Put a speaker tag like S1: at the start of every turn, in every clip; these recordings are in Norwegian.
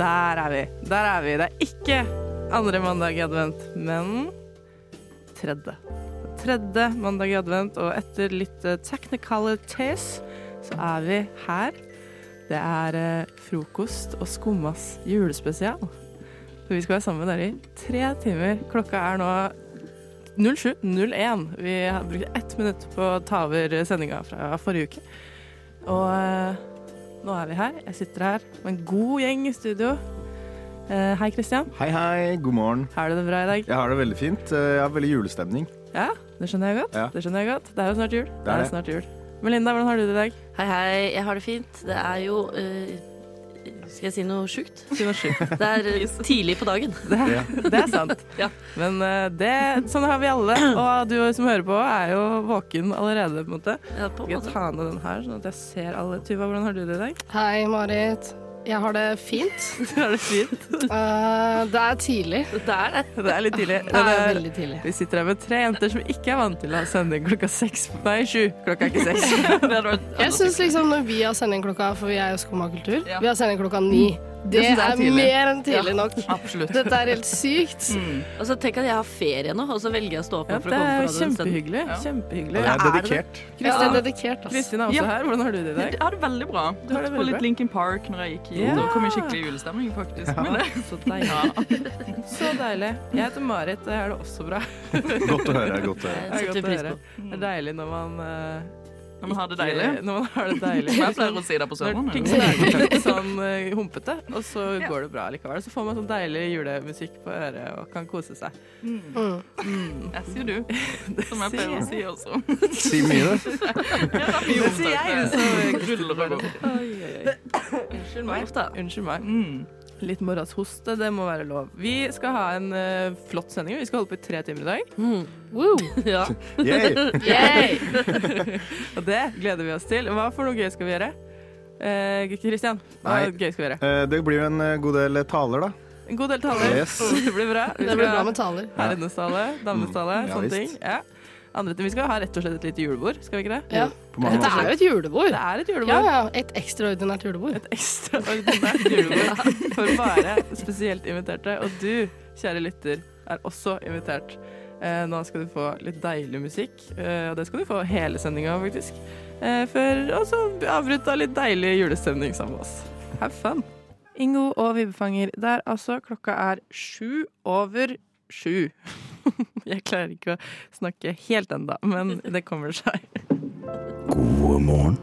S1: Der er vi. Der er vi. Det er ikke andre mandag i advent, men tredje. Tredje mandag i advent, og etter litt eh, technicalities så er vi her. Det er eh, frokost og skummas julespesial. Så vi skal være sammen med dere i tre timer. Klokka er nå 07.01. Vi har brukt ett minutt på å ta over sendinga fra forrige uke. Og eh, nå er vi her. Jeg sitter her med en god gjeng i studio. Eh, hei, Kristian.
S2: Hei, hei. God morgen.
S1: Har du det bra i dag?
S2: Jeg har det veldig fint. Eh, Jeg har veldig julestemning.
S1: Ja, det skjønner jeg godt.
S2: Ja.
S1: Det skjønner jeg godt. Det er jo snart jul. Det
S2: er
S1: er
S2: det.
S1: snart jul. Melinda, hvordan har du det i dag?
S3: Hei, hei, jeg har det fint. Det er jo eh, Skal jeg si noe sjukt?
S1: Si noe sjukt.
S3: Det er eh, tidlig på dagen.
S1: Det, det er sant.
S3: Ja.
S1: Men eh, det, sånn har vi alle. Og du som hører på, er jo våken allerede, på en måte.
S3: Ja, på en
S1: Jeg
S3: måte.
S1: tar ned den her, sånn at jeg ser alle. Tuva, hvordan har du det i dag?
S4: Hei, Marit. Jeg har det fint.
S1: Du har det fint.
S4: Eh, det er tidlig.
S3: Det er det.
S1: Det er litt tidlig.
S4: Det er
S1: Det er-
S4: veldig tidlig.
S1: Vi sitter her med tre jenter som ikke er vant til å ha sending klokka seks. Nei, sju. Klokka er ikke seks.
S3: Det hadde vært
S4: Jeg syns liksom når vi har sending klokka For vi er jo Skumma kultur.
S3: Ja.
S4: Vi har sending klokka ni. Det
S1: synes jeg er
S4: er
S1: tidlig.
S4: mer enn tidlig nok.
S1: Absolutt. Mm.
S4: Dette er helt sykt.
S3: Altså, tenk at jeg har ferie nå, og så velger jeg å stå opp
S1: Ja,
S3: nå
S1: det
S3: for å komme
S1: er
S3: fra den stedet.
S1: kjempehyggelig.
S2: Og
S1: Kjempehyggelig.
S2: jeg er
S1: Ja, det-
S2: dedikert.
S4: Ja, det er dedikert, ass.
S1: Kristin er også
S5: Ja.
S1: her. Hvordan har du det i dag?
S5: Jeg har det veldig bra.
S1: Du har det
S5: Hørte på
S1: veldig bra.
S5: litt Linkin Park når jeg gikk hit.
S1: Ja.
S5: Da kom jeg skikkelig i julestemning, faktisk. Men det,
S1: Så deilig.
S5: ja.
S1: Så deilig. Jeg heter Marit, og jeg har det også bra. Det
S2: Godt å høre. godt å høre.
S1: er
S3: Jeg setter
S1: godt å
S3: pris
S1: høre.
S3: på.
S1: Det er deilig når man eh,
S5: Når man har det
S1: ikke-
S5: deilig.
S1: Når man har det deilig.
S5: Men jeg pleier å si det på
S1: Når ting
S5: sommeren.
S1: er litt sånn eh, humpete, og så
S5: Ja.
S1: går det bra likevel. Så får man sånn deilig julemusikk på øret og kan kose seg.
S4: Mm.
S5: Jeg sier du, som jeg pleier å si også.
S2: Si mye, du.
S5: Det
S1: sier jeg, så-
S5: ruller og går.
S1: Unnskyld meg.
S3: Uff da.
S1: Unnskyld meg.
S5: Mm.
S1: Litt morgenshoste, det må være lov. Vi skal ha en eh, flott sending. Vi skal holde på i tre timer i dag.
S4: Mm. Woo.
S3: Ja.
S2: Yay.
S4: Yay.
S1: Og det gleder vi oss til. Hva for noe gøy skal vi gjøre? Eh, Kristian, hva
S2: Nei.
S1: gøy skal vi gjøre?
S2: Eh, Det blir jo en eh, god del taler, da.
S1: En god del taler.
S2: Yes.
S1: Det blir bra. Vi
S4: Det blir
S1: skal
S4: bra
S1: ha
S4: med taler.
S1: Herrenestale, damestale,
S2: Mm, ja,
S1: sånne ting.
S2: visst.
S1: Ja. Andre ting. Vi skal ha rett og slett et lite julebord, skal vi ikke det?
S4: Ja.
S2: På mange
S4: Dette er
S2: måter.
S4: jo et julebord.
S1: Det er et
S4: Ja,
S1: julebord.
S4: ja. Et ekstraordinært julebord.
S1: Et ekstraordinært julebord for bare spesielt inviterte. Og du, kjære lytter, er også invitert. Eh, nå skal du få litt deilig musikk, eh, og det skal du få hele sendinga, faktisk. Eh, for og så avbrutt av litt deilig julestemning sammen med oss. Have fun. Ingo og Vibbefanger der, altså. Klokka er sju over sju. Jeg klarer ikke å snakke helt ennå, men det kommer seg.
S6: God morgen.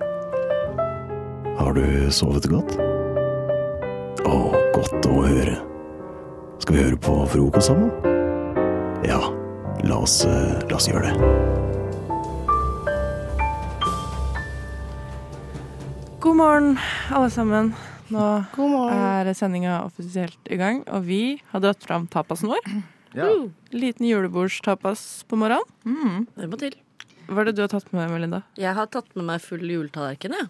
S6: Har du sovet godt? Å, godt å høre. Skal vi høre på frokost sammen? Ja, la oss, eh, la oss gjøre det.
S1: God morgen, alle sammen. Nå
S4: God morgen.
S1: er sendinga offisielt i gang, og vi har dratt fram tapasen vår.
S2: Ja.
S1: Liten julebordstapas på morgenen.
S4: Mm.
S1: Mm.
S3: Det må til.
S1: Hva er det du har tatt med, Melinda?
S3: Jeg har tatt med meg full juletallerken, jeg.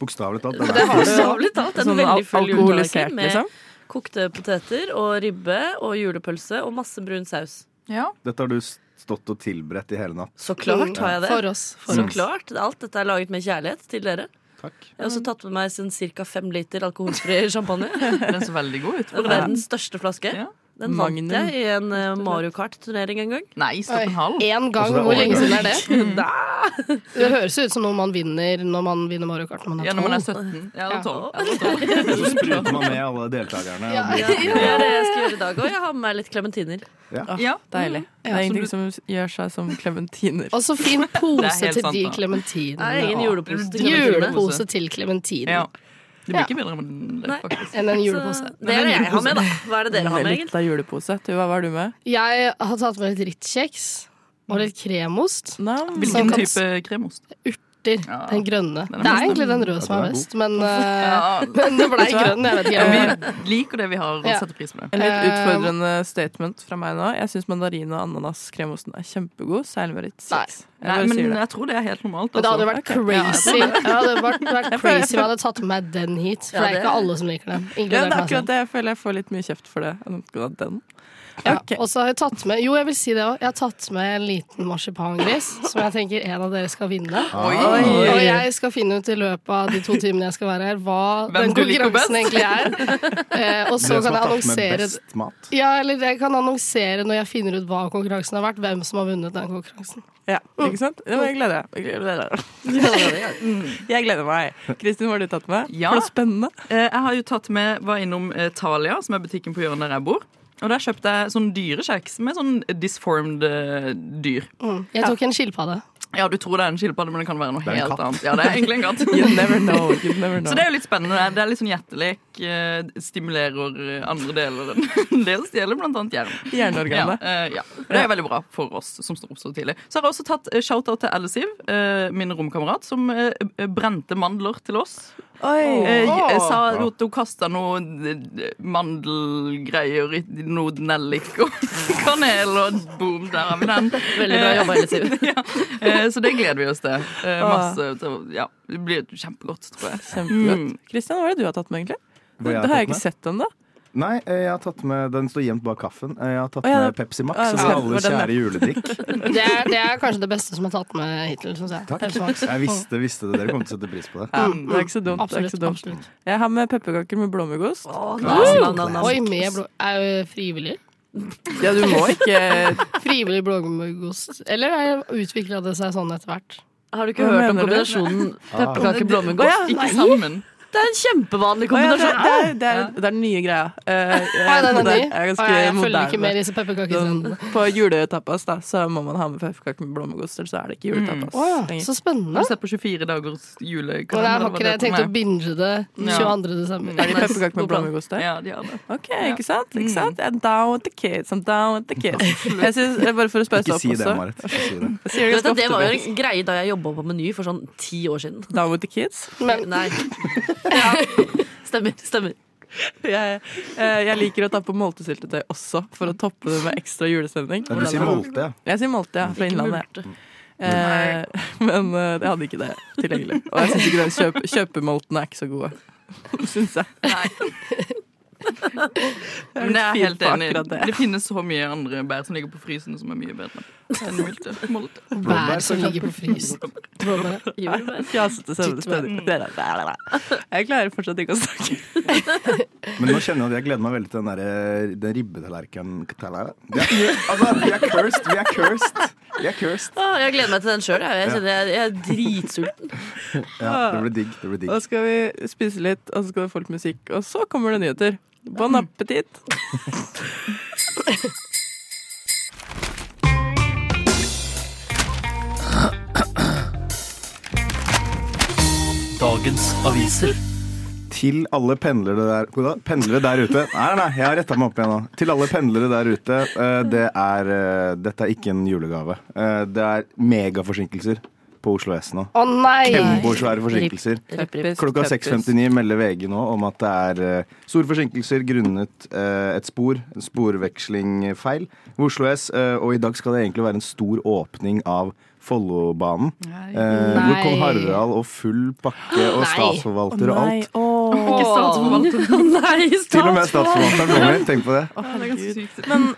S2: Bokstavelig talt. Den er
S3: Bokstavelig talt. En
S1: Sånn al-
S3: veldig full
S1: alkoholisert,
S3: juletallerken med
S1: liksom?
S3: kokte poteter og ribbe og julepølse og masse brun saus.
S5: Ja.
S2: Dette har du stått og tilberedt i hele natt.
S3: Så
S4: Mm.
S1: Mm.
S3: klart har jeg det.
S4: For oss. For
S3: Så
S4: oss.
S3: klart. Alt dette er laget med kjærlighet til dere.
S2: Takk.
S3: Jeg har også tatt med meg sånn ca. fem liter alkoholfri champagne.
S5: Den så veldig god ut.
S3: Det var verdens største flaske.
S5: Ja.
S3: Den
S1: Magnum.
S3: vant jeg i en eh, Mario Kart-turnering en gang.
S5: Nei, stopp en halv.
S4: Én gang.
S2: Altså, det er
S4: Hvor lenge
S2: overgang.
S4: siden er det? Det høres jo ut som noe man vinner når man vinner Mario Kart når man
S5: Ja, når man
S4: er
S5: er
S4: tolv.
S5: 17. Ja, eller
S4: Ja.
S5: 12.
S2: Og så spruter man med alle deltakerne.
S4: Ja.
S3: Ja, det er det jeg skal gjøre i dag Og jeg har med meg litt klementiner.
S5: Ja.
S4: Mm.
S1: Deilig. Det er ingenting som gjør seg som klementiner.
S4: Og så fin
S5: Det
S4: pose
S5: er helt
S4: til de
S5: sant, da.
S3: Det er
S4: klementinene.
S3: egen julepose til klementiner.
S4: Julepose til klementinen.
S5: Ja. Det blir ikke bedre enn det,
S3: Nei.
S5: faktisk.
S4: Enn en julepose.
S3: Så Det er det jeg har med, da. Hva er det dere har med,
S1: Litt
S3: egentlig?
S1: av julepose. Tuva, hva har du med?
S4: Jeg har tatt med litt Ritz-kjeks og litt kremost.
S1: Nam.
S4: Som
S5: Hvilken
S4: kan-
S5: type Eh, kremost?
S4: Urter.
S5: Ja.
S4: Den grønne. Det
S5: Den er best,
S4: er egentlig den røde som
S2: Ja,
S4: er
S2: den er
S4: best, men, eh,
S5: Ja.
S4: men det blei grønn. Jeg vet ikke.
S5: Vi
S4: Jeg,
S5: liker det vi har, og
S4: Ja.
S5: setter pris på det.
S1: En litt
S4: Eh,
S1: utfordrende statement fra meg nå. Jeg syns mandarin- og ananaskremosten er kjempegod, særlig med litt seks. Jeg
S5: Nei,
S1: bare
S5: men
S1: sier det.
S5: jeg tror det er helt normalt.
S4: men det hadde
S5: altså.
S4: vært crazy Det hadde vært, vært crazy om jeg hadde tatt med den hit, for
S3: Ja,
S4: det er
S3: det-
S4: ikke alle som liker den.
S1: Ja, det
S4: Inkludert
S1: er
S4: meg
S1: akkurat
S4: selv.
S1: det. Jeg føler jeg får litt mye kjeft for det. Den.
S4: Ja,
S1: Ok.
S4: Og så har jeg tatt med Jo, jeg vil si det òg. Jeg har tatt med en liten marsipangris som jeg tenker en av dere skal vinne.
S2: Ah.
S1: Oi.
S4: Og jeg skal finne ut i løpet av de to timene jeg skal være her, hva den
S5: Hvem du liker best.
S4: konkurransen egentlig er. Eh, og så kan jeg
S2: Dere som har tatt med
S4: annonsere
S2: best mat.
S4: ja, eller jeg kan annonsere når jeg finner ut hva konkurransen har vært, hvem som har vunnet den konkurransen. Mm.
S1: Ja,
S4: Oh.
S1: ikke sant? Ja, men jeg gleder meg. Jeg gleder meg. Mm. Jeg gleder meg. Kristin, hva har du tatt med?
S5: Ja.
S1: For det er spennende.
S5: Eh, Jeg har jo tatt med, var innom eh, Thalia, som er butikken på hjørnet der jeg bor. Og der kjøpte jeg sånn dyrekjeks med sånn disformed eh, dyr.
S4: Mm. Jeg tok en skilpadde.
S5: Ja, du tror det er en skilpadde, men det kan være noe
S2: er en
S5: helt
S2: katt.
S5: annet. Ja, det er egentlig en katt.
S1: You never know. You never know.
S5: Så det er jo litt spennende. Det er litt sånn hjertelek. eh, Stimulerer eh, andre deler enn det å stjele, blant annet hjernen. Ja,
S1: Hjerneorganet.
S5: eh, ja. Det er veldig bra for oss som står opp så tidlig. Så har jeg også tatt eh, shout-out til Ellisiv, eh, min romkamerat, som eh, eh, brente mandler til oss. Eh,
S1: Oi.
S5: jeg sa at hun kasta noe eh, mandelgreier i noe nellik og kanel, og boom, der har vi den.
S3: Veldig bra jobba, Elisiv.
S5: ja. eh, så det gleder vi oss til. Eh, masse. til- Ja, det blir kjempegodt, tror jeg. Mm.
S1: Kjempegodt.
S4: Mm.
S1: Kristian, hva er det du har tatt med, egentlig?
S2: Hva jeg
S1: det har
S2: har
S1: jeg ikke
S2: tatt
S1: sett ennå.
S2: Nei, eh, jeg har tatt med, den står gjemt bak kaffen. Eh, Jeg har tatt
S1: Å, ja,
S2: med
S1: det-
S2: Pepsi Max,
S1: Å, ja,
S2: som
S1: det
S2: er
S1: var
S2: alles
S1: den,
S2: kjære juledrikk.
S4: Det er, det er kanskje det beste som er tatt med hittil, syns jeg.
S2: Takk.
S4: Pepsi Max.
S2: Jeg visste, visste det, dere kom til å sette pris på det.
S1: Ja, det er ikke så
S4: Mm.
S1: dumt. det er ikke
S4: Absolutt.
S1: så dumt.
S4: absolutt.
S1: Jeg har med pepperkaker med blåmuggost.
S4: Oi, med blå... Er jo frivillig?
S1: Ja, du må ikke
S4: Frivillig blåmuggost. Eller utvikla det seg sånn etter hvert?
S3: Har du ikke
S1: Hva
S3: hørt om
S1: mener du? Ah.
S3: kombinasjonen pepperkake
S5: Å,
S3: blåmuggost?
S5: Ikke sammen.
S3: Det er en kjempevanlig
S1: Å, ja, det,
S3: kombinasjon.
S1: det, er, det, er, det er den nye greia. Eh,
S4: Nei, den er
S1: det
S4: ny.
S1: er ganske
S4: Nei, Jeg følger
S1: moderne.
S4: ikke med i disse pepperkaketrendene.
S1: Sånn, på juletapas da, så må man ha med pepperkaker med blåmuggost, ellers så er det ikke juletapas.
S4: Mm. Å ja,
S1: lenger.
S4: så
S5: Har
S4: spennende.
S5: du sett på 24 dagers
S4: Men
S5: julekalender?
S4: jeg har ikke det. Jeg tenkte å
S5: Nei.
S4: binge det 22.
S5: Mm.
S4: desember.
S1: Er det pepperkaker
S5: God
S1: med
S5: plan.
S1: blåmuggost der?
S5: Ja, de har det.
S1: Ok, ikke sant? Ikke sant? I'm down with the kids. I'm down with the kids. Jeg synes, eh, bare for å spause
S2: Ikke
S1: opp
S2: si det,
S1: også.
S2: Marit. Ikke si det.
S1: Jeg
S3: Du
S1: sier det
S3: vet
S1: ganske
S3: at Det var
S1: ofte.
S3: jo en greie da jeg jobba på Meny for sånn ti år siden.
S1: Bjørn. Down with the kids.
S4: Men-
S3: Nei. Stemmer. stemmer
S1: Jeg, eh, jeg liker å ta på moltesyltetøy også, for å toppe det med ekstra julestemning.
S2: Ja, Du sier molte, ja.
S1: Jeg sier molte, ja. Fra Innlandet.
S3: Multe.
S1: Eh, men eh, jeg hadde ikke det tilgjengelig. Og jeg syns ikke den kjøp, kjøpemoltene er ikke så gode. Syns jeg. Det
S5: Men det er jeg
S1: fint
S5: helt
S1: på
S5: enig. i.
S1: akkurat det.
S5: Det finnes så mye andre bær som ligger på frysen som er mye bedre enn molte. Molte.
S4: Bær som ligger på frysen. Blåbær.
S3: Jordbær.
S1: Fjasete søvnestødig. Jeg klarer fortsatt ikke å snakke.
S2: Men nå kjenner jeg at jeg gleder meg veldig til den, der, eh, den ribbetallerkenen Tallerkenen? Ja, altså, vi er cursed! Vi er cursed! Vi er cursed.
S3: Å, Jeg gleder meg til den sjøl. Jeg, jeg, kjenner jeg, jeg er dritsulten.
S2: Ja, det blir digg. Det blir digg.
S1: Da skal vi spise litt, og så skal det få litt musikk. Og så kommer det nyheter. Bon appétit!
S7: Dagens aviser.
S2: Til alle pendlere der, Hvordan? pendlere der ute Nei, nei, jeg har retta meg opp igjen nå. Til alle pendlere der ute, eh, det er eh, Dette er ikke en julegave. Eh, Det er megaforsinkelser på Oslo S nå.
S4: Å nei!
S2: Kjempesvære forsinkelser. Klokka 6.59 melder VG nå om at det er eh, store forsinkelser grunnet eh, et spor, en sporvekslingfeil ved Oslo S. eh, og i dag skal det egentlig være en stor åpning av Follobanen. eh, hvor kong
S4: Nei.
S2: Harald og full pakke og
S4: Nei.
S2: statsforvalter og alt.
S1: Åh,
S5: Ikke statsforvalter.
S3: Nei,
S2: Til og med statsforvalteren kommer. Tenk på det.
S5: Det er ganske sykt.
S1: Men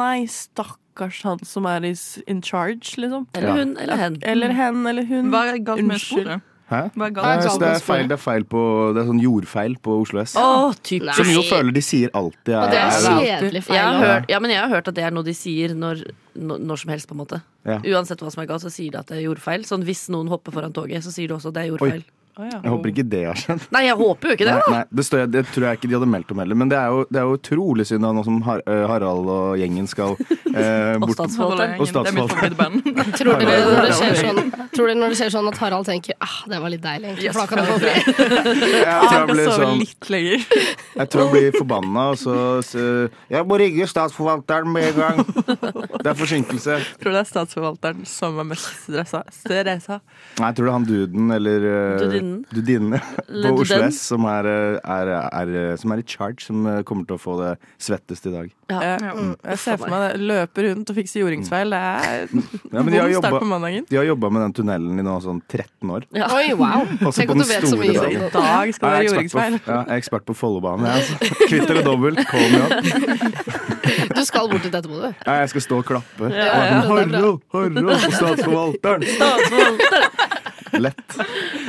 S1: nei, stakkars han som er i s- in charge, liksom.
S3: Eller hun eller hen.
S1: Eller hen eller hun.
S5: Hva er galt med
S1: Unnskyld.
S5: sporet?
S2: Hæ?
S5: Hva
S4: Nei,
S5: er galt?
S2: Eh,
S4: galt
S2: så
S4: med
S2: det er feil,
S4: sporet.
S2: det er feil på Det er sånn jordfeil på Oslo S.
S3: Å, typisk.
S2: Som jo føler de sier alltid
S4: Og
S2: er
S4: det er
S2: er-
S4: kjedelig
S3: Jeg har
S4: feil.
S3: hørt, ja, men jeg har hørt at det er noe de sier når, når, når som helst, på en måte.
S2: Ja.
S3: Uansett hva som er galt, så sier de at det er jordfeil. Sånn hvis noen hopper foran toget, så sier de også at det er jordfeil.
S1: Å, ja.
S2: Jeg håper ikke det har skjedd.
S3: Nei, jeg håper jo ikke det.
S2: Nei, nei, det, står, det tror jeg ikke de hadde meldt om heller. Men det er jo, det er jo utrolig synd da, nå som Har eh, Harald og gjengen skal eh,
S3: Og
S2: bort.
S3: statsforvalteren.
S2: Og
S5: Det er mitt favorittband.
S4: Tror dere når det skjer sånn, tror dere når det skjer sånn at Harald tenker ah, det var litt deilig, egentlig, for da kan jeg få fri?
S2: Jeg tror
S1: Jeg
S2: jeg blir,
S1: skal sove
S2: sånn,
S1: litt lenger.
S2: jeg tror jeg blir forbanna, og så, så Jeg må ringe statsforvalteren med en gang! Det er forsinkelse.
S1: Jeg tror det er statsforvalteren som er mest stressa. stressa.
S2: Nei, jeg tror det er han duden eller eh,
S3: Ludinnen.
S2: Ludinne på
S3: Ludden.
S2: Oslo S, som er, eh, er, er, eh, som er i charge, som eh, kommer til å få det svettest i dag.
S3: Ja.
S1: Jeg, Eh, mm, jeg ser for meg det. Løpe rundt og fikse jordingsfeil. Det er en
S2: Ja, men de har
S1: vond start på
S2: jobba-
S1: mandagen.
S2: de har jobba med den tunnelen i nå sånn 13 år.
S3: Ja.
S4: Oi, wow.
S2: Også
S4: Tenk
S2: på
S4: at du
S2: den
S4: vet så
S2: store
S4: mye
S2: dagen.
S4: om
S1: I
S4: det.
S1: dag skal det være
S2: jeg, er
S1: jordingsfeil.
S2: ekspert på, ja, jeg er ekspert på Follobanen. jeg, Altså. Kvitt eller dobbelt, call me up.
S4: Du skal bort dit etterpå, du.
S2: Ja, jeg skal stå og klappe.
S4: ja, ja.
S2: Harro, harro, statsforvalteren! Lett.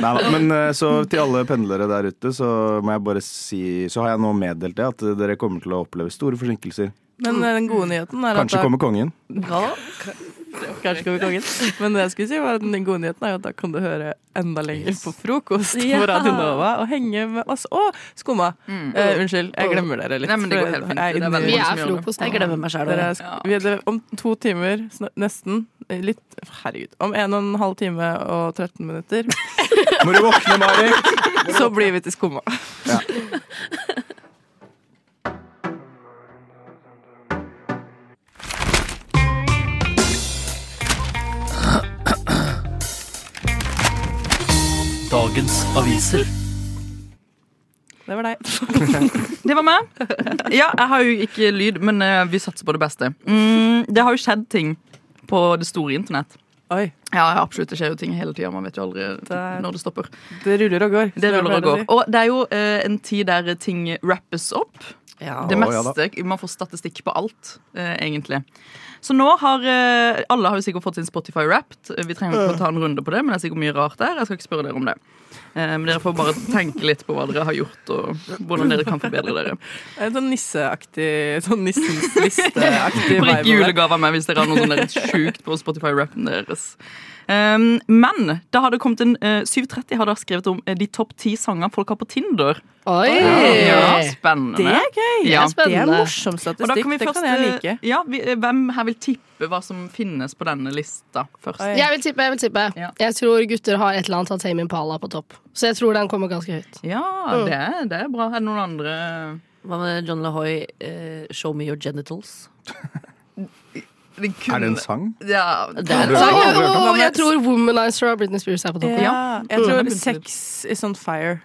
S2: Nei, da. men eh, så til alle pendlere der ute, så må jeg bare si Så har jeg nå meddelt det, at dere kommer til å oppleve store forsinkelser.
S1: Men eh, den gode nyheten er at
S2: Kanskje
S1: da-
S2: kommer kongen.
S1: Ja, Kanskje kommer kongen. Men det jeg skulle si var at den gode nyheten er jo at da kan du høre enda lenger på frokost
S3: Ja.
S1: på Radio Nova og henge med oss. Å, skumma! Eh, unnskyld, jeg glemmer dere litt.
S5: Mm. Nei, men det
S1: for
S5: går helt fint.
S1: jeg er
S5: Det er
S1: inne i-
S5: veldig
S4: Vi
S5: mange som
S4: er
S5: gjør det.
S4: frokost
S3: Jeg
S4: nå.
S3: glemmer meg sjæl.
S1: Dere er sk- vi er dere- om to timer, sn- nesten, eh, litt Herregud. Om en og en halv time og 13 minutter,
S2: Må du våkne, Mari!
S1: så blir vi til skumma.
S7: Dagens aviser.
S1: Det var deg.
S5: Det var meg. Ja, jeg har jo ikke lyd, men eh, vi satser på det beste. Mm, det har jo skjedd ting på det store internett.
S1: Oi.
S5: Ja, ja, absolutt. Det skjer jo ting hele tida. Man vet jo aldri
S1: er-
S5: når det stopper.
S1: Det ruller og går.
S5: Det
S1: som jeg
S5: ruller og
S1: pleier å
S5: går.
S1: si.
S5: Og det er jo eh, en tid der ting rappes opp. Det
S2: Å, ja da.
S5: meste. Man får statistikk på alt, eh, egentlig. Så nå har eh, Alle har jo sikkert fått sin Spotify Wrapped. Vi trenger ikke å ta en runde på det, men det er sikkert mye rart der. Jeg skal ikke spørre dere om det. Eh, men dere får bare tenke litt på hva dere har gjort, og hvordan dere kan forbedre dere.
S1: En sånn nisseaktig Sånn nissens listeaktig
S5: Prikk
S1: vibe. over det.
S5: julegave av meg hvis dere har noe sånn der sjukt på Spotify-rappen deres. Um, men da har det kommet en eh, 7.30 har da skrevet om eh, de topp ti sanger folk har på Tinder.
S4: Oi!
S5: Ja, spennende.
S1: Det er
S5: Ja.
S1: gøy! Det er
S4: Spennende.
S1: morsom
S5: Og da
S1: statistikk.
S5: kan vi
S1: det
S5: først,
S1: kan jeg
S5: eh,
S1: like.
S5: Ja, vi, eh, hvem her vil tippe hva som finnes på denne lista først?
S1: Oi.
S4: Jeg vil tippe. Jeg vil tippe
S5: Ja.
S4: Jeg tror gutter har et eller annet av Tame Impala på topp. Så jeg tror den kommer ganske høyt. Mm.
S5: Ja, det er, det er bra. Er det noen andre
S3: Hva med John LaHoy, eh, 'Show me your genitals'?
S2: Er det en sang?
S5: Ja,
S3: Det er
S2: du hørt
S4: Oi,
S2: den? Har du hørt den?
S4: oi, oi, jeg tror Womanizer av Britney Spears er på toppen.
S1: Ja, jeg
S5: Mm.
S1: tror
S5: Mm.
S1: sex is on fire.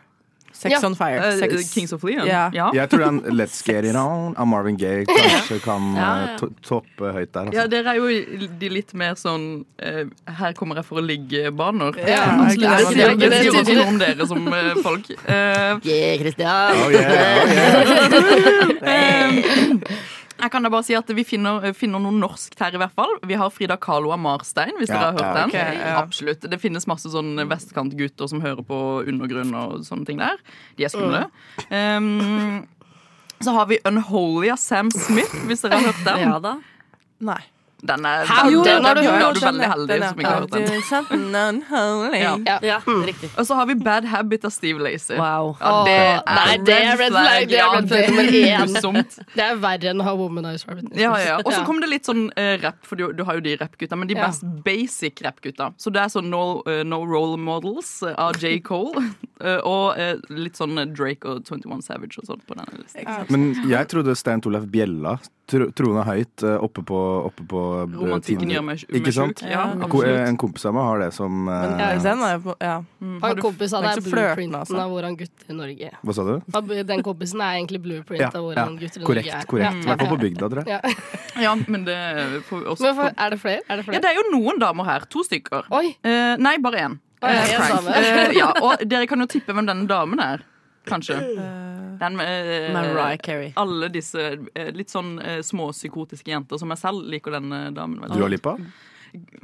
S1: Sex
S4: Ja.
S1: on fire.
S5: eh,
S1: Sex.
S5: Kings of Leon.
S1: Ja.
S5: Ja.
S2: Jeg tror den Let's Get It On av Marvin Gaye kanskje kan
S3: Ja,
S2: eh,
S3: ja.
S2: to toppe høyt der.
S5: Ja,
S2: Altså.
S5: dere er jo de litt mer sånn eh, 'her kommer jeg for å ligge'-baner.
S1: Ja,
S5: absolutt.
S1: det er
S5: Det sier-
S1: ikke
S5: det
S4: det
S5: sier også
S4: sier-
S5: noe om dere som eh, folk. Eh,
S3: Yeah, Christian!
S2: Oh, yeah, oh, yeah.
S5: jeg kan da bare si at Vi finner, eh, finner noe norskt her, i hvert fall. Vi har Frida Kahlo av Marstein, hvis
S2: Ja,
S5: dere har hørt
S2: ja,
S5: den.
S1: ok, ja.
S5: Absolutt. Det finnes masse sånn vestkantgutter som hører på undergrunn og sånne ting der. De er skumle.
S3: Mm.
S5: Um, så har vi Unholy av Sam Smith, hvis dere har hørt den.
S3: Ja da.
S1: Nei.
S5: Den er,
S4: Hæ, jo, den har du hørt,
S5: er du veldig heldig som ikke har hørt den. Ja.
S1: den.
S4: Ja. Mm.
S3: Ja, riktig.
S5: Og så har vi Bad Habit av Steve Lacey.
S3: Wow.
S5: Ja, det er,
S4: Åh, nei, det er red flag, det er
S5: ja,
S4: red
S5: det er
S4: flag nummer én.
S5: grusomt.
S4: Det er verre enn å ha Womanizer av Britney Spears.
S5: Ja, ja. Og så
S4: Ja.
S5: kom det litt sånn eh, rap, for du, du har jo de rappgutta, men de
S4: Ja.
S5: mest basic rappgutta. Så det er sånn No, eh, no Role Models eh, av J. Cole, eh, og eh, litt sånn eh, Drake og 21 Savage og sånt på denne listen.
S2: altså. Men jeg trodde Stein Torleif Bjella, tro, troende høyt, eh, oppe på, oppe på eh,
S5: Romantikken
S2: Tinder.
S5: gjør meg, meg
S2: Ikke sant?
S5: sjuk. Ja,
S1: Ja.
S2: Ko- eh,
S5: absolutt.
S2: En kompis av meg har det som eh,
S1: Ja, den er jo på Ja. Mm.
S5: Mm. Har
S4: Han
S5: du-
S4: kompisen
S1: det er
S4: er
S1: ikke så flørtende,
S4: blueprinten
S1: altså.
S4: av hvordan gutter i Norge
S2: Hva sa du?
S4: Ja, Den kompisen er egentlig blueprint
S2: Ja,
S4: av
S2: ja.
S4: hvordan gutter i Norge
S2: Korrekt.
S4: er.
S2: korrekt I hvert fall på bygda, tror jeg.
S4: Ja.
S5: ja, men det får vi også
S4: Men for, er det flere? Er det
S5: Ja,
S4: flere?
S5: det er jo noen damer her. To stykker.
S4: Oi!
S5: Eh, nei, bare én.
S4: Oi,
S5: Eh,
S4: en
S5: prank.
S4: dame.
S5: Eh, ja, og dere kan jo tippe hvem denne damen er. Kanskje. Den med
S3: Mariah Carey.
S5: alle disse eh, litt sånn eh, småpsykotiske jenter som jeg selv liker denne damen veldig
S2: Du har
S5: godt.
S2: lippa? Mm.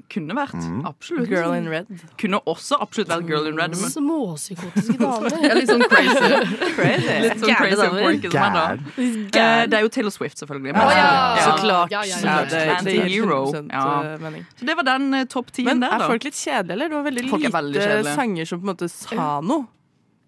S5: Kunne vært. Absolutt.
S1: Girl in red.
S5: Kunne også absolutt vært Girl in Red. Men
S4: Småpsykotiske
S5: jeg
S4: damer.
S5: er litt sånn crazy.
S1: Crazy.
S5: Litt sånn
S3: Gærne
S5: crazy og
S3: damer.
S5: quirky som jeg da.
S2: Gæren.
S5: Eh, det er jo Taylor Swift, selvfølgelig. Men,
S4: Å, ja.
S5: ja.
S1: Så klart.
S4: Ja, ja, ja,
S1: Ja,
S4: ja.
S1: det- det gir
S5: Anti-hero.
S1: 100%
S5: Ja.
S1: mening.
S5: Så det var den eh, topp tien
S1: Men
S5: der,
S1: er
S5: da.
S1: folk litt kjedelige, eller? Det var veldig
S5: Folk er veldig
S1: lite
S5: kjedelige.
S1: sanger som på en måte sa noe,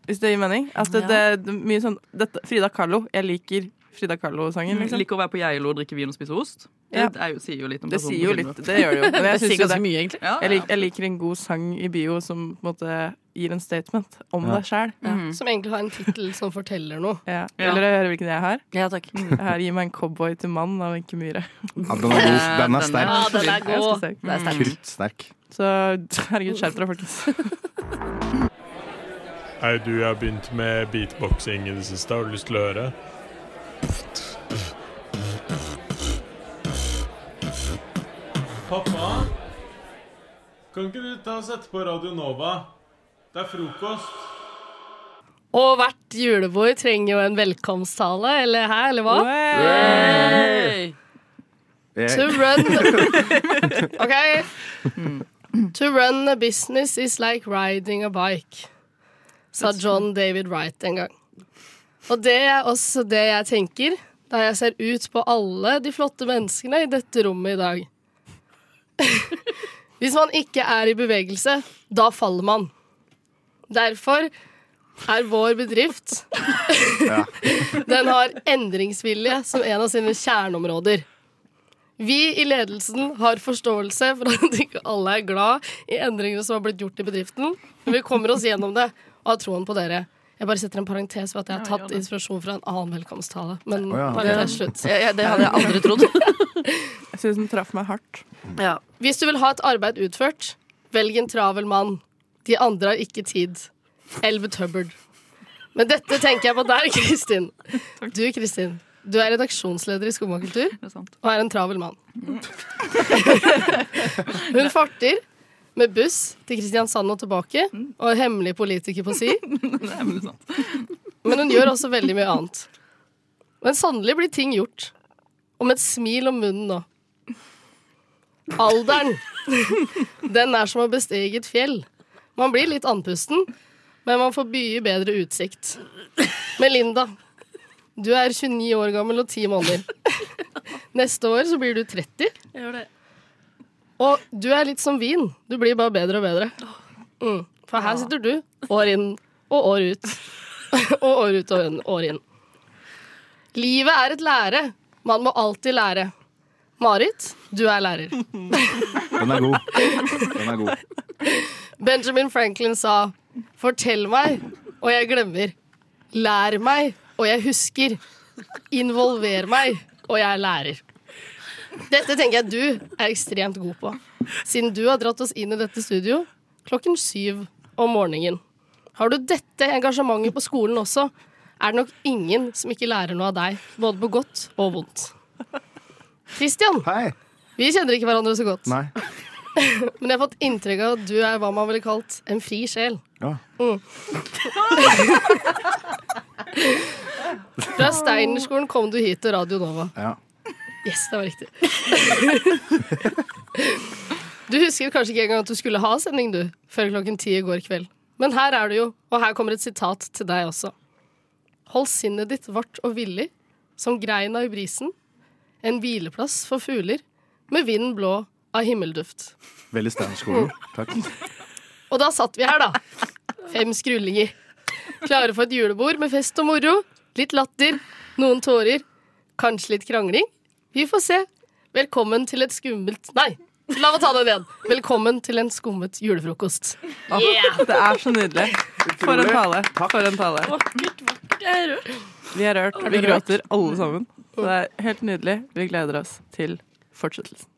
S1: hvis det gir mening. At Altså, det,
S3: Ja.
S1: det, det er mye sånn dette, Frida Kahlo. Jeg liker Frida Kahlo-sangen, liksom.
S5: Mm, Liker å være på Geilo og drikke vin og spise ost.
S1: Ja.
S5: Det er jo, sier jo litt om
S1: Det
S5: personen
S1: sier jo
S5: på
S1: litt.
S5: Tinder.
S1: Det gjør det jo. Men jeg
S3: Det
S1: synes
S3: sier
S1: jo det
S3: ganske mye, egentlig.
S5: Ja, ja.
S1: Jeg, lik, jeg liker en god sang i bio som på en måte gir en statement om
S2: Ja.
S1: deg sjæl.
S5: Mm.
S4: Som egentlig har en tittel som forteller noe.
S1: Ja.
S5: Ja.
S1: Vil dere høre hvilken jeg har? Mm.
S3: Ja, takk.
S1: Jeg har Gi meg en cowboy til mann av Wenche Myhre.
S2: Ja, den er god.
S5: Eh,
S2: Den
S5: den er-
S2: er sterk.
S4: Ja, den er
S1: Jeg er ganske
S4: god.
S1: sterk. Mm.
S3: Det er sterkt.
S2: Kruttsterk.
S1: Så herregud, skjerp dere, folkens.
S8: Hei, du, jeg har begynt med beatboxing i det siste. Har du lyst til å høre? Pappa? Kan ikke du ta og sette på Radio Nova? Det er frokost.
S4: Og hvert julebord trenger jo en velkomsttale, eller hæ, eller hva? To run OK. To run a business is like riding a bike, sa John David Wright en gang. Og det er også det jeg tenker da jeg ser ut på alle de flotte menneskene i dette rommet i dag. Hvis man ikke er i bevegelse, da faller man. Derfor er vår bedrift Den har endringsvilje som en av sine kjerneområder. Vi i ledelsen har forståelse for at ikke alle er glad i endringene som har blitt gjort i bedriften, men vi kommer oss gjennom det og har troen på dere. Jeg bare setter en parentes ved at jeg har tatt inspirasjon fra en annen velkomsttale. Men
S2: Å, ja.
S4: parentes slutt.
S3: Ja, ja, det hadde jeg aldri trodd.
S1: Jeg synes den traff meg hardt.
S3: Ja.
S4: Hvis du vil ha et arbeid utført, velg en travel mann. De andre har ikke tid. Elbert Hubbard. Men dette tenker jeg på der, Kristin. Du, Kristin. Du er redaksjonsleder i Skomakultur.
S5: Det er sant.
S4: og er en travel mann. Hun farter med buss til Kristiansand og tilbake, og er hemmelig politiker på si,
S5: Det er veldig sant.
S4: men hun gjør også veldig mye annet. Men sannelig blir ting gjort. Og med et smil om munnen nå. Alderen, den er som å bestige et fjell. Man blir litt andpusten, men man får mye bedre utsikt. Melinda, du er 29 år gammel og 10 måneder. Neste år så blir du 30.
S3: Jeg gjør det.
S4: Og du er litt som vin. Du blir bare bedre og bedre. Mm. For her sitter du år inn og år ut. og år ut og inn- år inn. Livet er et lære. Man må alltid lære. Marit, du er lærer.
S2: Den er god. Den er god.
S4: Benjamin Franklin sa 'Fortell meg, og jeg glemmer'. 'Lær meg, og jeg husker'. 'Involver meg, og jeg lærer'. Dette tenker jeg du er ekstremt god på, siden du har dratt oss inn i dette studio klokken syv om morgenen. Har du dette engasjementet på skolen også, er det nok ingen som ikke lærer noe av deg, både på godt og vondt. Christian,
S2: Hei.
S4: vi kjenner ikke hverandre så godt.
S2: Nei.
S4: Men jeg har fått inntrykk av at du er hva man ville kalt en fri sjel. Mm.
S2: Ja.
S4: Fra Steinerskolen kom du hit til Radio Nova.
S2: ja.
S4: Yes, det var riktig. Du husker kanskje ikke engang at du skulle ha sending, du, før klokken ti i går kveld. Men her er du jo, og her kommer et sitat til deg også. Hold sinnet ditt vart og villig, som greina i brisen, en hvileplass for fugler, med vinden blå av himmelduft.
S2: Veldig Steinerskolen. Takk.
S4: Og da satt vi her, da. Fem skrullinger. Klare for et julebord med fest og moro. Litt latter, noen tårer, kanskje litt krangling. Vi får se. Velkommen til et skummelt Nei, la meg ta det igjen. Velkommen til en skummet julefrokost.
S1: Det er så nydelig. For en tale. For en tale.
S3: Jeg er rørt.
S1: Vi er rørt. Vi gråter alle sammen. Så det er helt nydelig. Vi gleder oss til fortsettelsen.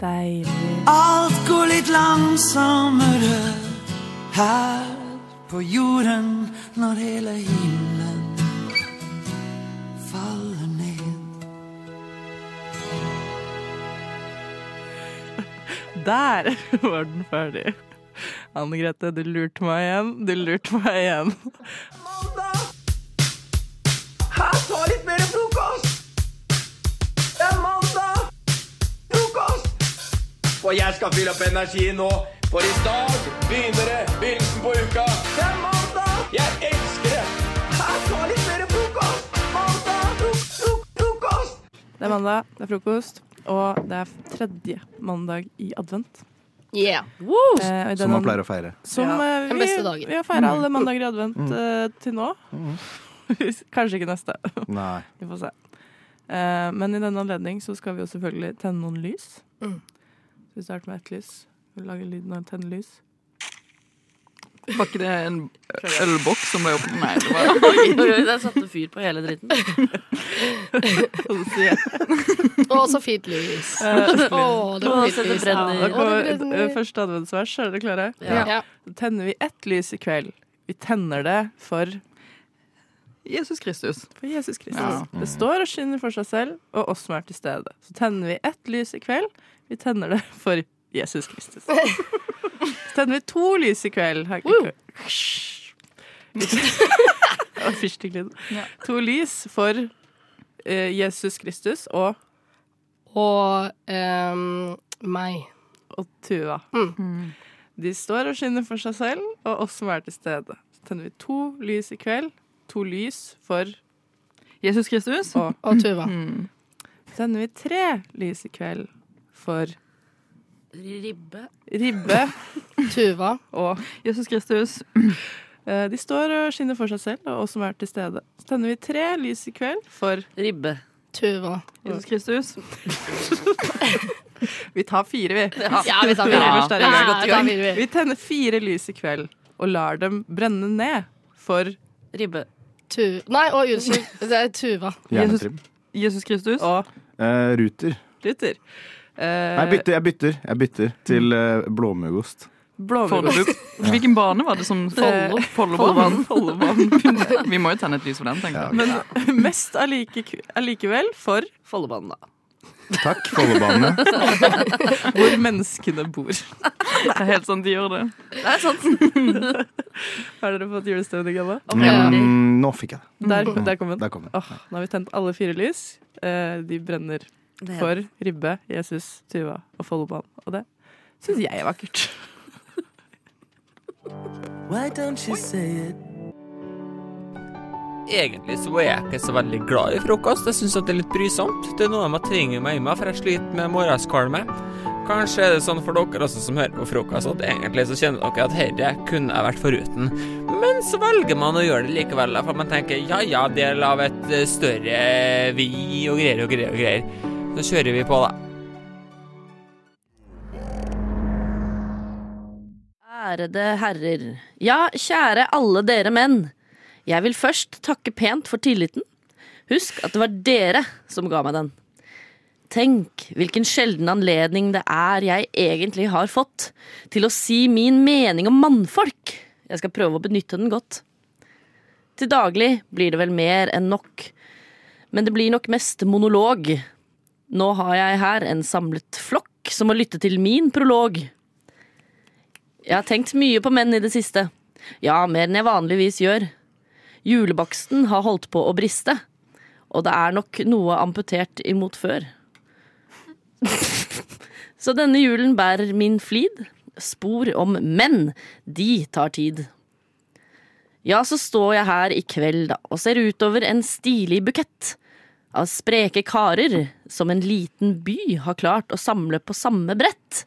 S1: Deilig.
S7: Alt går litt langsommere her på jorden når hele himmelen faller ned.
S1: Der var den ferdig. Anne Grete, du lurte meg igjen. Du lurte meg igjen.
S9: Og jeg skal fylle opp energi nå, for i dag begynner det begynnelsen på uka. Det er mandag! Jeg elsker det! Her tar litt mer frokost! Mandag, frok, frok, frokost!
S1: Det er mandag, det er frokost, og det er tredje mandag i advent.
S4: Yeah.
S1: Eh, og i
S2: Som
S1: den-
S2: man pleier å feire. Mm.
S1: Som
S4: Ja,
S1: eh,
S4: den
S1: vi,
S4: beste dagen.
S1: vi har feira alle mandager i advent eh, til nå. Kanskje ikke neste.
S2: Nei.
S1: Vi får se. Eh, men i denne anledning så skal vi jo selvfølgelig tenne noen lys.
S4: Mm.
S1: Så vi starter med ett lys. Vi lager lyden av å tenne lys.
S5: Var ikke det en ølboks som ble åpnet. Nei, det var
S3: Oi, oi, oi, der satte fyr på hele dritten.
S4: Å, så fint lys.
S5: Eh,
S4: Å, Eh, det
S3: Å,
S4: var
S3: se,
S4: fint
S3: det
S4: lys.
S3: brenner.
S4: Ja,
S1: Da
S4: det
S1: kommer et,
S4: brenner.
S1: ø, første adventsvers. Er dere klare?
S4: Ja. Ja.
S1: Tenner vi ett lys i kveld, vi tenner det for,
S5: Jesus Kristus.
S1: for Jesus Kristus.
S5: Ja.
S4: Mm.
S1: Det står og skinner for seg selv og oss som er til stede. Så tenner vi ett lys i kveld, vi tenner det for Jesus Kristus. Så tenner vi to lys i kveld. Her, Og fyrstikklyd.
S5: Ja.
S1: To lys for eh, Jesus Kristus og,
S4: Og ehm, meg. Mm.
S1: og Tuva. Mm. De står og skinner for seg selv og oss som er til stede. Så tenner vi to lys i kveld. To lys for
S5: Jesus Kristus.
S1: og
S4: Og Tuva.
S1: tenner vi tre lys i kveld for
S3: Ribbe.
S1: ribbe
S4: Tuva.
S1: og
S5: Jesus Kristus.
S1: eh, De står og skinner for seg selv og oss som er til stede. Så tenner vi tre lys i kveld for
S3: Ribbe.
S4: Tuva.
S5: Jesus Kristus.
S1: Vi tar fire, vi.
S4: Ja, vi tar
S1: Ja.
S4: videre.
S1: Først er det i gang.
S4: Ja, vi tar videre.
S1: Vi tenner fire lys i kveld og lar dem brenne ned for
S3: Ribbe.
S4: Tu Nei, å, unnskyld. Det er Tuva.
S2: Hjernetrim.
S5: Jesus Kristus.
S1: å
S2: Eh, ruter.
S1: ruter. Eh,
S2: Nei, jeg bytter, jeg bytter. Jeg bytter til eh, blåmuggost.
S1: Blåmuggost.
S5: Fornebu. Hvilken bane var det som
S1: Follo.
S5: Follobanen. Follobanen. Vi må jo tenne et lys for den, tenker jeg.
S1: Men mest allike, allikevel for Follobanen, da.
S2: Takk, Follobanene.
S1: Hvor menneskene bor.
S5: Det er helt sant de gjør det.
S3: Det er sant.
S1: Har dere fått julestemning, Anna?
S2: Mm, nå fikk jeg det.
S1: Der, der kom den.
S2: Der kom den.
S1: Åh, nå har vi tent alle fire lys. Eh, de brenner
S3: Det er-
S1: for ribbe, Jesus, Tuva og Follobanen. Og det syns jeg er vakkert.
S7: Why don't you say it?
S9: Egentlig så er jeg ikke så veldig glad i frokost. Jeg syns det er litt brysomt. Det er noe de tvinger meg i meg, for jeg sliter med morgenskvalme. Kanskje er det sånn for dere også som hører på frokost, at egentlig så kjenner dere at herre kunne jeg vært foruten. Men så velger man å gjøre det likevel, for man tenker ja ja, del av et eh, større vi og greier og greier og greier. Så kjører vi på, da.
S3: Ærede herrer. Ja, kjære alle dere menn. Jeg vil først takke pent for tilliten. Husk at det var dere som ga meg den. Tenk hvilken sjelden anledning det er jeg egentlig har fått til å si min mening om mannfolk. Jeg skal prøve å benytte den godt. Til daglig blir det vel mer enn nok, men det blir nok mest monolog. Nå har jeg her en samlet flokk som må lytte til min prolog. Jeg har tenkt mye på menn i det siste. Ja, mer enn jeg vanligvis gjør. Julebaksten har holdt på å briste, og det er nok noe amputert imot før. Så denne julen bærer min flid. Spor om menn, de tar tid. Ja, så står jeg her i kveld da, og ser utover en stilig bukett av spreke karer som en liten by har klart å samle på samme brett.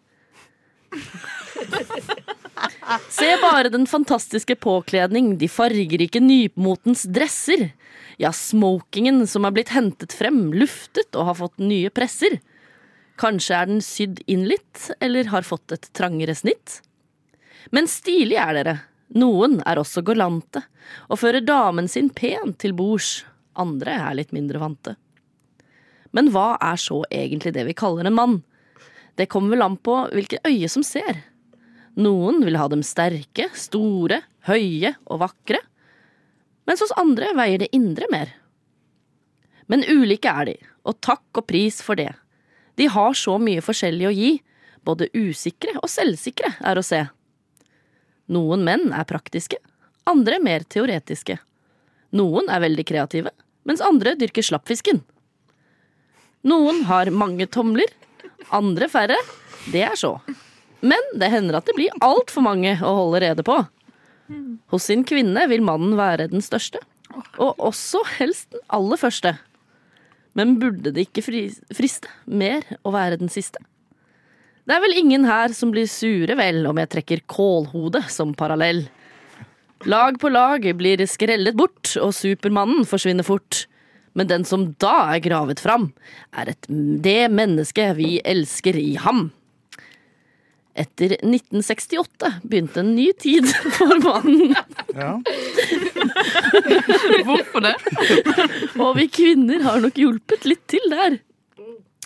S3: Se bare den fantastiske påkledning, de fargerike nymotens dresser. Ja, smokingen som er blitt hentet frem, luftet og har fått nye presser. Kanskje er den sydd inn litt, eller har fått et trangere snitt. Men stilig er dere. Noen er også galante, og fører damen sin pent til bords. Andre er litt mindre vante. Men hva er så egentlig det vi kaller en mann? Det kommer vel an på hvilket øye som ser. Noen vil ha dem sterke, store, høye og vakre. Mens hos andre veier det indre mer. Men ulike er de, og takk og pris for det. De har så mye forskjellig å gi. Både usikre og selvsikre er å se. Noen menn er praktiske, andre mer teoretiske. Noen er veldig kreative, mens andre dyrker slappfisken. Noen har mange tomler, andre færre. Det er så. Men det hender at det blir altfor mange å holde rede på. Hos sin kvinne vil mannen være den største, og også helst den aller første. Men burde det ikke fri- friste mer å være den siste? Det er vel ingen her som blir sure, vel, om jeg trekker kålhodet som parallell. Lag på lag blir skrellet bort, og Supermannen forsvinner fort. Men den som da er gravet fram, er et, det mennesket vi elsker i ham. Etter 1968 begynte en ny tid for mannen,
S2: Ja.
S5: Hvorfor det?
S3: og vi kvinner har nok hjulpet litt til der.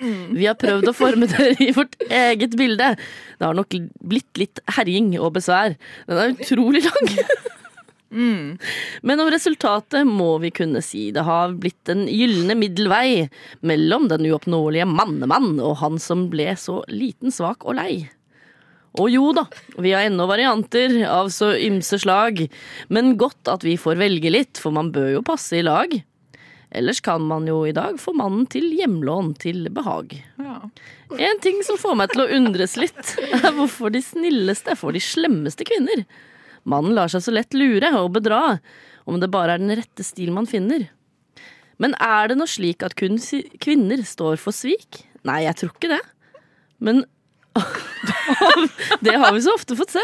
S3: Vi har prøvd å forme dere i vårt eget bilde. Det har nok blitt litt herjing og besvær. Den er utrolig lang. Men om resultatet må vi kunne si det har blitt den gylne middelvei mellom den uoppnåelige mannemann og han som ble så liten, svak og lei. Og jo da, vi har ennå varianter av så ymse slag, men godt at vi får velge litt, for man bør jo passe i lag. Ellers kan man jo i dag få mannen til hjemlån til behag.
S5: Ja.
S3: En ting som får meg til å undres litt, er hvorfor de snilleste får de slemmeste kvinner. Mannen lar seg så lett lure og bedra, om det bare er den rette stil man finner. Men er det nå slik at kun si- kvinner står for svik? Nei, jeg tror ikke det. Men det har vi så ofte fått se.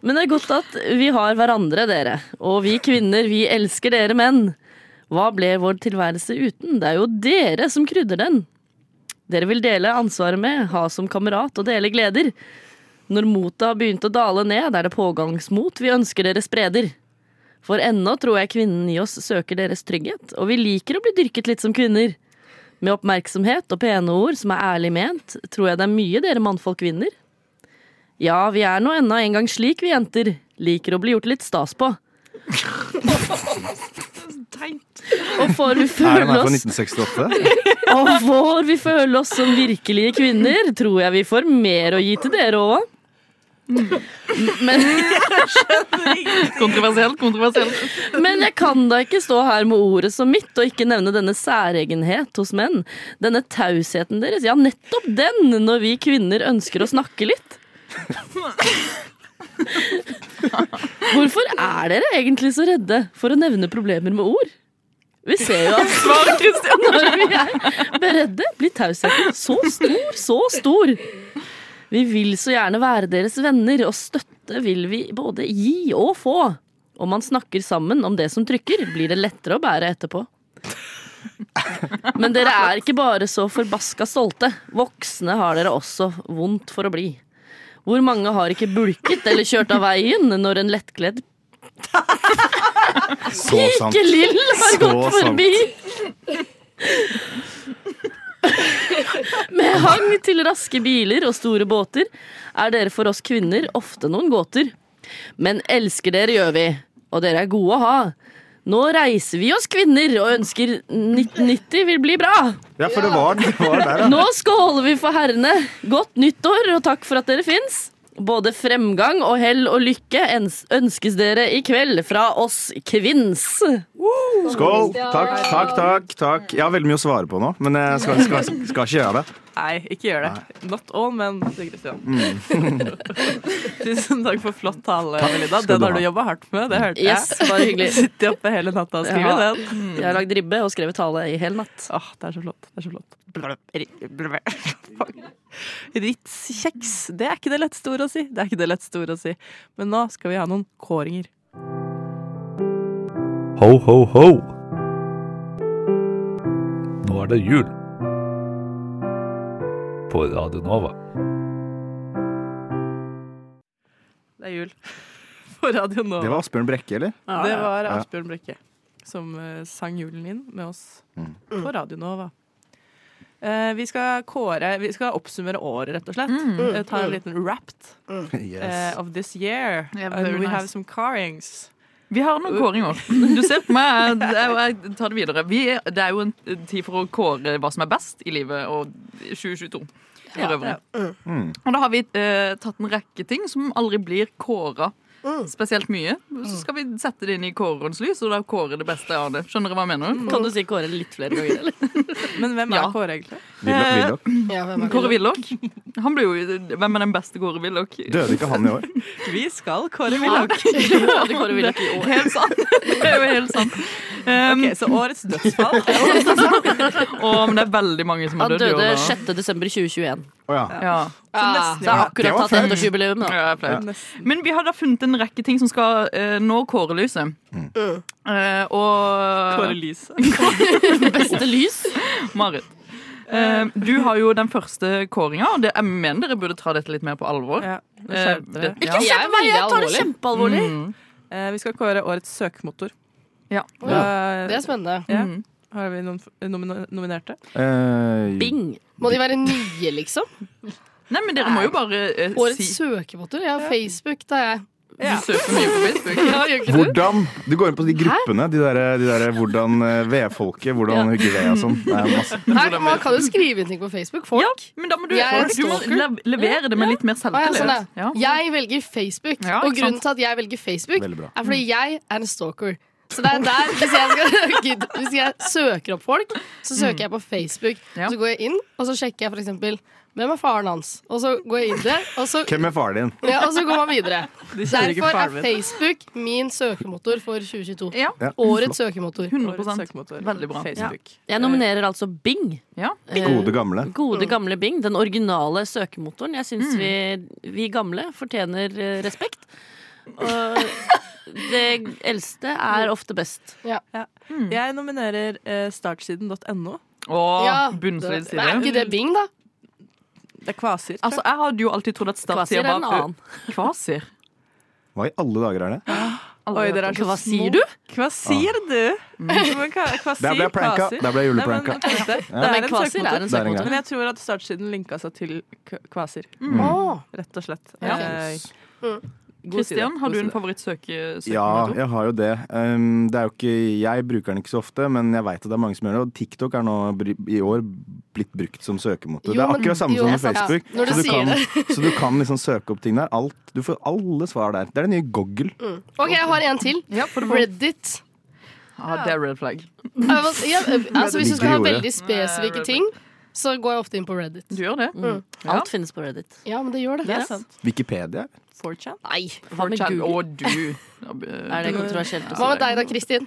S3: Men det er godt at vi har hverandre, dere. Og vi kvinner, vi elsker dere menn. Hva ble vår tilværelse uten? Det er jo dere som krydder den. Dere vil dele ansvaret med, ha som kamerat og dele gleder. Når motet har begynt å dale ned, er det pågangsmot vi ønsker dere spreder. For ennå tror jeg kvinnen i oss søker deres trygghet, og vi liker å bli dyrket litt som kvinner. Med oppmerksomhet og pene ord som er ærlig ment, tror jeg det er mye dere mannfolk vinner. Ja, vi er nå ennå en gang slik vi jenter, liker å bli gjort litt stas på.
S5: Teit.
S3: Og får
S2: Er
S3: vi
S2: den
S3: føle
S2: her fra
S3: oss
S2: 1968?
S3: Og hvor vi føler oss som virkelige kvinner, tror jeg vi får mer å gi til dere òg. Men,
S5: Kontroversielt, kontroversielt.
S3: men jeg kan da ikke stå her med ordet som mitt og ikke nevne denne særegenhet hos menn. Denne tausheten deres. Ja, nettopp den når vi kvinner ønsker å snakke litt. Hvorfor er dere egentlig så redde for å nevne problemer med ord? Vi ser jo at
S5: Svar, Kristian.
S3: når vi er beredde, blir tausheten så stor, så stor. Vi vil så gjerne være deres venner, og støtte vil vi både gi og få. Om man snakker sammen om det som trykker, blir det lettere å bære etterpå. Men dere er ikke bare så forbaska stolte. Voksne har dere også vondt for å bli. Hvor mange har ikke bulket eller kjørt av veien når en lettkledd
S2: Så sant.
S3: Lill har
S2: Så
S3: gått
S2: sant.
S3: forbi. Med hang til raske biler og store båter er dere for oss kvinner ofte noen gåter. Men elsker dere gjør vi, og dere er gode å ha. Nå reiser vi oss kvinner og ønsker 1990 vil bli bra.
S2: Ja, for det var, det var der, ja.
S3: Nå skåler vi for herrene. Godt nyttår, og takk for at dere fins. Både fremgang og hell og lykke ens- ønskes dere i kveld fra oss kvinns.
S2: Skål! Takk, takk, takk. takk Jeg har veldig mye å svare på nå, men jeg skal, skal, skal ikke gjøre det.
S1: Nei, ikke gjør det. Not all, men til Christian. Tusen takk for flott tale, Melinda.
S2: skal
S1: Den
S2: du
S1: har du
S2: ha.
S1: jobba hardt med, det hørte
S3: Yes,
S1: jeg.
S3: bare hyggelig.
S1: Sitter oppe hele natta og skriver
S3: Ja. Mm.
S1: den.
S3: Jeg har lagd ribbe og skrevet tale i hel natt.
S1: Åh, det er så flott. Det er så flott. Blub, ri- blub. Ritz-kjeks. Det er ikke det letteste ordet å si. Det er ikke det letteste ordet å si. Men nå skal vi ha noen kåringer.
S10: Ho, ho, ho! Nå er det jul. På Radio Nova.
S1: Det er jul på Radio Nova.
S2: Det var Asbjørn Brekke, eller?
S1: Det var
S2: Ja.
S1: Asbjørn Brekke som eh, sang julen inn med oss
S2: Mm.
S1: på Radio Nova. Eh, vi skal kåre Vi skal oppsummere året, rett og slett.
S4: Mm.
S1: Eh, ta en liten wrapped eh,
S2: Yes.
S1: of this year.
S5: Yeah,
S1: And
S5: very
S1: we
S5: nice.
S1: have some carings.
S5: Vi har
S3: Øh.
S5: noen kåringer. Du ser på meg, det er jo- jeg tar det videre. Vi, det er jo en tid for å kåre hva som er best i livet, og 2022 for øvrig.
S3: Mm.
S2: Mm.
S5: Og da har vi eh, tatt en rekke ting som aldri blir kåra
S3: Mm.
S5: spesielt mye. Så skal vi sette det inn i kårerens lys, og da kåre det beste av det. Skjønner du hva jeg mener?
S3: Kan du si Kåre litt flere ganger, eller?
S1: Men hvem er
S5: Ja.
S1: Kåre, egentlig?
S2: Willoch, Willoch.
S4: Ja, hvem er
S5: Kåre
S4: det?
S5: Willoch. Han ble jo, hvem er den beste Kåre Willoch?
S2: Døde ikke han i år?
S1: Vi skal Kåre Willoch.
S3: Hadde Kåre Willoch i år.
S5: Helt sant. Det er jo helt sant. Um,
S1: Ok, så årets dødsfall
S4: Oh,
S1: er jo
S5: å, men det er veldig mange som har
S3: Han
S5: dødd i år.
S3: døde
S5: da.
S3: 6. desember 2021.
S2: Å ja.
S5: Ja.
S4: Ah,
S3: Det er
S2: Det
S3: akkurat
S2: var
S3: tatt
S2: flaut.
S3: ettårsjubileum. da.
S5: Ja, jeg er flau.
S1: nesten
S5: Men vi har da funnet en rekke ting som skal eh, nå kårelyset.
S2: Mm.
S5: Eh, og
S1: Kåre Lise.
S3: Beste lys.
S5: Marit. Eh, du har jo den første kåringa, og det, jeg mener dere burde ta dette litt mer på alvor.
S1: Ja, nå
S5: Eh,
S1: skjerper
S5: det-
S1: dere.
S5: ja.
S3: Ikke kjempe meg, jeg tar det kjempealvorlig.
S5: Mm.
S1: Eh, vi skal kåre årets søkemotor.
S5: Ja.
S1: Da-
S4: Det er spennende.
S1: Eh, ja.
S5: Mm.
S1: Har vi noen f- nomino- nominerte?
S2: Eh,
S3: Bing.
S4: Må de være nye, liksom?
S5: Nei, men dere må jo bare eh,
S4: Årets
S5: si
S4: søkemotor? Ja, Facebook, da er jeg.
S5: Du søker mye på Facebook.
S4: Ja, gjør ikke du?
S2: hvordan Du går inn på de gruppene. De der, de der hvordan eh, vedfolket, hvordan hugge ved og sånn. Det er masse.
S4: Her, man kan jo skrive inn ting på Facebook. Folk.
S5: Ja, men da må du,
S4: Jeg er
S5: du må
S4: stalker.
S5: lev- levere det med litt
S4: Å,
S5: mer
S4: ja,
S5: selvtillit.
S4: sånn, ja.
S5: Ja.
S4: Jeg velger Facebook,
S5: Ja,
S4: og
S5: ikke
S4: grunnen til at jeg velger Facebook,
S2: Veldig bra.
S4: er fordi jeg er en stalker. Så det er der, hvis jeg, skal, Gud, hvis jeg søker opp folk, så søker jeg på Facebook.
S5: Ja.
S4: Så går jeg inn, og så sjekker jeg for eksempel hvem er faren hans? Og så går jeg inn der, og så,
S2: Hvem er faren din?
S4: ja, og så går man videre.
S1: kjenner ikke
S4: Derfor er
S1: faren min.
S4: Facebook min søkemotor for 2022.
S5: Ja,
S2: Ja,
S4: Årets søkemotor.
S5: 100
S1: søkemotor.
S5: Veldig bra.
S1: Facebook.
S3: Jeg nominerer altså Bing. Eh,
S5: Ja.
S2: flott. Gode, gamle.
S3: Gode,
S1: Mm.
S3: gamle Bing. Den originale søkemotoren. Jeg syns vi, vi gamle fortjener eh, respekt. Og det eldste er ofte best.
S1: Jeg nominerer eh, startsiden.no.
S5: Og
S4: Ja,
S5: bunnsolid
S4: det- men er ikke
S5: side.
S4: det Bing, da?
S1: Det er kvasir. tror
S5: Altså, jeg hadde jo alltid trodd at
S3: Kvasir
S5: startsida
S3: er en
S5: var
S1: øh,
S3: annen.
S5: Kvasir?
S2: Hva i alle dager er det?
S1: Oi, dere er så
S3: Hva
S1: små.
S3: sier du?
S1: Hva sier du? Men hva, hva
S2: Der ble
S1: sier
S2: jeg pranka.
S1: kvasir?
S2: Der ble jeg
S1: Nei, men
S2: julepranka.
S1: jeg tenkte, det
S3: Men
S1: er en
S3: kvasir
S1: søkemotor.
S2: Det er
S3: er en sånn
S2: en
S3: søkemotor.
S1: Men jeg tror at startsiden linka seg til k- kvasir,
S3: Mm.
S4: Åh,
S1: rett og slett.
S5: Ja.
S1: Eh, god side,
S5: Kristian, har
S1: god
S5: du en
S1: side.
S5: favorittsøke?
S2: Ja, jeg har jo det. Um, det er jo ikke, jeg bruker den ikke så ofte, men jeg veit at det er mange som gjør det. Og TikTok er nå br- i år blitt brukt som søkemotor.
S4: Jo,
S2: det er
S4: men-
S2: akkurat samme
S4: jo,
S2: som
S4: det er
S2: med
S4: sant.
S2: Facebook.
S4: Ja, når du
S2: så,
S4: sier
S2: kan, så du kan liksom søke opp ting der. Alt, du får alle svar der. Det er det nye Google.
S4: Mm. Ok, jeg har en til.
S5: Ja, for det,
S4: Reddit.
S5: ah, det er red flag.
S4: Ja, men- ja, altså, hvis du skal ha
S2: Ligger i ordet.
S4: veldig spesifikke ting, så går jeg ofte inn på Reddit. Mm.
S5: Du gjør det? Mm. Ja.
S3: Alt finnes på Reddit.
S4: Ja, men det gjør det.
S1: Det er sant.
S2: Wikipedia.
S1: 4chan.
S4: Nei.
S3: Hva med
S5: Fortell-
S3: Google?
S5: Å, du. Ja, b-
S3: Er det kontroversielt? å si?
S4: Hva med deg da, Kristin?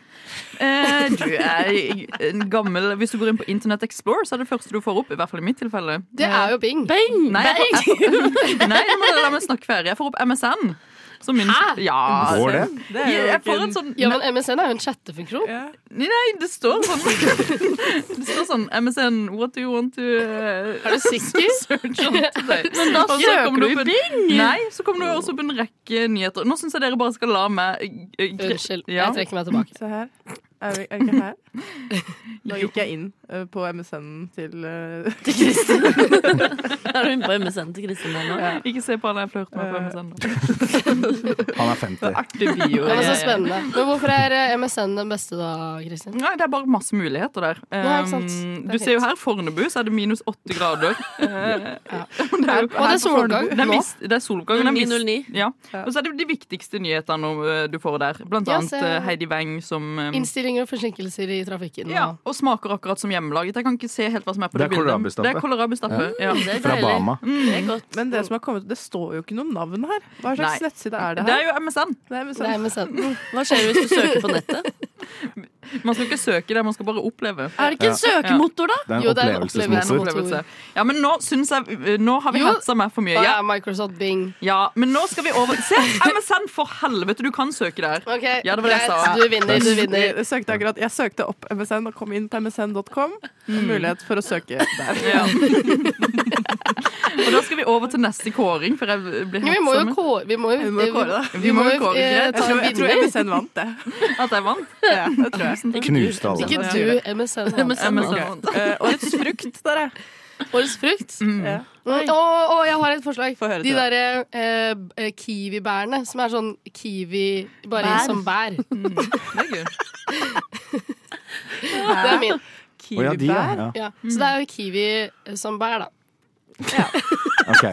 S5: Eh, du er en gammel Hvis du går inn på Internett Explorer, så er det første du får opp. I hvert fall i mitt tilfelle.
S4: Det er jo Bing.
S3: Bing!
S5: Nei, jeg får, jeg får, nei nå må dere la meg snakke ferdig. Jeg får opp MSN. Som min, ja, altså,
S2: Går det?
S1: Det er jo
S5: Jeg
S1: ikke
S5: får
S1: en-
S5: en sånn
S4: Ja, men MSN er jo en chattefunksjon.
S1: ja.
S5: Nei, nei, det står sånn Det står sånn MSN, what do you want to uh,
S4: Er du sikker?
S5: search on today? Men
S3: da søker du i
S5: Bing! Nei, så kommer det også opp en rekke nyheter. Nå syns jeg dere bare skal la meg eh, gre-
S4: Unnskyld,
S5: Ja.
S4: jeg trekker meg tilbake.
S1: Se her. Er vi er vi ikke her? Da gikk jeg inn eh, på MSN-en til eh,
S3: Til Kristin. er du inne på MSN til Kristin nå?
S5: Ikke se på han jeg flørter med på MSN.
S2: Han er 50.
S5: Artig
S4: Det
S5: bio.
S4: var så
S5: jeg-
S4: spennende. Men hvorfor er eh, MSN den beste da, Kristin?
S5: Nei, det er bare masse muligheter der.
S4: Ja, ikke sant.
S5: Um,
S4: Det er
S5: Du ser jo
S4: fint.
S5: her Fornebu, så er det minus åtte grader. Eh, Det er, jo-
S4: Og det er solgang
S5: Det er,
S4: nå.
S5: vis- det er solgang. og det er vis-
S3: 09.
S5: Ja. Og så er det de viktigste nyhetene eh, du får der. Blant
S4: Ja,
S5: annet
S4: så-
S5: eh, Heidi Weng som eh,
S4: Innstillinger og forsinkelser i trafikken. og-
S5: ja, og smaker akkurat som hjemmelaget. Jeg kan ikke se helt hva som er på
S2: Det
S5: det,
S2: er
S5: bildet.
S2: kålrabistappe.
S5: Det er kålrabistappe. Ja.
S3: Mm, Det er
S2: Fra
S3: deilig. Mm,
S2: Bama.
S3: Det er godt.
S1: Men det som har kommet Det står jo ikke noe navn her. Hva slags
S5: Nei.
S1: nettside er det
S5: Det er
S1: her?
S5: jo MSN.
S1: Det er
S4: Det er
S1: MSN.
S4: MSN.
S5: Mm.
S3: Hva skjer hvis du søker på nettet?
S5: Man skal ikke søke det, man skal bare oppleve.
S3: Er det ikke en søkemotor, da?
S2: Det er en
S4: Jo, det er en
S5: En
S2: opplevelsesmotor.
S4: opplevelse.
S5: opplevelse. Ja, men nå syns jeg eh, Nå har vi
S4: Jo.
S5: hetsa meg for mye.
S4: Da
S5: Ja,
S4: er Microsoft Bing.
S5: ja, men nå skal vi over Se, MSN, for helvete! Du kan søke der.
S4: Ok,
S5: Ja, det var det jeg sa.
S4: greit. Du vinner, du vinner.
S1: Jeg søkte, akkurat, jeg søkte opp MSN og kom inn på msn.com.
S5: Mm.
S1: Mulighet for å søke der.
S5: Ja. og da skal vi over til neste kåring, for jeg blir
S4: Jo, vi må jo
S5: hetsa
S4: kåre Vi må jo
S1: Vi må jo kåre det.
S5: Vi må jo kåre,
S4: eh,
S5: greit.
S1: Jeg
S4: ta
S1: tror,
S4: en
S1: jeg tror
S4: vinner.
S1: MSN vant det.
S5: med at jeg vant.
S1: Ja, det tror jeg.
S5: Tusen takk.
S2: Knuste alle.
S4: Ikke du, MSN.
S3: MSN.
S5: Ja, men så-
S1: Eh, årets frukt, dere.
S4: Årets frukt.
S5: Mm.
S1: Ja.
S4: Å, å, jeg har et forslag.
S1: Få høre
S4: De
S1: til
S4: derre eh, b- eh, kiwibærene, som er sånn kiwi bare
S3: Bær.
S4: som bær.
S5: Mm. Det er gøy.
S4: Det er min.
S2: Å ja, de, ja.
S1: Kiwibær.
S2: ja.
S4: Ja. Så det er jo kiwi eh, som bær, da.
S2: Ok.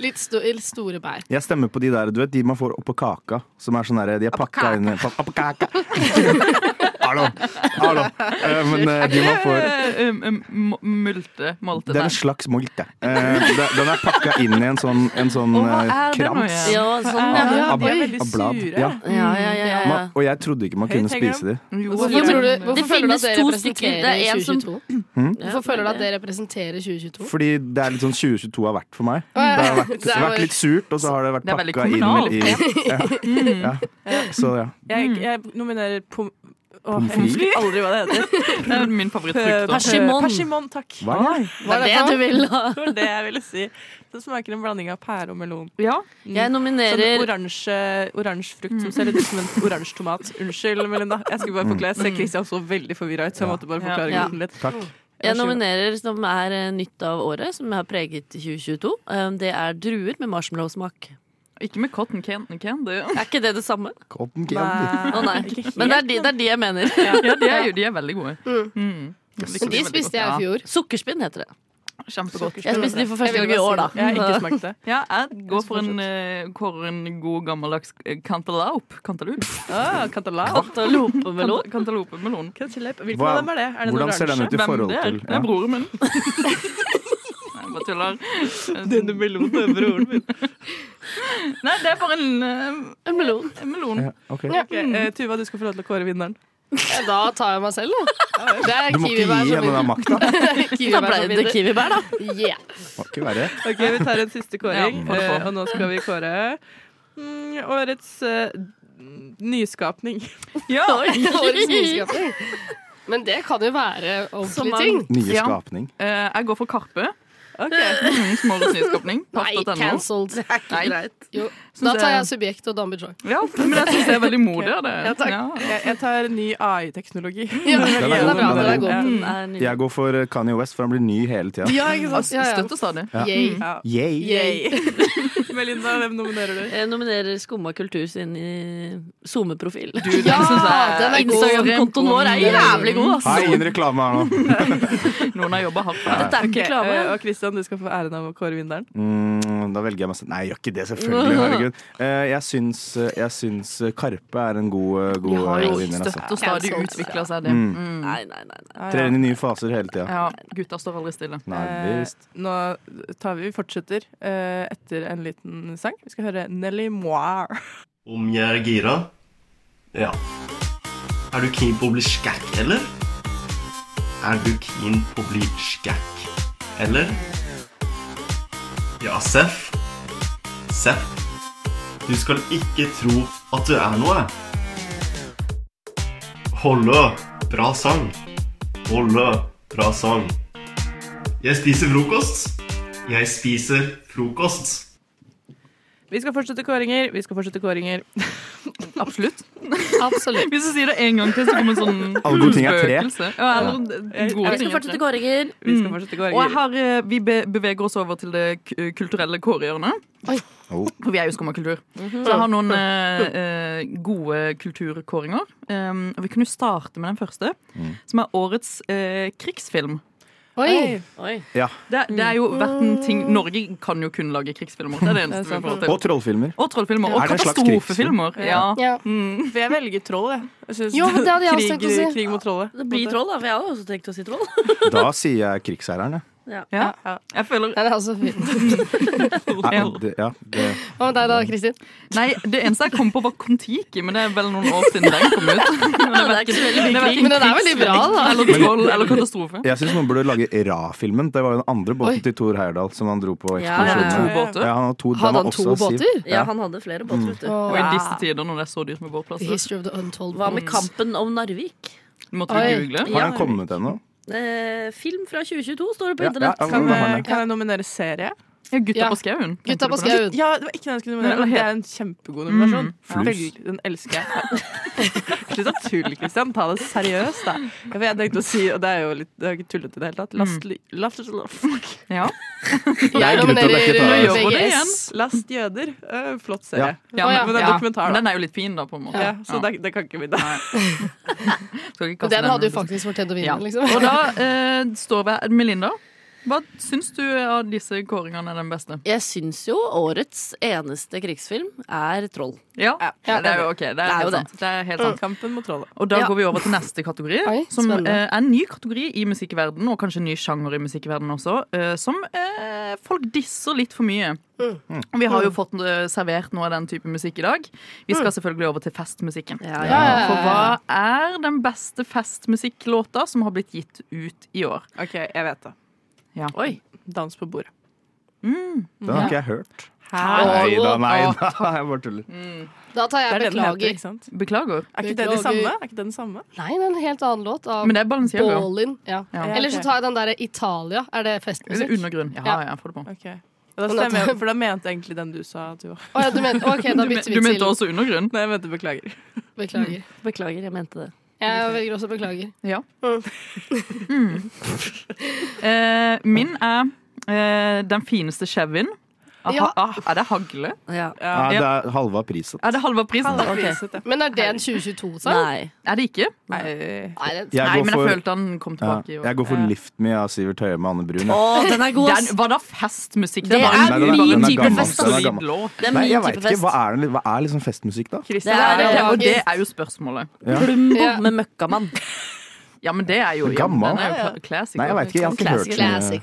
S4: Litt, sto eller store bær.
S2: Jeg stemmer på de der, du vet, de man får oppå kaka. Som er sånn derre De er pakka inn i Oppå kaka! Hallo! Hallo. Eh, Men eh, de man får
S5: Eh, um, um, mo- Multe. Molte.
S2: Det er
S5: nei.
S2: en slags molte. Eh, det- den er pakka inn i en sånn, en sånn
S5: Og hva
S2: eh,
S5: er det nå
S2: krans.
S5: igjen?
S3: Ja,
S11: altså,
S3: sånn, ja.
S1: Ja,
S2: Av-
S1: de er veldig
S2: av blad.
S1: sure.
S2: Ja.
S3: ja, ja, ja, ja, ja.
S2: Man, og jeg trodde ikke man kunne
S1: Høyt henger
S2: spise de.
S5: Jo,
S4: Hvorfor,
S5: ja, men-
S4: tror du, hvorfor
S3: Det
S4: føler du
S3: finnes
S4: at dere
S3: to stykker. Det
S4: representerer
S3: er en som-
S4: 2022? Hvorfor føler du at dere representerer 2022?
S2: Hm? Fordi det er litt sånn 2022 har vært for meg. Det
S4: ja.
S2: har vært,
S4: Det er
S2: vært
S4: bare-
S2: litt surt, og så har det vært
S5: Det er veldig Mm.
S2: pakka inn i ja. Ja. Så ja.
S1: Jeg, jeg nominerer pom Åh, jeg
S2: Pommes frites?
S1: husker aldri hva det heter.
S5: Det er min favorittfrukt.
S1: Eh,
S5: da.
S3: Persimon.
S1: Persimon, takk.
S2: Hva er det?
S1: Hva
S3: Det er det du vil ha.
S1: Det var det jeg ville si. Det smaker en blanding av pære og melon.
S5: Ja. Mm.
S3: Jeg
S1: Sånn
S3: nominerer
S1: oransje, oransje frukt som ser litt ut som en oransje tomat. Unnskyld, Melinda. Jeg skulle bare forklare. Jeg
S5: Mm.
S1: ser Christian så veldig forvirra ut, så jeg måtte bare forklare
S3: Ja.
S1: grunnen litt.
S2: Takk.
S3: Jeg nominerer som er eh, nytt av året, som har preget 2022. Eh, Det er druer med marshmallowsmak.
S5: Ikke med cotton can- candy.
S3: Er ikke det det samme?
S2: Cotton candy.
S3: Å nei.
S1: Ikke helt.
S3: Men det er de, det er de jeg mener.
S5: Ja, de er, jo, de er veldig gode. Mm.
S4: Men de spiste jeg i fjor.
S3: Sukkerspinn heter det.
S5: Ja, kjempegodt.
S3: Jeg spiste de for første
S4: Jeg vil
S3: gang i
S4: bare
S3: år, da.
S1: Jeg har ikke smakt det.
S5: Ja, jeg går for en, eh, går en god gammeldags eh, cantaloupe. Cantaloupe?
S1: Ah, Cantaloupe.
S5: Cantaloupe-melon. Cantaloupe-melon.
S1: Cantaloupe. Hvilken
S2: Hva-
S1: av dem er det? Er det en
S2: Hvordan ser den
S1: oransje?
S2: ut i
S5: Hvem
S2: forhold
S5: det er?
S2: til
S5: Det
S2: ja.
S5: er broren min. Nei, bare tuller.
S1: Denne melonen er broren min.
S5: Nei, det er bare en, eh,
S3: En melon.
S5: en melon. Mm.
S2: Ja, ok.
S1: Ok, eh, Tuva, du skal få lov til å kåre vinneren.
S4: Ja, Da tar jeg meg selv, da. Det er
S2: Du må ikke
S4: kiwibær
S2: gi
S4: som
S2: henne den
S4: vinner.
S2: makta.
S3: Da
S4: Kiwibær
S3: ble
S4: som
S3: det
S4: vinner.
S3: kiwibær, da.
S4: Yeah.
S2: Må ikke være
S1: Ok, Vi tar en siste kåring,
S5: Ja, får du få.
S1: eh, og nå skal vi kåre mm, årets eh, nyskapning.
S5: Ja,
S4: Årets nyskapning. Men det kan jo være ordentlige ting.
S2: nye
S5: Ja.
S2: skapning.
S5: eh, jeg går for Karpe.
S1: Ok,
S5: Mm, Smårets nyskapning.
S4: Nei,
S5: Pass.no.
S4: cancelled.
S5: Nei.
S4: Jo,
S5: Synes
S4: da tar
S5: jeg-
S4: jeg subjekt og Dambi Joy.
S5: Ja, men jeg syns det er veldig modig av det.
S4: Ja, takk.
S1: Jeg, jeg tar ny AI-teknologi.
S4: Ja, den
S2: Den
S4: er
S2: er god,
S4: bra. Den er god.
S1: Mm.
S3: Den er nydelig.
S2: Jeg går for eh, Kanye West, for han blir ny hele tida.
S1: Ja, ikke sant?
S4: Ja, ja.
S5: Støtter stadig.
S4: Yay.
S2: Mm. Yay.
S1: Yay. Melinda, hvem nominerer du?
S3: Jeg nominerer Skumma kultur sin i SoMe-profil.
S4: Ja,
S5: Jeg synes det
S4: den er god.
S3: Instagram-kontoen vår er jævlig god,
S5: altså.
S3: ass!
S2: Har ingen reklame her nå.
S5: Noen har jobba hardt for det.
S3: Dette er jo ikke
S1: Ok,
S3: reklame.
S1: eh, og Christian, du skal få æren av å kåre vinneren.
S2: Mm, da velger jeg meg selv. Nei, jeg gjør ikke det, selvfølgelig. Herregud. Eh, Jeg syns, jeg syns eh, Karpe er en god, eh,
S5: De
S2: god
S5: har
S2: eh,
S5: jo
S2: vinner. Altså.
S5: støtt og stadig
S3: Cancelled.
S5: utvikla seg, det. Mm.
S3: Nei, nei, nei. nei.
S2: Trer inn i nye faser hele tida.
S5: Ja, gutter står aldri stille.
S2: Nei
S1: Eh,
S2: visst.
S1: Nå tar vi, vi fortsetter eh, etter en liten sang. Vi skal høre Nelly Moir.
S12: Om jeg er gira? Ja. Er du keen på å bli skækk, eller? Er du keen på å bli skækk, eller? Ja, Seff. Seff. Du skal ikke tro at du er noe. Hollø. Bra sang. Hollø. Bra sang. Jeg spiser frokost. Jeg spiser frokost.
S1: Vi skal fortsette kåringer, vi skal fortsette kåringer.
S5: Absolutt.
S4: Absolutt.
S5: Hvis du sier det en gang til, så kommer en sånn
S2: Alle gode ting er tre.
S5: spøkelse. Ja, eller gode
S3: Vi
S5: ting
S3: skal
S5: er tre. Mm.
S3: fortsette kåringer.
S1: Vi
S4: Mm.
S1: skal fortsette
S5: Og jeg
S1: kåringer.
S5: har, eh, vi be- beveger oss over til det k- eh, kulturelle kårehjørnet.
S4: Oi.
S2: Oh.
S5: For vi er jo skummakultur. Mhm.
S3: Mhm.
S5: Så jeg har noen eh, eh, gode kulturkåringer. Um, og vi kunne jo starte med den første,
S2: Mm.
S5: som er årets eh, krigsfilm.
S4: Oi.
S3: Oi.
S5: Det, det er jo vært en ting Norge kan jo kun lage krigsfilmer. Det er det eneste vi får til.
S2: Og trollfilmer.
S5: Og trollfilmer.
S2: Er
S5: Og
S2: det en slags
S5: katastrofefilmer. Ja. Mm.
S4: Ja.
S1: For jeg velger troll, jeg. jeg synes
S4: Jo, men det hadde jeg også tenkt å si.
S1: Krig, krig mot trollet.
S3: Det blir troll, da, for jeg hadde også tenkt å si troll.
S2: Da sier jeg Krigsherrene.
S5: Ja. Jeg føler
S4: Den er også fin.
S2: Ja, det, ja, det.
S4: Hva med deg da, Kristin?
S5: Nei, det eneste jeg kom på, var Kon-Tiki, men det er vel noen år siden den kom ut. Men
S3: Det er ikke så veldig mye
S5: det
S3: krig.
S5: er verken
S4: Men den er veldig bra, da.
S5: Eller troll eller katastrofe.
S2: Jeg syns noen burde lage Ra-filmen. Det var jo den andre båten til Thor Heyerdahl som han dro på
S3: Ja, ja,
S5: To
S3: ja.
S2: ekskursjon med.
S5: båter.
S2: Ja, han har to, den
S4: Hadde
S2: var
S4: han
S2: også Mm.
S4: to
S2: Siv.
S4: båter?
S3: Ja, han hadde flere båter, vet du.
S5: Og i disse tider, når det er så dyrt med
S4: The
S5: båtplasser,
S4: History of the Untold
S3: Hva
S4: Bones.
S3: med kampen om Narvik?
S5: måtte vi
S4: Oi.
S5: google.
S2: Har
S3: Ja.
S2: den kommet ennå?
S3: Eh, film fra 2022 står det på
S2: Ja,
S3: internett.
S2: ja, ja.
S1: Kan,
S2: Hvordan har
S1: jeg-
S2: den?
S1: kan jeg nominere serie?
S5: Ja, Gutta
S4: Ja.
S5: på skauen. tenkte
S4: Gutta
S5: du
S4: på
S5: den?
S4: skauen.
S1: Ja, det var ikke den jeg skulle nominere, men det er en kjempegod nominasjon.
S5: Mm.
S1: Veldig, den elsker jeg. Slutt å tulle, Kristian. Ta det seriøst, da. Ja, for Jeg tenkte å si, og det er jo litt Det er jo ikke tullete i det hele tatt. Last, li- last, last,
S5: Mm. Ja.
S4: Jeg
S2: grunn til at jeg ikke tar
S4: nominerer
S5: det. Gjør det
S4: VGS.
S5: igjen.
S1: last jøder. Eh, flott serie.
S5: Ja,
S4: Å, ja.
S1: Men det er dokumentar, da.
S5: Men den er jo litt fin, da, på en måte.
S1: Ja, så det, det kan ikke bli det.
S5: Skal ikke
S4: Men
S5: kaste
S4: Den hadde jo
S5: liksom.
S4: faktisk fortjent å
S5: Ja.
S4: vinne,
S5: Og
S4: liksom.
S5: da eh, står vi Melinda, hva syns du av disse kåringene er den beste?
S3: Jeg syns jo årets eneste krigsfilm er Troll.
S5: Ja,
S4: Ja.
S5: det er jo ok. Det er,
S3: er jo
S5: helt
S3: det.
S5: sant. Det er helt sant.
S1: Kampen mot trollet.
S5: Og da
S3: Ja.
S5: går vi over til neste kategori,
S4: Oi,
S5: som eh,
S4: spennende.
S5: er en ny kategori i musikkverden, og kanskje en ny sjanger i musikkverden også, eh, som eh, folk disser litt for mye.
S1: Mm.
S4: Mm.
S5: Og Vi har jo fått eh, servert noe av den type musikk i dag. Vi
S1: Mm.
S5: skal selvfølgelig over til festmusikken.
S3: ja.
S5: For hva er den beste festmusikklåta som har blitt gitt ut i år?
S1: OK, jeg vet det.
S5: Ja. Mm.
S1: Oi. Dans på bordet.
S2: Den har ikke jeg hørt.
S1: Hæ?
S2: Nei da, nei da. Jeg bare tuller.
S4: Da tar jeg
S1: Det er det den heter,
S4: beklager.
S1: ikke sant?
S5: Mm. Beklager.
S1: Er ikke det de
S4: Beklager.
S1: samme? Er ikke det den samme?
S4: Nei, det er en helt annen låt av
S5: Men det er Balenciaga.
S4: Ballin. Ja.
S5: Ja.
S4: Eller så tar jeg den derre Italia. Er det festmusikk?
S5: Undergrunn. Ja, ja, få det på.
S1: Ok. Ja, Da stemmer jeg, for da mente jeg egentlig den du sa at du var.
S4: Å ja, du mente- ok, da
S5: Du
S4: bytter vi
S5: men- du mente
S4: til-
S5: også undergrunn?
S1: Nei, jeg mente beklager.
S4: Beklager.
S3: Beklager, jeg mente det.
S4: Jeg velger også beklager.
S5: Ja. Mm. Eh, min er eh, den fineste Chevyen. Ah,
S4: Ja.
S5: ah, er det hagle?
S3: Ja.
S2: Ja, det er halve av prisen.
S5: Er det halve prisen?
S1: Halve prisen, ja.
S4: Men er det en 2022-sang?
S3: Nei.
S5: Er det ikke?
S1: Nei.
S4: Nei, det,
S2: Jeg
S5: Nei,
S2: går
S5: men jeg
S2: for-
S5: følte han kom
S2: Ja.
S5: tilbake. i år.
S2: Jeg går for
S1: Ja.
S2: 'Lift Me' av Sivert Høie med Anne Brun.
S3: Å,
S2: jeg.
S3: den er god, ass!
S5: Den, var da festmusikk?
S3: Det
S5: var en
S3: er
S5: bare
S3: min
S5: en
S3: type
S5: gammel,
S3: fest, ass.
S5: solid
S2: Den er gammel.
S5: låt.
S3: Det er
S2: Nei,
S3: min
S2: jeg vet
S3: type
S2: ikke.
S3: fest.
S2: Hva er, den, hva er liksom festmusikk, da?
S1: Christian,
S3: Det er-
S5: Det er- og
S4: Beklager.
S5: det er jo spørsmålet.
S2: Ja.
S3: Plumbo
S4: Ja.
S3: med Møkkamann.
S5: Ja, men det er jo ja, men
S2: Gammel.
S5: Den er jo kla- classic.
S2: Nei, jeg vet ikke. Jeg har ikke hørt så mye
S4: Classic.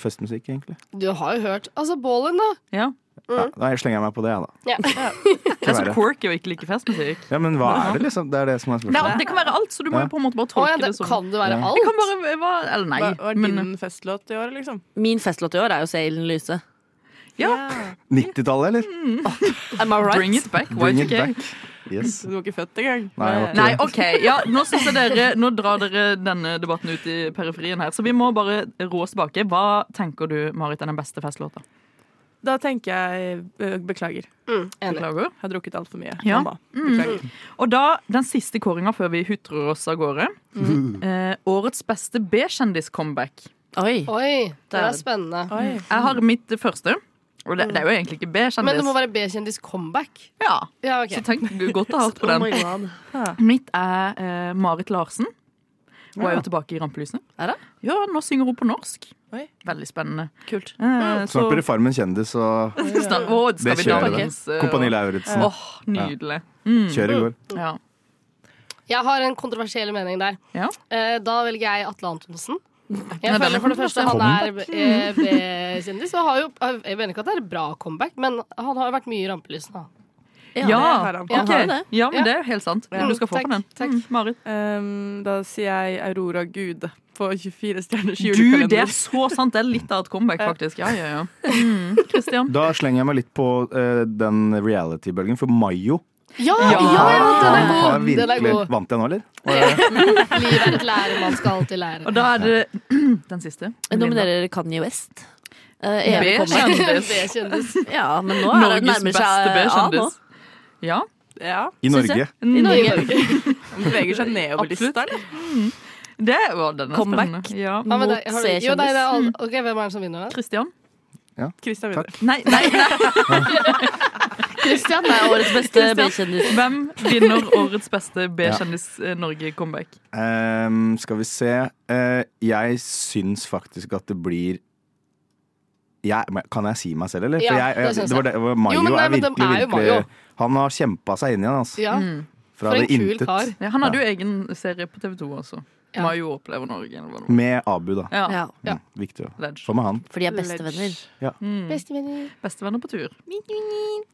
S2: festmusikk, egentlig.
S4: Du har jo hørt. Altså, Ballin, da. Mm.
S5: Ja.
S2: Ja, da slenger jeg meg på det, jeg, da.
S4: Ja.
S5: Det er så
S2: verre.
S5: quirky å ikke like festmusikk.
S2: Ja, men hva er det, liksom? Det er det som er
S1: Mm.
S5: Det, er,
S2: spørsmålet.
S5: det kan være alt, så du må jo på en måte bare
S4: Å
S5: tolke
S4: ja,
S5: det,
S4: det
S5: sånn.
S4: kan det være
S2: Ja.
S5: Det
S4: alt.
S5: kan bare være Eller nei.
S1: Hva var
S5: men-
S1: din festlåt i år, liksom?
S3: Min festlåt i år er jo 'Seilen lyse'.
S5: Ja.
S2: 90-tallet, eller?
S3: Am I
S5: Mm. Bring
S3: right?
S5: it back.
S2: Bring
S5: Bring
S2: it back. Yes.
S1: Du var ikke født engang.
S2: Nei, jeg var ikke
S5: Nei, OK. Ja, nå, synes jeg dere, nå drar dere denne debatten ut i periferien her, så vi må bare rå oss tilbake. Hva tenker du, Marit, er den beste festlåta?
S1: Da tenker jeg eh, beklager.
S4: Mm, Enig.
S5: Beklager.
S1: Jeg har drukket altfor mye.
S5: Ja. Mm.
S1: Mamma. Beklager.
S5: Og da den siste kåringa før vi hutrer oss av gårde.
S2: Mm.
S5: Eh, årets beste B-kjendis-comeback.
S3: Oi.
S4: Oi, det er spennende.
S1: Oi.
S5: Jeg har mitt første. Og det, det er jo egentlig ikke B-kjendis.
S4: Men det må være B-kjendis comeback.
S5: ja.
S4: Ja, ok.
S5: Så tenk godt og hardt på
S3: Oh my
S5: den.
S3: god.
S5: Mitt er eh, Marit Larsen. Hun er jo tilbake i rampelyset.
S3: Er det?
S5: Ja, nå synger hun på norsk.
S1: Oi.
S5: Veldig spennende.
S1: Kult.
S5: Eh,
S2: Snart blir det Farmen kjendis, og
S5: Snar- Å, skal
S2: det
S5: vi
S2: kjører det.
S5: danse, og-
S2: Kompani Lauritzen.
S5: Åh, nydelig. Mm.
S2: Kjøret går.
S5: Ja.
S4: Mm. Jeg har en kontroversiell mening der.
S5: Ja.
S4: Eh, Da velger jeg Atle Antonsen.
S5: Ja,
S4: Jeg
S5: den
S4: føler
S5: er
S4: for det første Han er
S2: Comeback.
S4: eh, B-kjendis. og har jo- Jeg mener ikke at det er et bra comeback, men han har jo vært mye i rampelyset. da.
S5: Ja,
S1: har han.
S5: ok.
S3: Jeg har det.
S5: ja, men
S4: Ja.
S5: det er jo helt sant. Du skal få
S4: Takk,
S5: på den.
S4: takk.
S5: Mm, Marit.
S1: Um, da sier jeg Aurora Gud på 24 stjerners
S5: Du, det er
S1: julekalender.
S5: så sant. Det er litt av et comeback, faktisk. Ja, ja, ja. Mm, Christian.
S2: Da slenger jeg meg litt på eh, den reality-bølgen, for Mayo
S4: Ja, ja,
S5: Ja.
S4: den er
S2: har
S4: god! Den er
S2: virkelig
S4: god.
S2: Vant jeg nå, eller? Og, eh,
S4: Livet er et lære, man skal alltid lære.
S5: Og da er det den siste.
S3: Jeg nominerer Kanye West. Eh,
S5: Linda.
S3: EM kommer.
S5: B-kjendis.
S4: B-kjendis.
S3: Ja, men nå er det
S5: Norges
S3: nærmer seg
S5: beste
S3: eh, A nå.
S5: B-kjendis. Ja. Mm.
S1: Ja,
S2: I
S3: Synes
S2: Norge.
S3: I Norge.
S1: Han beveger seg nedover
S5: Absolutt. Mm.
S1: lista. eller?
S5: Det var den er
S3: Comeback.
S5: spennende. Ja.
S4: Ja, men
S3: Mot
S4: det- har du- Jo, nei, det er
S3: C-kjendis.
S4: alle- Ok, Hvem er det som vinner? da?
S5: Mm. Christian.
S1: Christian
S2: Takk.
S1: vinner.
S5: Nei, nei, nei.
S3: Christian er årets beste
S5: Christian.
S3: B-kjendis.
S5: Hvem vinner årets beste eh, B-kjendis-Norge-comeback?
S2: Ehm, skal vi se. Eh, jeg syns faktisk at det blir jeg, men Kan jeg si meg selv, eller?
S4: Ja,
S2: For jeg,
S4: det
S2: jeg,
S4: syns
S2: det var det, var- Mayo
S4: Jo, men nei,
S2: er
S4: men de
S2: virkelig,
S4: er jo
S2: virkelig
S4: Mayo.
S2: Han har kjempa seg inn igjen, altså.
S4: Ja,
S5: Mm.
S2: Fra
S4: For en
S2: det
S4: kul
S2: intet.
S4: kar.
S5: Ja, han hadde jo egen serie på TV 2 også.
S4: Ja.
S5: Mayo opplever Norge. Eller hva det var.
S2: Med Abu, da.
S5: Ja.
S3: Ja,
S4: Ja.
S2: Mm, viktig. å
S5: Ledge.
S2: Få med han.
S3: for de er bestevenner.
S1: Ledge.
S4: Bestevenner.
S5: Bestevenner Mm. på tur.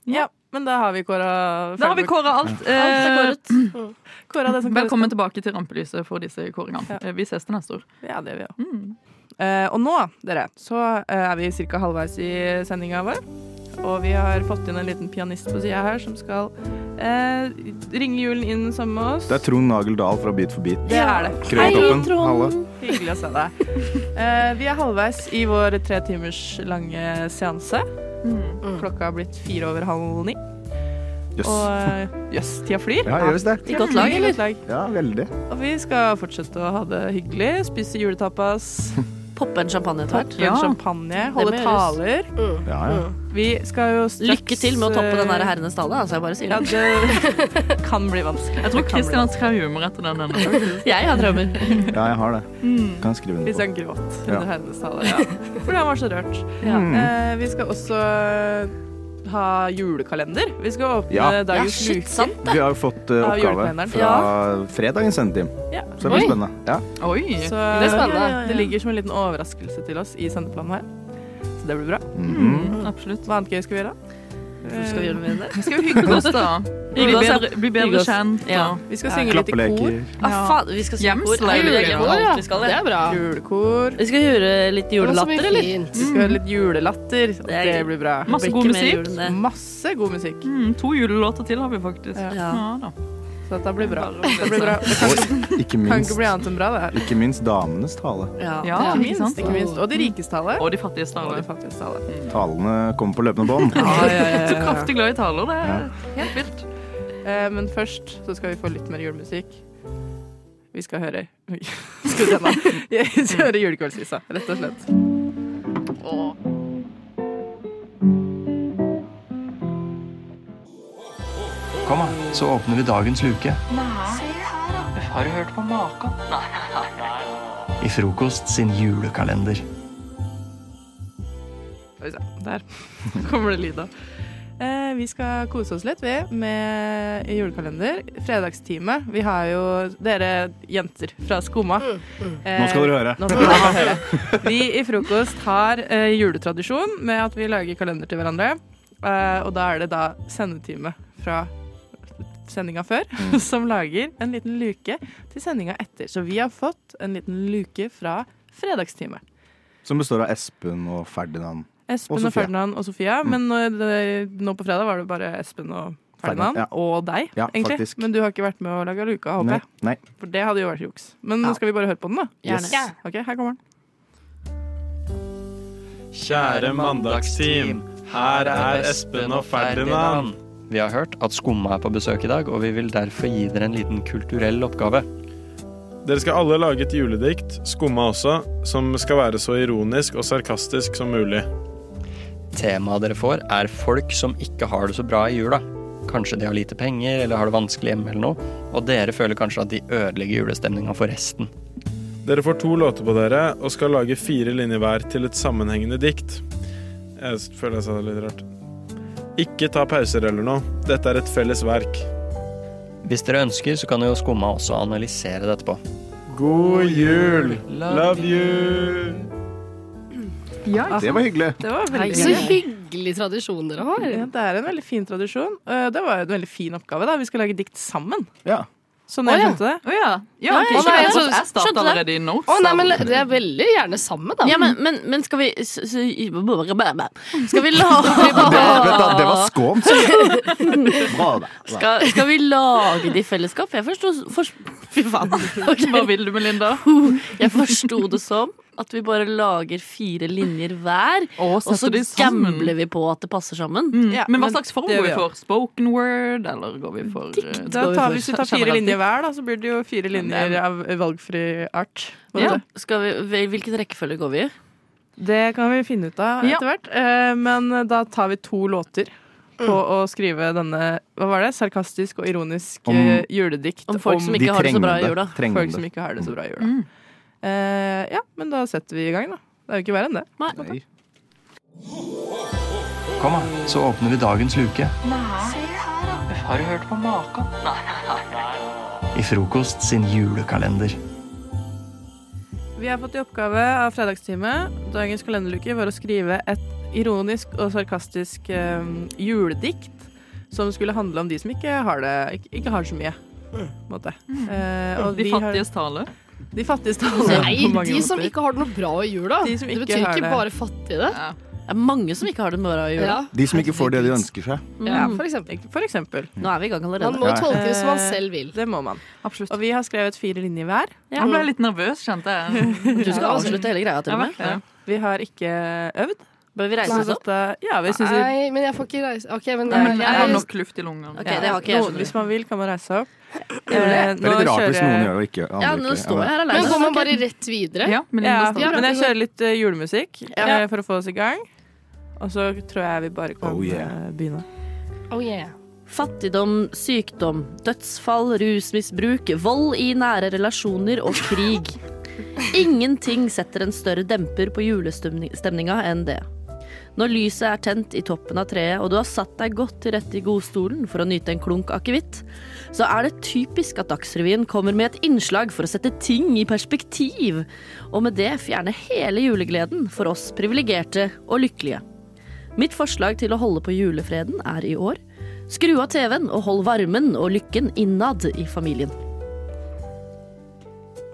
S1: Ja, men da har vi kåra
S5: Da har vi kåra alt.
S3: Alt er
S5: Eh,
S3: kåret.
S1: kåra Mm. det som
S5: Velkommen tilbake til rampelyset for disse kåringene. Eh, Vi ses til neste år.
S1: Ja, det gjør vi òg.
S5: Mm.
S1: Eh, og nå, dere, så eh, er vi ca. halvveis i sendinga vår. Og vi har fått inn en liten pianist på sida her som skal eh, ringe julen inn sammen med oss.
S2: Det er Trond Nagel Dahl fra Beat for beat.
S1: Det er det.
S2: Krølltoppen. Halla.
S1: Hyggelig å se deg. Eh, vi er halvveis i vår tre timers lange seanse.
S3: Mm.
S1: Klokka har blitt fire over halv ni.
S2: Jøss.
S1: Og eh, jøss, tida flyr.
S2: Ja, gjør visst det.
S3: I godt lag,
S1: Hyggelig
S3: eller?
S1: lag.
S2: Ja, veldig.
S1: Og vi skal fortsette å ha det hyggelig, spise juletapas,
S3: Poppe en champagne etter hvert.
S1: ja.
S5: Ja.
S1: champagne, holde
S3: Det må Mm.
S1: taler.
S2: Ja, ja.
S1: Vi skal jo straks
S3: Lykke til med å toppe den der herrenes tale. Altså, jeg bare sier
S1: Ja,
S3: det.
S1: det kan bli vanskelig.
S5: Jeg tror
S1: Det kan bli
S5: Kristian skal ha humor etter den. denne.
S3: Jeg har drømmer.
S2: ja, jeg har det.
S1: Mm.
S2: Kan jeg skrive
S1: vanskelig.
S2: under på.
S1: Hvis han sånn gråt under
S2: Ja. Mm.
S1: hennes tale. Ja. Fordi han var så rørt.
S3: Ja.
S1: Eh, vi skal også eh, ha julekalender. Vi skal åpne
S2: Ja.
S3: Ja,
S1: dagens
S3: shit,
S1: luke.
S3: sant det.
S2: Vi har jo fått eh,
S1: Av
S2: oppgave
S1: julekalenderen.
S2: fra fredagens sendetime,
S1: Ja.
S2: så det blir
S4: Oi.
S2: spennende. Ja.
S5: Oi!
S1: Så eh,
S4: Det er spennende.
S1: det ligger som en liten overraskelse til oss i sendeplanen her. Så det blir bra.
S2: Mhm.
S5: Mm, absolutt.
S1: Hva annet gøy skal vi gjøre?
S3: Skal vi gjøre noe med det?
S5: Vi skal jo hygge oss, da. Bli
S3: Hygge oss, ja.
S5: bedre, bli bedre
S3: Hygge oss.
S5: kjent. og-
S3: Ja.
S1: Vi skal synge litt i kor.
S2: Klappeleker.
S3: Ah, faen, vi skal synge kor.
S5: Hjemsleire.
S3: Nei,
S5: Julekor,
S3: alt
S4: ja.
S3: Vi skal det.
S4: Det er bra.
S1: Julekor.
S3: Vi skal høre litt
S4: Det var så
S3: julelatter,
S4: mye
S3: eller? Mm.
S4: fint.
S1: Vi skal høre litt julelatter, og
S3: er-
S1: det blir bra.
S5: Masse
S3: Blir
S5: god
S3: ikke mer
S5: musikk.
S3: jul enn det.
S1: Masse god musikk.
S5: Mm, to julelåter til har vi faktisk.
S1: Ja.
S5: Ja, da.
S1: Så dette blir bra. Det blir bra. Det kan,
S2: Og ikke
S1: kan ikke
S2: minst,
S1: bli annet enn bra, det her.
S2: ikke minst damenes tale.
S3: Ja.
S5: Ja, ikke
S1: Ikke
S5: minst.
S1: minst, ikke minst. Og de rikes tale.
S5: Og de fattige
S1: Og de
S5: staler. Mm.
S1: fattiges tale.
S2: Talene kommer på løpende bånd.
S1: Ja, ja, ja,
S5: Så
S1: ja, ja.
S5: kraftig glad i taler, det er helt vilt.
S1: Eh, Men først så skal vi få litt mer julemusikk. Vi skal høre Skal vi se nå. Vi skal høre Julekveldsvisa, rett og slett.
S9: Kom, da, så åpner vi dagens luke.
S12: Har du hørt på maken?
S9: I Frokost sin julekalender.
S1: Skal vi se. Der kommer det lyd av. Eh, vi skal kose oss litt, vi, med julekalender. Fredagstime. Vi har jo dere jenter fra Skumma.
S2: Nå skal dere høre.
S1: Nå skal dere høre. Vi i Frokost har eh, juletradisjon med at vi lager kalender til hverandre. Eh, og da er det da sendetime fra sendinga før som lager en liten luke til sendinga etter. Så vi har fått en liten luke fra fredagstime.
S2: Som består av Espen og Ferdinand.
S1: Espen
S2: Og
S1: og,
S2: Sofia. Mm.
S1: Ferdinand og Sofia. Men nå, det, nå på fredag var det bare Espen og Ferdinand.
S2: Ferdinand, ja.
S1: Og deg,
S2: Ja,
S1: egentlig.
S2: faktisk.
S1: Men du har ikke vært med å lage luka, håper
S2: Nei.
S1: jeg.
S2: Nei.
S1: For det hadde jo vært juks. Men nå
S2: Ja.
S1: skal vi bare høre på den, da.
S2: Yes.
S1: Ok, her kommer den.
S8: Kjære mandagsteam, her er Espen og Ferdinand.
S9: Vi har hørt at Skumma er på besøk i dag, og vi vil derfor gi dere en liten kulturell oppgave.
S8: Dere skal alle lage et juledikt, Skumma også, som skal være så ironisk og sarkastisk som mulig.
S9: Temaet dere får, er folk som ikke har det så bra i jula. Kanskje de har lite penger, eller har det vanskelig hjemme eller noe. Og dere føler kanskje at de ødelegger julestemninga for resten.
S8: Dere får to låter på dere og skal lage fire linjer hver til et sammenhengende dikt. Jeg s- føler jeg sa det litt rart. Ikke ta pauser eller noe. Dette er et felles verk.
S9: Hvis dere ønsker, så kan jo Skumma også analysere det etterpå.
S8: God jul! Love you!
S2: Det var hyggelig.
S1: Det var veldig
S4: Så
S1: hyggelig.
S4: hyggelig tradisjon dere har.
S1: Ja, det er en veldig fin tradisjon. Eh, Det var jo en veldig fin oppgave. da Vi skal lage dikt sammen.
S2: Ja.
S1: Sånn
S4: Å,
S1: jeg
S4: ja.
S1: skjønte det.
S5: Å ja. ja ok,
S4: Å, nei,
S5: jeg
S4: jeg
S5: trodde- jeg
S3: skjønte
S5: starta
S3: det.
S5: allerede i notes.
S4: Å nei, men det er veldig gjerne sammen, da.
S3: Ja, men, men, men skal vi s- s- Skal vi lage
S2: Det, vet du, det var skånt. Bra, da. Bra.
S3: skal, skal vi lage det i fellesskap? Jeg forsto for, Fy faen.
S5: Hva
S3: Ok.
S5: vil du med Linda?
S3: Jeg forsto det som at vi bare lager fire linjer hver,
S5: Og
S3: og så
S5: setter de sammen.
S3: gambler vi på at det passer sammen.
S5: Mm.
S1: Ja,
S5: men hva
S1: men
S5: slags form
S1: det
S5: går vi
S1: gjør vi
S5: for? Spoken word, eller går vi for eh,
S1: Da
S3: går vi
S1: tar
S3: for
S1: vi, hvis vi tar fire
S5: generelt
S1: linjer hver, da, så blir det jo fire
S5: det
S1: linjer
S5: er-
S1: av valgfri art. Hva
S5: Ja.
S1: heter det?
S3: Skal vi, hvil- hvilken rekkefølge går vi i?
S1: Det kan vi finne ut av
S5: Ja.
S1: etter hvert. Eh, Men da tar vi to låter
S3: Mm.
S1: på å skrive denne Hva var det? Sarkastisk og ironisk
S2: Om-
S1: eh, juledikt
S3: Om folk som
S2: De
S3: ikke har det så bra i
S2: trenger
S3: jula. Mm.
S2: det. Trenger
S1: folk som
S2: det.
S1: ikke har det så bra i jula. Eh, ja, men da setter vi i gang, da. Det er jo ikke verre enn det.
S2: Nei.
S9: Kom, da, så åpner vi dagens luke.
S12: Har du hørt på maken?
S9: I Frokost sin julekalender.
S1: Vi har fått i oppgave av fredagstime dagens kalenderluke var å skrive et ironisk og sarkastisk eh, juledikt som skulle handle om de som ikke har det, ikke, ikke har så mye. På en måte.
S3: Mm.
S1: Eh, og
S5: De
S1: vi har-
S5: fattiges tale.
S1: de fattigste
S4: Nei, de som ikke har det noe bra i jula.
S1: De som
S4: det
S1: ikke
S4: betyr
S1: har
S4: ikke
S1: det.
S4: bare fattige, det.
S3: Det er mange som ikke har det bra i jula. Mm.
S4: Ja.
S2: De som ikke får det de ønsker seg.
S4: ja, for eksempel.
S1: For eksempel.
S3: Nå er vi i gang
S4: Man
S3: allerede.
S4: må
S2: Ja.
S4: tolke det som man
S1: Eh,
S4: selv vil.
S1: Det må man.
S5: Absolutt.
S1: Og vi har skrevet fire linjer hver.
S5: Jeg ble litt nervøs, kjente jeg.
S3: Du skal avslutte hele greia til
S5: jeg
S3: og med.
S5: merker det.
S1: Vi har ikke øvd.
S3: Bør vi reise
S1: Så
S3: oss opp?
S1: dette- Ja, vi synes vi
S4: Nei, men jeg får ikke reise OK, men
S5: Nei, men Jeg har
S4: jeg-
S5: nok luft i lungene.
S3: Ok, det har ikke jeg,
S1: Noen-
S3: skjønner du.
S1: Hvis man vil, kan man reise seg opp. Eh,
S2: Det er litt rart hvis noen gjør
S1: jeg-
S2: det og ikke andre
S3: Ja,
S2: ikke.
S3: nå står jeg her
S4: Men
S3: alene.
S4: går man bare rett videre?
S5: Ja, men Linda
S1: Ja,
S5: starter.
S1: men jeg kjører litt eh, julemusikk
S3: Ja.
S1: eh, for å få oss i gang. Og så tror jeg vi bare kan
S2: Oh, yeah.
S1: eh, begynne.
S4: Oh yeah.
S3: Fattigdom, sykdom, dødsfall, rusmisbruk, vold i nære relasjoner og krig. Ingenting setter en større demper på julestemninga enn det. Når lyset er tent i toppen av treet, og du har satt deg godt til rette i godstolen for å nyte en klunk akevitt, så er det typisk at Dagsrevyen kommer med et innslag for å sette ting i perspektiv, og med det fjerne hele julegleden for oss privilegerte og lykkelige. Mitt forslag til å holde på julefreden er i år. Skru av TV-en og hold varmen og lykken innad i familien.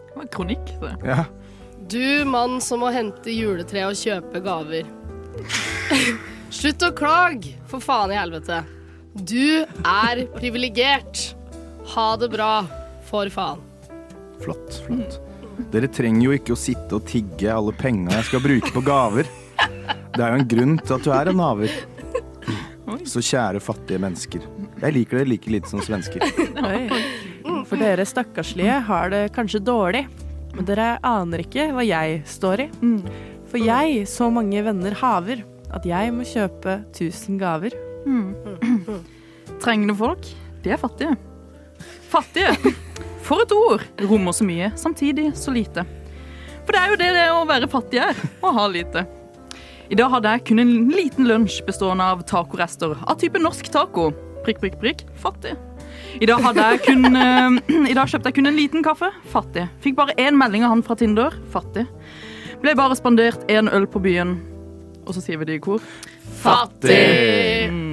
S5: Det var en kronikk, det.
S2: Ja.
S4: Du mann som må hente juletre og kjøpe gaver. Slutt å klage, for faen i helvete. Du er privilegert. Ha det bra, for faen.
S2: Flott, flott. Dere trenger jo ikke å sitte og tigge alle penga jeg skal bruke på gaver. Det er jo en grunn til at du er en haver. Så kjære fattige mennesker. Jeg liker dere like lite som svensker.
S1: Oi. Mm, For dere stakkarslige har det kanskje dårlig, men dere aner ikke hva jeg står i. For jeg, så mange venner haver, at jeg må kjøpe 1000 gaver.
S5: Trengende folk, de er fattige. Fattige! For et ord! Rommer så mye, samtidig så lite. For det er jo det det å være fattig er, å ha lite. I dag hadde jeg kun en liten lunsj bestående av tacorester av type norsk taco. Prikk, prikk, prikk. Fattig. I dag, hadde jeg kun, eh, I dag kjøpte jeg kun en liten kaffe. Fattig. Fikk bare én melding av han fra Tinder. Fattig. Ble bare spandert én øl på byen. Og så sier vi det i kor.
S2: Fattig!
S5: Mm.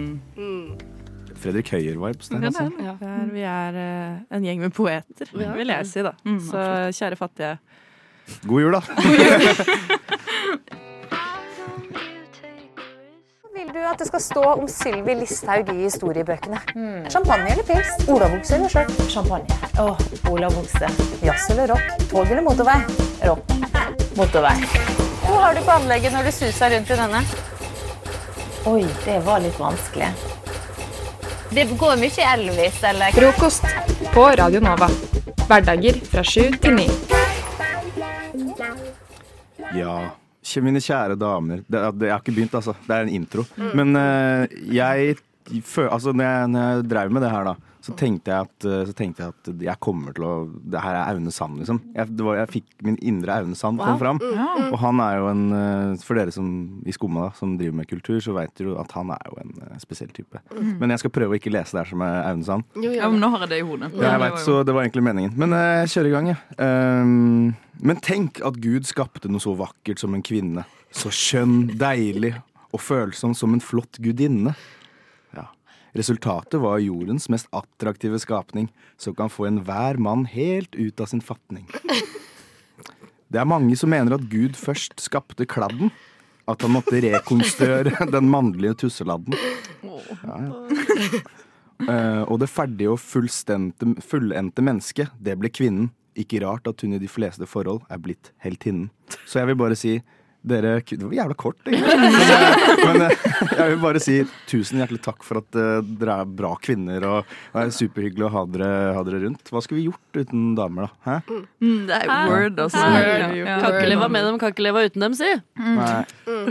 S2: Fredrik Høyer-vibes der,
S5: Det er
S2: altså.
S5: det.
S1: Det er- vi er eh, en gjeng med poeter,
S4: Ja.
S1: vil jeg si, da. Så kjære fattige.
S2: God jul, da.
S13: Vil du at det skal stå om Sylvi Listhaug i historiebøkene? Champagne eller pils? Olavokse eller skjørt? Champagne. Åh, olavokse. Jazz eller rock? Tog eller motorvei? Rock. Motorvei. Hva har du på anlegget når du suser rundt i denne? Oi, det var litt vanskelig. Det går mye Elvis, eller?
S14: Frokost på Radio Nova. Hverdager fra sju til ni.
S15: Mm.
S2: Ja. Kjære- Mine kjære damer. Det, det, jeg har ikke begynt, altså. Det er en intro.
S5: Mm.
S2: Men eh, jeg fø- Altså, når jeg, når jeg drev med det her, da, så tenkte jeg at, eh, så tenkte jeg, at jeg kommer til å Det her er Aune Sand, liksom. Jeg, det var, jeg fikk min indre Aune Sand kom
S5: Wow.
S2: fram.
S5: Mm, mm.
S2: Og han er jo en eh, For dere som i Skumma da, som driver med kultur, så vet dere jo at han er jo en eh, spesiell type.
S5: Mm.
S2: Men jeg skal prøve å ikke lese det her som eh, Aune Sand.
S5: Ja, men nå har jeg det i hodet.
S2: Ja, jeg vet, så det var egentlig meningen. Men eh, jeg kjører i gang, jeg. Ehm, men tenk at Gud skapte noe så vakkert som en kvinne. Så skjønn, deilig og følsom som en flott gudinne. Ja. Resultatet var jordens mest attraktive skapning, som kan få enhver mann helt ut av sin fatning. Det er mange som mener at Gud først skapte kladden. At han måtte rekonstruere den mannlige tusseladden. Ja, ja. Eh, og det ferdige og fullstendte- fullendte mennesket, det ble kvinnen. Ikke rart at hun i de fleste forhold er blitt heltinnen. Så jeg vil bare si dere, Det var jævla kort, egentlig. Men, eh, men eh, jeg vil bare si tusen hjertelig takk for at eh, dere er bra kvinner, og det er superhyggelig å ha dere, ha dere rundt. Hva skulle vi gjort uten damer, da? Hæ?
S5: Mm, det er jo word, altså.
S3: Hæ?
S5: Ja, ja.
S3: Kan ikke leve med dem, kan ikke leve uten dem, si.
S2: Nei.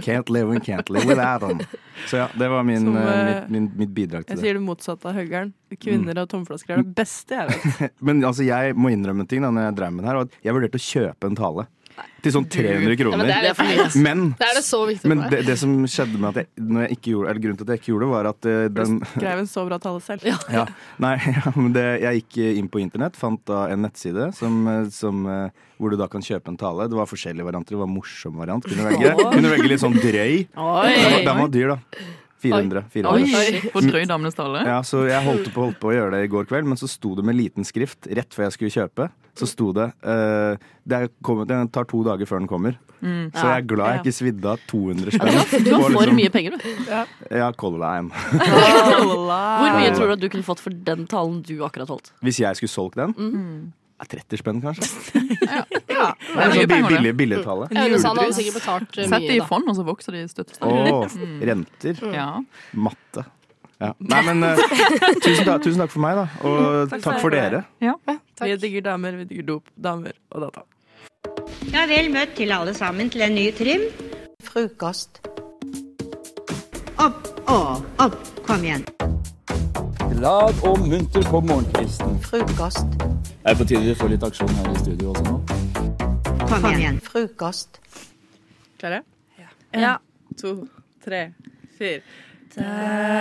S2: Can't live and can't live without them. Så ja, det var min,
S1: Mm. Som,
S2: eh,
S1: eh,
S2: mitt, min, mitt bidrag til det.
S1: Jeg
S2: Mm.
S1: sier det motsatte av høggeren. Kvinner og tomflasker er det beste jeg vet.
S2: Men altså, jeg må innrømme en ting da Når jeg drev med det her var at Jeg vurderte å kjøpe en tale Til sånn 300
S4: Ja, men
S2: kroner
S4: det er det for mye, ass.
S2: Men,
S4: Det er det så viktig
S2: men
S4: for
S2: det,
S4: meg.
S2: det som skjedde med at jeg, når jeg ikke gjorde, Eller grunnen til at jeg ikke gjorde det Var at eh, den
S1: Skrev en så bra tale selv.
S2: ja, Nei, ja, men det, jeg gikk eh, inn på internett Fant da en nettside som, eh, som, eh, Hvor du da kan kjøpe en tale Det var forskjellige varianter Det var en morsom variant Kunne velge,
S5: Åh.
S2: kunne velge litt sånn drøy
S5: Oi.
S2: Den var- Den var dyr da 400, 400.
S5: Oi, shit, for drøy damenes tale.
S2: Ja, så jeg holdt på, holdt på å gjøre det i går kveld, men så sto det med liten skrift rett før jeg skulle kjøpe. Så sto det eh, det er kommet, Den tar to dager før den kommer.
S3: Mm.
S2: Så jeg er glad jeg
S3: Ja.
S2: ikke svidde av 200
S3: Du
S2: spenn.
S3: har, du
S2: På
S3: har for
S2: liksom-
S3: mye penger, du.
S2: Ja, Color Line.
S3: Hvor mye tror du at du kunne fått for den talen du akkurat holdt?
S2: Hvis jeg skulle solgt den?
S3: Mm.
S2: er 30 spenn, kanskje?
S5: Det
S2: Det er
S5: mye
S2: sånn
S5: penger, det.
S2: billig, billigtallet.
S4: Aune Sand hadde sikkert betalt eh,
S5: Sett det
S4: mye,
S5: i
S4: da.
S5: fond, og så vokser de støttestadig.
S2: Åh,
S5: Mm.
S2: renter.
S5: Ja.
S2: Matte. Ja. Nei, men eh, tusen, takk, tusen takk for meg, da. Og takk for dere.
S1: Vi digger damer, vi digger dop. Damer og data.
S16: Ja, vel møtt til alle sammen til en ny trim. Frokost. Opp og opp. Kom igjen.
S15: Glad og munter på morgenkvisten.
S16: Frokost.
S15: Det er på tide vi får litt aksjon her i studio også nå.
S16: Kom, igjen. Frokost.
S1: Klare? En, to, tre, fire.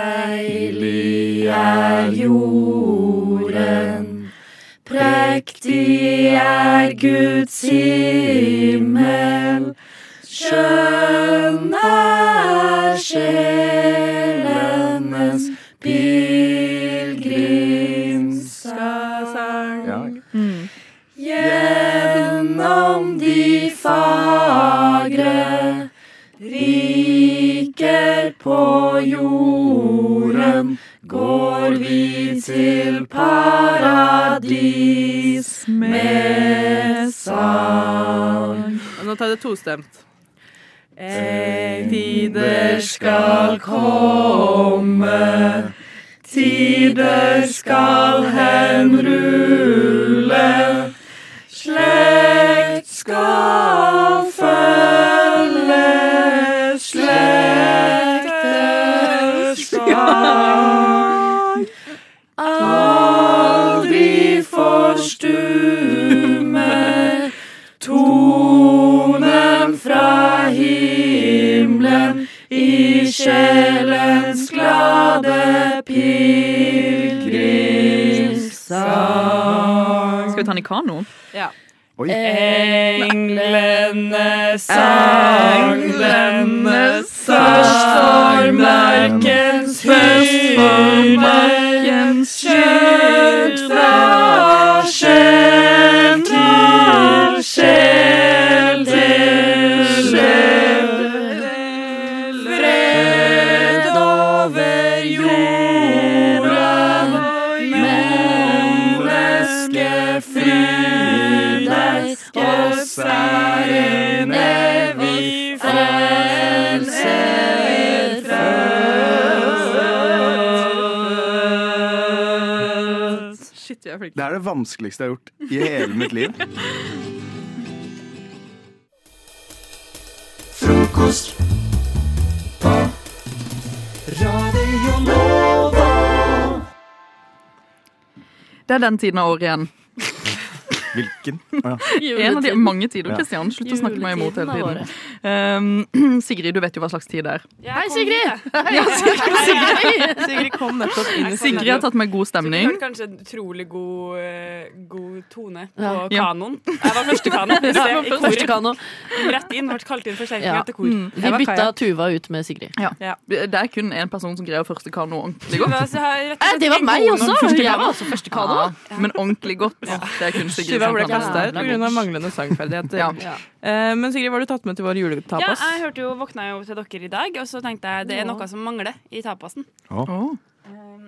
S1: Deilig
S11: er jorden. Prektig er Guds himmel. Skjønn er sjelenes pilegrimssang. Gjennom de fagre riker på jorden går vi til paradis med sang.
S1: Og Nå tar jeg det tostemt.
S11: En tider skal komme, tider skal henrulle, slekt skal følge, slekter skal aldri forstumme tonen fra himmelen i sjelens glade pilegrimssang.
S5: Skal vi ta den i kano?
S1: Ja.
S11: Englene sang, englene sang. Først for markens hyrder, kjent fra sjel til sjel til sjel. Fred over jorden, menneske fri deg, oss er en evig frelser født.
S1: Shit, vi er flinke.
S2: Det er det vanskeligste jeg har gjort i hele mitt liv.
S7: Frokost på Radio Nova.
S5: Det er den tiden av året igjen.
S2: Hvilken?
S5: En av de mange tider,
S2: Ja.
S5: Kristian. Slutt å snakke meg imot hele
S2: Juletiden
S5: tiden. Um, Sigrid, du vet jo hva slags tid det er.
S1: Hei, Sigrid!
S5: Ja, Sigrid, Sigrid.
S1: Sigrid kom nettopp inn. i
S5: Sigrid har tatt med god stemning.
S17: Klart kanskje en utrolig god, eh, god tone på
S5: Ja. Ja.
S17: kanoen. Jeg var første kano.
S3: Ja,
S17: Så jeg- i
S3: første
S17: kor.
S3: kano.
S17: Rett inn, ble kalt inn forsterkning
S3: Ja.
S17: etter kor.
S3: Mm. Vi bytta Tuva ut med Sigrid.
S17: Ja.
S5: Det er kun én person som greier første kano ordentlig
S17: Tuva,
S5: godt.
S17: så har jeg rett og
S3: Eh,
S17: slett
S3: det var
S17: en
S3: meg
S17: god
S3: også.
S17: nok første
S3: Jeg
S17: kano.
S3: var også første kano.
S5: Ja, Men ordentlig godt. Det er kun Sigrid
S1: Tuva
S5: som
S1: ble
S5: kan
S1: kasta
S5: det.
S1: ut pga. manglende sangferdigheter.
S5: Ja.
S1: Eh, Men Sigrid, var du tatt med til vår
S17: Ja,
S1: juletapas?
S17: jeg hørte jo, våkna jo til dere i dag, og så tenkte jeg det er noe som mangler i tapasen. Um,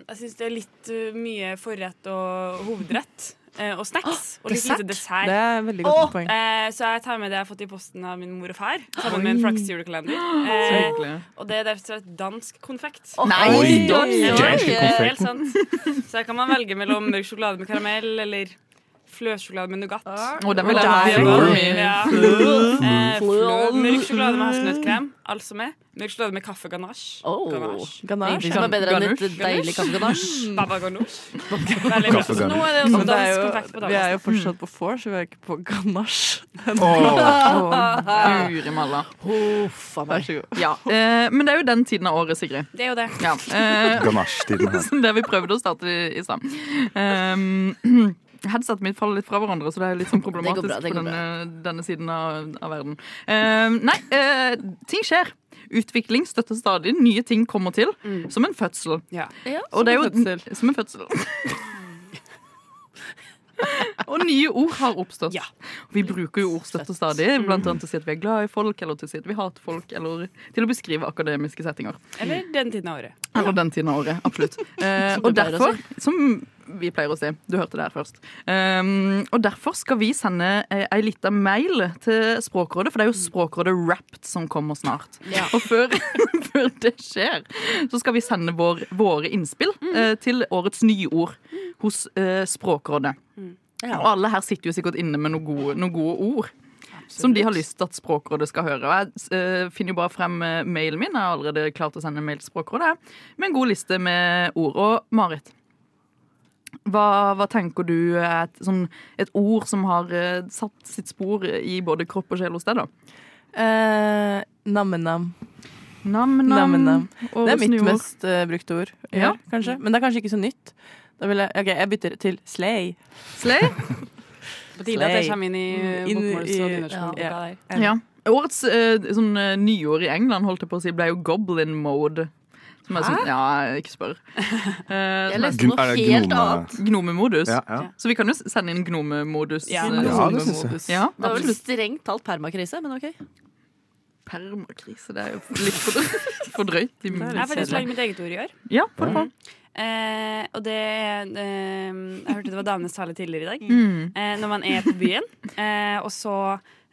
S17: Jeg syns det er litt uh, mye forrett og hovedrett. eh, Og snacks. Og litt lite dessert.
S1: Det er veldig godt
S17: Åh!
S1: poeng.
S17: Eh, Så jeg tar med det jeg har fått i posten av min mor og far. Sammen
S1: Oi.
S17: med en flaksjulekalender.
S1: Så hyggelig.
S17: og det er rett og slett dansk konfekt.
S1: Nei, Oi,
S17: Ja,
S1: dansk
S17: ja,
S1: konfekt.
S17: det er Helt sant. Så her kan man velge mellom mørk sjokolade med karamell eller fløsjokolade med nougat.
S5: Å, den var
S17: Og
S5: deilig.
S17: vi- Ja.
S5: Flø.
S17: Eh, flø.
S5: Flø.
S17: Mørk sjokolade med hasselnøttkrem, altså med. Mørk sjokolade med kaffeganasje. Ganache.
S3: Ganache. Ingenting som er bedre enn litt deilig
S1: Mm.
S3: kaffeganasje.
S17: sånn Baba ganoush. Veldig bra. Så nå er det også
S1: Men det er
S17: dansk
S1: jo-
S17: konfekt på
S1: Vi er jo
S17: talerstolen.
S1: fortsatt på vors, så vi er ikke på ganasj.
S5: Åh. Guri malla.
S1: Vær så god.
S5: Ja, eh, men det er jo den tiden av året, Sigrid.
S17: Det er jo det.
S5: Ja. eh,
S2: Ganasjetiden her.
S5: som det vi prøvde å starte i- i stad. Um, Headsetet mitt faller litt fra hverandre, så det er litt sånn problematisk
S3: Det går bra, det
S5: på
S3: går
S5: denne, denne siden av, av verden. Um, nei, eh, ting skjer. Utvikling støtter stadig. Nye ting kommer til.
S3: Mm.
S5: Som en fødsel. Og det er jo som en fødsel. Og nye ord har oppstått. Vi bruker jo ordstøtte stadig, blant annet til å si at vi er glad i folk, eller til å si at vi hater folk, eller til å beskrive akademiske settinger.
S17: Eller den tiden av året.
S5: Eller den tiden av året. Absolutt. Eh,
S17: Som
S5: og
S17: du pleier å
S5: derfor, som vi pleier å si, du hørte det her først. Um, og derfor skal vi sende eh, ei lita mail til Språkrådet, for det er jo
S17: Mm.
S5: Språkrådet Wrapped som kommer snart. Og før, før det skjer, så skal vi sende vår, våre innspill
S17: Mm.
S5: eh, til årets nye ord hos eh, Språkrådet. Og alle her sitter jo sikkert inne med noen gode, noen gode ord. Som de har lyst til at Språkrådet skal høre. Og jeg eh, finner jo bare frem eh, mailen min. Jeg har allerede klart å sende en mail til Språkrådet her, med en god liste med ord. Og Marit, hva, hva tenker du er et, sånn, et ord som har eh, satt sitt spor i både kropp og sjel hos deg, da?
S1: Eh, Nam-nam.
S5: Nam-nam.
S1: Nam-nam. Det er
S5: Årets nye
S1: mitt
S5: ord.
S1: mest eh, brukte ord, i
S5: Ja.
S1: år, kanskje. Men det er kanskje ikke så nytt. Da vil jeg, ok, jeg bytter til slay.
S5: Slay?
S3: Eh,
S1: Mm,
S17: På tide at det kommer inn i bokmåls- og nynorskboka der.
S1: Ja.
S5: Årets eh, sånn, eh, nyord i England holdt jeg på å si, ble jo goblin mode. Som er sånn,
S3: Hæ?
S5: ja, ikke spør. Eh,
S3: Jeg leste
S5: som er-
S3: noe Er det helt gnome- annet.
S5: Gnomemodus.
S3: Ja, ja.
S5: Så vi kan jo s- sende inn gnomemodus.
S3: Ja.
S5: eh,
S3: Ja, det synes
S5: gnomemodus.
S3: jeg.
S5: Ja,
S3: Det var vel
S5: absolutt.
S3: strengt talt permakrise, men OK.
S5: Permakrise, det er jo litt for drøyt. For drøyt. i min-
S17: Jeg har faktisk lagd mitt eget ord i år.
S5: Mm. Ja, for
S17: Mm.
S5: faen.
S17: Eh, og det er, eh, Jeg hørte det var damenes tale tidligere i dag.
S5: Mm.
S17: Eh, når man er på byen, eh, og så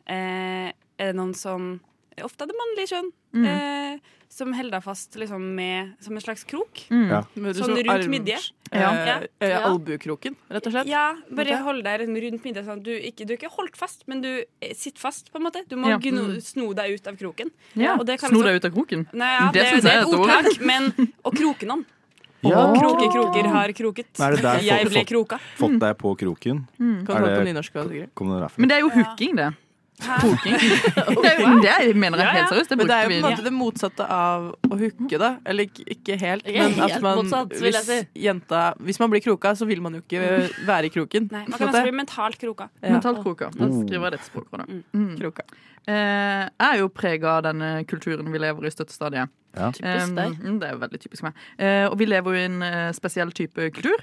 S17: eh, er det noen som Ofte er det mannlig kjønn.
S5: Mm.
S17: Eh, som holder deg fast liksom, med, som en slags krok.
S5: Mm. Ja.
S17: Sånn
S1: Som
S17: rundt
S1: arm-
S17: midje.
S1: Ja.
S17: Ja.
S1: Eh,
S17: Ja.
S1: Albuekroken, rett og slett.
S17: Ja, bare
S1: Ok.
S17: hold deg liksom rundt middag sånn. at du, ikke, du er ikke holdt fast, men du eh, sitter fast, på en måte. Du må
S5: Ja.
S17: gno,
S5: Mm.
S17: sno deg ut av kroken.
S5: Ja.
S17: Og det kan
S5: Sno
S17: liksom-
S5: deg ut av kroken.
S17: Nei, ja,
S5: Det
S17: det,
S5: synes
S17: det
S5: jeg
S17: er
S5: er
S17: et
S5: et ord.
S17: ordtak, men Og kroken om.
S2: Ja.
S17: Kroke kroker har kroket.
S2: Er det der
S17: Jeg
S2: fått-
S17: ble
S2: fått-
S17: kroka.
S2: Fått deg på kroken?
S17: Mm. Kan
S2: Er
S17: du høre på
S2: det-
S17: nynorsk også, sikkert?
S2: Kom det derfra?
S5: Men det er jo hooking, det. Hooking. det, er jo- det mener jeg helt seriøst. Det
S1: men det er jo
S5: brukte
S1: på
S5: vi.
S1: en måte det motsatte av å hooke, da. Eller ikke- ikke helt,
S5: Ikke
S1: men at
S5: helt
S1: man
S5: motsatt, vil jeg
S1: hvis,
S5: si.
S1: jenta, hvis man blir kroka, så vil man jo ikke være i kroken.
S17: Nei, man
S1: på en
S17: kan
S1: måte.
S17: også bli mentalt kroka.
S1: Ja.
S5: Mentalt kroka. Da skriver jeg det til språkrådet. Mm. Eh, jeg er jo prega av denne kulturen vi lever i støttestadiet.
S2: Ja.
S5: Eh,
S17: Typisk deg.
S5: mm, det er jo veldig typisk meg. Eh, og vi lever jo i en eh, spesiell type kultur.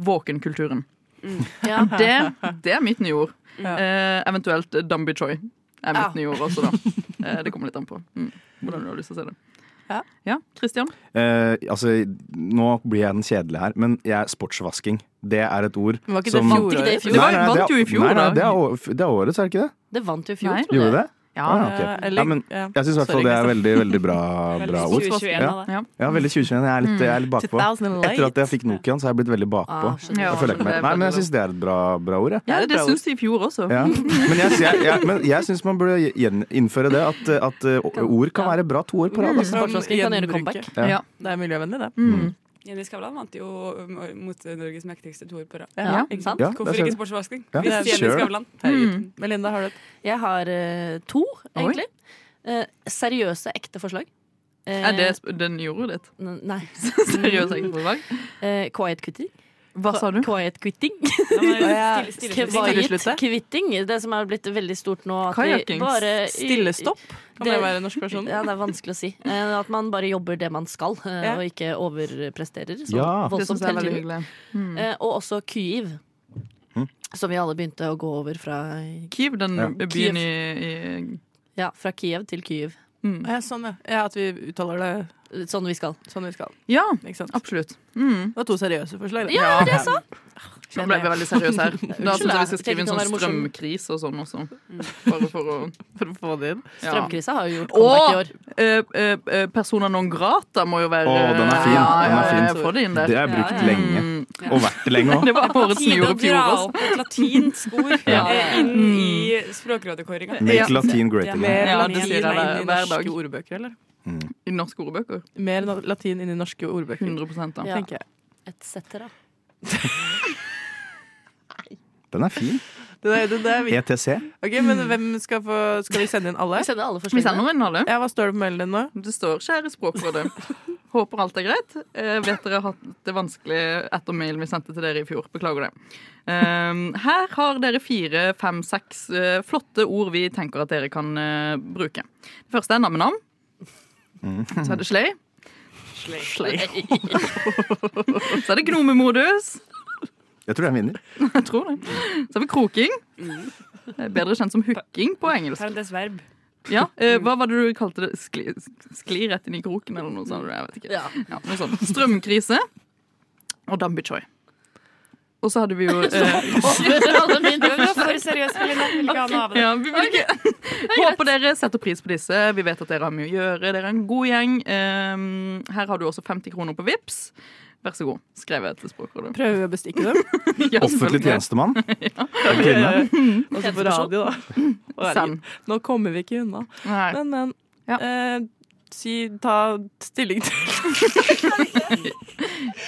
S5: Våkenkulturen. Mm.
S17: Ja.
S5: Men Det, det er mitt nye ord.
S17: Ja.
S5: Eh, eventuelt eh, Dumby Choi er mitt
S17: Ja.
S5: nye ord også, da. Eh, det kommer litt an på mm. hvordan du har lyst til å se det. Ja, Christian?
S2: Eh, altså, nå blir jeg den kjedelige her, men jeg sportsvasking. Det er et ord
S3: Men var ikke det
S2: som
S3: fjoråret? Var ikke
S2: Nei, nei, er-
S3: det i fjor? Det var- vant jo i fjor,
S2: nei, nei,
S3: da.
S2: det, er, å- det er årets, er det ikke det?
S3: Det vant jo i fjor,
S2: Nei.
S3: tror jeg.
S2: Gjorde det?
S3: Ja.
S2: Ah, ok.
S3: Eh, eller-
S2: ja, men,
S3: ja.
S2: jeg syns i hvert fall
S3: Sorry,
S2: det er
S3: Christian.
S2: veldig veldig bra, bra
S3: Veldig
S2: ord.
S3: 2021
S2: Ja.
S3: av det. Ja.
S2: ja, veldig 2021. Jeg er litt, jeg er litt
S3: Mm.
S2: bakpå.
S3: 2008.
S2: Etter at jeg fikk Nokian, så har jeg blitt veldig bakpå.
S5: Ah, skjønner.
S2: jeg føler jeg ikke
S5: Ja,
S2: meg. Nei, men jeg
S5: skjønner.
S2: syns det er et bra, bra ord. jeg.
S5: Ja, det syns de i fjor også.
S2: Ja. Men jeg, jeg, jeg, men jeg syns man burde gjen- innføre det, at, at eh, ord kan være bra to år på rad.
S5: Mm.
S2: altså.
S17: Sportsvasking kan gjøre comeback.
S2: Ja.
S17: Ja.
S1: Det er miljøvennlig, det.
S17: Jenny Skavlan vant jo um, mot Norges mektigste toer på rad.
S1: Ja,
S17: Ikke
S1: sant?
S2: Ja,
S17: Hvorfor
S2: det skjer.
S17: ikke sportsvasking?
S2: Ja,
S17: Hvis
S2: det
S17: Jenny
S2: skjer.
S17: Skavlan
S1: Herregud.
S3: Mm.
S1: Melinda, har du et?
S3: Jeg har eh, to,
S5: Oi.
S3: egentlig. Eh, seriøse, ekte forslag. Eh,
S5: Er det sp- det nye ordet ditt?
S3: n- Nei.
S5: Seriøse ekte forslag?
S3: Eh, quiet quitting.
S5: Hva sa du?
S3: Quiet quitting.
S1: men stille- stille- stille- stille-
S3: Quiet
S1: slutt.
S3: quitting. Det som har blitt veldig stort nå. at vi
S1: Kajakking.
S3: bare-
S1: Stillestopp? Kan det være norsk versjon?
S3: Ja, det er vanskelig å si. Eh, at man bare jobber det man skal, eh,
S1: Ja.
S3: og ikke overpresterer. Så
S5: Ja. Det
S3: voldsomt
S5: synes jeg er
S3: hele
S5: veldig
S3: tiden.
S5: hyggelig. Mm.
S3: Eh, og også kyiv. Som vi alle begynte å gå over fra
S5: Kyiv, den
S3: Ja.
S5: byen i, i
S3: Ja, fra Kiev til Kyiv.
S5: Mm.
S1: Ja, sånn, ja. ja. At vi uttaler det
S3: Sånn vi skal.
S1: Sånn vi skal.
S5: Ja,
S1: Ikke sant?
S5: absolutt. Mm.
S1: Det var to seriøse forslag. da.
S5: Ja, det var det jeg sa. Nå ble vi
S1: Kjenner
S5: veldig
S1: jeg.
S5: seriøse her. Da
S1: Unnskyld,
S5: syns jeg vi
S1: jeg
S5: skal skrive inn sånn
S1: tenkte det var morsomt.
S5: strømkrise og sånn også. Bare for å, for å få det inn.
S3: Strømkrisa har jo gjort
S5: Og eh, eh, eh, persona non grata må jo være
S2: Å, den er fin.
S5: Ja,
S2: Den er
S5: ja, ja,
S2: fin.
S5: få det inn der. Mm,
S2: Det er brukt lenge. Og vært det lenge òg.
S5: Det var på årets
S17: Tide å
S5: nyord i fjor
S17: dra
S5: også.
S17: opp et latinsk ord
S5: Ja.
S17: eh, inn i språkrådekåringa.
S2: Make latin great again. Mm.
S1: Mer
S5: Ja, det
S1: latin
S5: sier jeg
S1: inn
S5: hver-
S1: i
S5: hver
S1: norske
S5: dag.
S1: ordbøker, eller?
S5: I norske ordbøker.
S1: Mer na- latin inn i norske ordbøker.
S5: 100 da. Ja.
S1: Tenker jeg.
S3: Et cetera.
S2: Den er fin.
S1: Det der, det der, vi-
S2: ETC.
S1: Ok, men hvem skal få Skal vi sende inn alle?
S3: Vi sender alle
S5: Vi sender inn alle.
S1: Ja, hva står det på mailen din nå?
S5: Det står 'Kjære Språkrådet'. Håper alt er greit. Eh, vet dere har hatt det vanskelig etter mailen vi sendte til dere i fjor. Beklager det. Ehm, her har dere fire, fem, seks eh, flotte ord vi tenker at dere kan eh, bruke. Det første er nam-nam.
S2: Mm.
S5: Så er det slay. Slay. Så er det gnomemodus.
S2: Jeg tror jeg vinner.
S5: Jeg tror det. Så har vi kroking.
S1: Mm.
S5: Eh, Bedre kjent som hooking på engelsk.
S17: Parentes verb.
S5: Ja, eh, Hva var det du kalte det? Skli, skli rett inn i kroken, eller noe sånt? Jeg vet ikke.
S17: Ja.
S5: Ja, noe sånt. Strømkrise og Dambi Choi. Og så hadde vi jo eh,
S17: Alle mine forslag. For seriøst, Melina. Vil ikke ha noe av det.
S5: ja, vi vil ikke. Håper dere setter pris på disse. Vi vet at dere har mye å gjøre. Dere er en god gjeng. Ehm, her har du også 50 kroner på Vips. Vær så god. Skrevet til Språkrådet.
S1: Prøve å bestikke dem.
S5: Ja,
S2: Offentlig
S5: selvfølgelig.
S2: tjenestemann. En
S1: Ja, ja,
S2: kvinne.
S1: ja. Og så på Altså, radio, da. Å, herregud.
S5: Send.
S1: Nå kommer vi ikke unna.
S5: Nei.
S1: Men, men. Eh, si Ta stilling til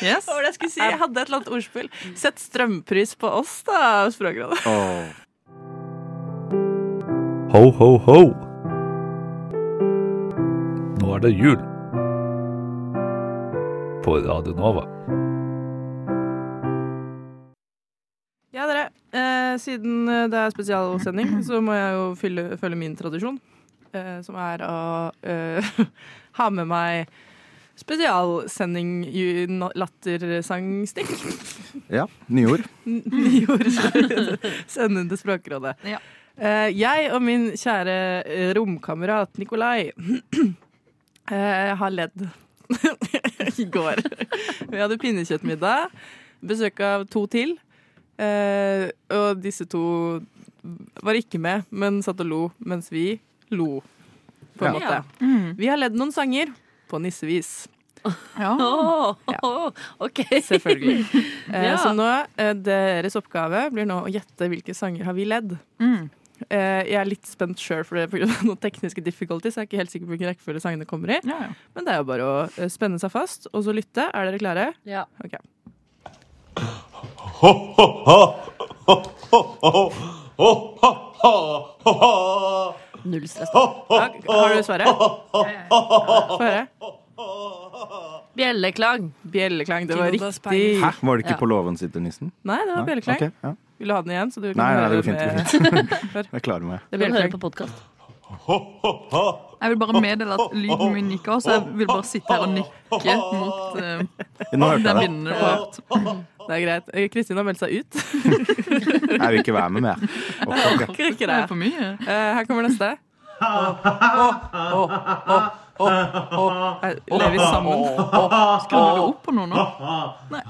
S5: Yes.
S1: Hva var det jeg skulle si? Jeg hadde et eller annet ordspill. Sett strømpris på oss, da, Språkrådet.
S10: Ho, ho, ho. Nå er det jul. På Radio Nova.
S1: Ja, dere. Eh, siden eh, det er spesialsending, så må jeg jo fylle, følge min tradisjon. eh, som er å eh, ha med meg spesialsending ju- no- lattersangstikk.
S2: Ja, nye ord.
S1: N-
S3: Mm.
S1: Nye ord. Send inn til Språkrådet. Eh, jeg og min kjære eh, romkamerat Nikolai eh, har ledd i går. Vi hadde pinnekjøttmiddag. Besøk av to til. Eh, og disse to var ikke med, men satt og lo mens vi lo, på en
S3: Ja.
S1: måte.
S3: Ja. Mm.
S1: Vi har ledd noen sanger på nissevis.
S3: Ja. OK.
S1: Selvfølgelig. Eh,
S3: Ja.
S1: Så nå, eh, deres oppgave blir nå å gjette hvilke sanger har vi ledd.
S5: Mm.
S1: Eh, jeg er litt spent sjøl for det pga. noen tekniske difficulties. Jeg er ikke helt sikker på hvilken rekkefølge sangene kommer i. Men det er jo bare å eh, spenne seg fast og så lytte. Er dere klare?
S3: Ja.
S1: Ok.
S3: Null stress.
S1: Har du svaret? Få høre.
S3: Bjelleklang.
S1: Bjelleklang, det var riktig.
S2: Hæ, var det ikke på låven sitter nissen?
S1: Nei, det var bjelleklang.
S2: ok, ja.
S1: Vil du ha den igjen? Så du kan
S2: Nei, nei, det
S1: høre
S2: går fint. Det
S1: med-
S2: går fint. Jeg klarer meg.
S1: Det er bjelleklang.
S3: på podkast.
S5: Jeg vil bare meddele at lyden min nikker, så jeg vil bare sitte her og nikke mot eh,
S2: Nå hørte jeg
S5: den
S2: det.
S5: vinden du har hørt.
S1: Det er greit. Eh, Kristin har meldt seg ut.
S2: Jeg vil ikke være med mer. Ok, ok.
S1: Orker ikke
S5: Det er for mye.
S1: Eh, Her kommer neste. Her Lever vi sammen?
S5: Skrudde du opp på noe nå? Nei.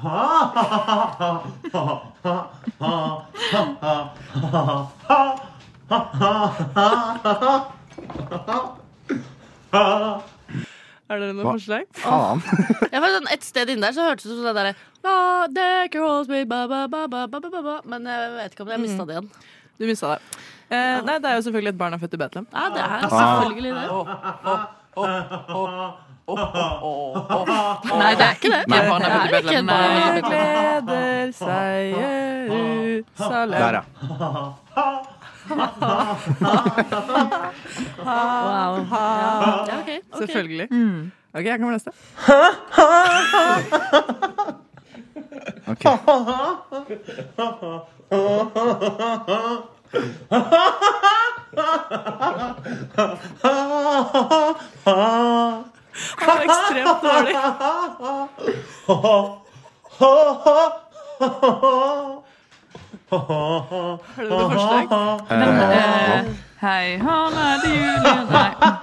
S1: Er det noe
S2: Hva
S1: forslag?
S2: faen?
S3: Jeg var sånn, et sted inni der så hørtes det ut som det derre «Ah, there goes me, ba, ba, ba, ba, ba, ba, ba, ba». Men jeg vet ikke om jeg mista det igjen.
S1: Du mista det. Eh, nei, det er jo selvfølgelig et barn er født i Betlehem.
S3: Ja, det er
S1: Ah.
S3: selvfølgelig det.
S5: Nei, det er ikke det.
S1: Nei.
S5: Barna er
S1: Det er
S5: veldig
S1: ikke
S5: bedre,
S1: et
S5: men-
S1: barn. gleder seg Jerusalem.
S2: Der, ja.
S1: Wow.
S11: Ja, ok, ok.
S1: Selvfølgelig.
S11: Mm.
S1: OK, her kommer neste.
S11: Han var ekstremt dårlig.
S5: Har du noe forslag? Men,
S11: Eh,
S5: eh, hei, han er det Julie Nei.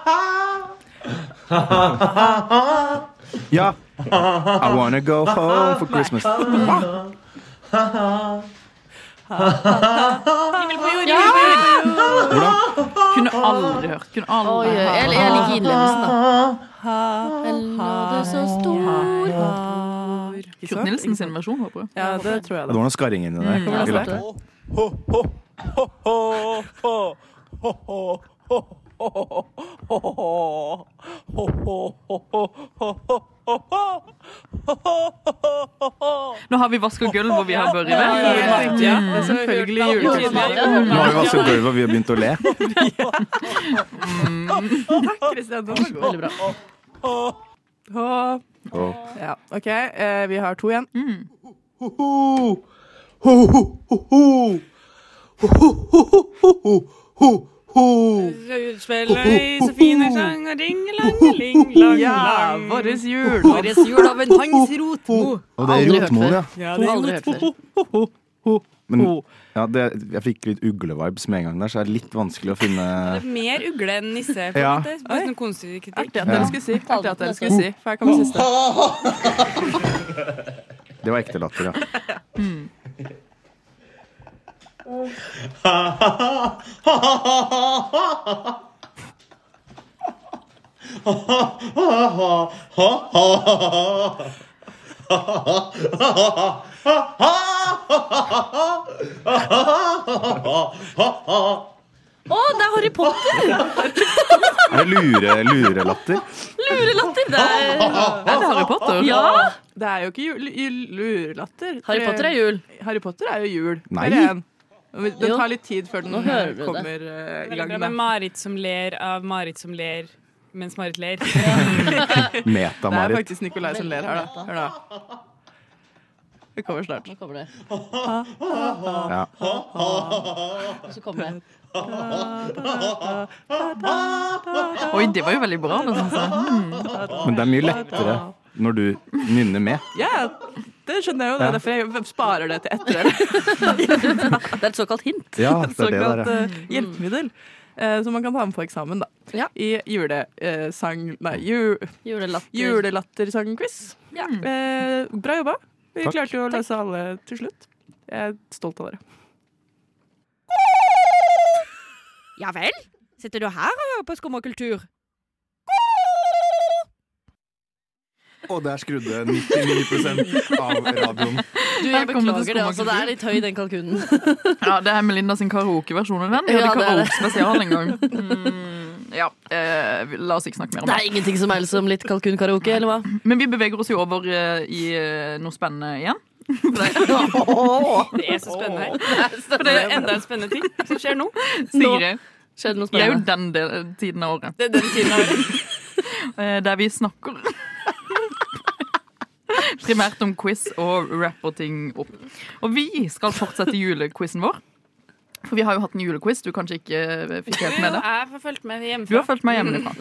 S2: Ja. I wanna go home for Christmas.
S5: Kunne aldri hørt. Kunne aldri
S3: Oi, jeg- jeg liker innlevelsen,
S5: Kurt Nilsen sin versjon, håper jeg.
S1: Ja, det tror jeg
S2: Det var noe skarring inni der.
S5: Mm.
S2: Vi lærte det.
S5: Nå har vi vaska gulv, og vi har børre
S1: Ja, ja, ja, ja. Ja,
S5: Mm,
S1: det er selvfølgelig juletrinn.
S2: Nå har vi vasket gulvet, og vi har begynt å le.
S1: Takk, Kristian. Det var god. Veldig bra. Hå. Ja, OK, eh, vi har to igjen.
S3: Mm.
S17: Spiller i Sofine sang og ringelangeling-lang-lang.
S1: Ja, vår jul.
S17: Vår jul av en hans rotmo.
S2: Og det er
S17: Aldri hørt
S2: rotmoen,
S17: før.
S2: ja.
S17: Ja, det er
S1: Aldri hørt
S17: rotmo.
S2: Men
S1: Oh.
S2: ja, det, jeg fikk litt uglevibes med en gang der, så det er litt vanskelig å finne
S17: Det er Mer ugle enn nisse. på en
S2: Ja.
S17: måte. Bare sånn konstruktiv kritikk.
S1: Artig at
S2: Ja.
S1: dere skulle si. Artig at dere skulle si. For her kommer siste.
S2: Det var ekte latter, ja.
S3: Å, det er Harry Potter!
S2: Er det lure, lurelatter?
S3: Lurelatter! Det er,
S1: Er det Harry Potter?
S3: Ja!
S1: Det er jo ikke jul, jul, lurelatter. Eh,
S3: Harry Potter er jul.
S1: Harry Potter er jo jul.
S2: Nei.
S1: Eller en. Det
S3: Jo.
S1: tar litt tid før den
S3: Nå hører du det.
S1: kommer eh, i
S17: Veldig
S1: gang.
S17: bra
S1: da.
S17: med Marit som ler av Marit som ler mens Marit ler.
S2: Meta-Marit.
S1: Det er faktisk Nikolai som ler her, da. Hør da. Det kommer snart.
S3: Nå kommer det.
S1: Ja.
S3: Og så kommer det.
S5: Oi, det var jo veldig bra. Det, synes jeg.
S2: Men det er mye lettere når du nynner med.
S1: Ja, det skjønner jeg jo. Det
S2: Ja.
S1: er derfor jeg sparer det til etter. det er et såkalt hint.
S2: Ja, det er det der, ja.
S1: såkalt eh, hjelpemiddel. eh, som man kan ta med på eksamen, da. I julesang... Nei, ju,
S3: Julelatter.
S1: julelattersangquiz.
S3: Ja.
S1: Eh, bra jobba. Vi
S3: Takk.
S1: klarte jo å løse alle til slutt. Jeg er stolt av dere.
S18: Ja vel? Sitter du her og hører på skummakultur?
S2: Og der skrudde 99 av radioen.
S3: Du, jeg beklager det. altså, Det er litt høy, den kalkunen.
S5: Ja, det er Melinda sin karaokeversjon av den. Vi
S3: Ja,
S5: hadde
S3: det er det.
S5: karaokespesial en gang. Mm, ja, eh, vi- la oss ikke snakke mer om
S3: Det er ingenting som helst som litt kalkunkaraoke, eller hva?
S5: Men vi beveger oss jo over eh, i eh, noe spennende igjen.
S17: Det er så spennende her.
S5: spennende.
S17: For det er enda en spennende ting som skjer nå.
S5: Sigrid,
S3: skjedde noe
S5: det er jo
S3: spennende.
S5: den del, tiden av året.
S17: Det er den tiden av året.
S5: Eh, Der vi snakker primært om quiz og rapper ting opp. Og vi skal fortsette julequizen vår. For vi har jo hatt en julequiz du kanskje ikke eh, fikk helt med
S17: Jo,
S5: deg.
S17: jeg har fulgt med Mm. hjemmefra.
S5: Du har fulgt meg hjemmefra.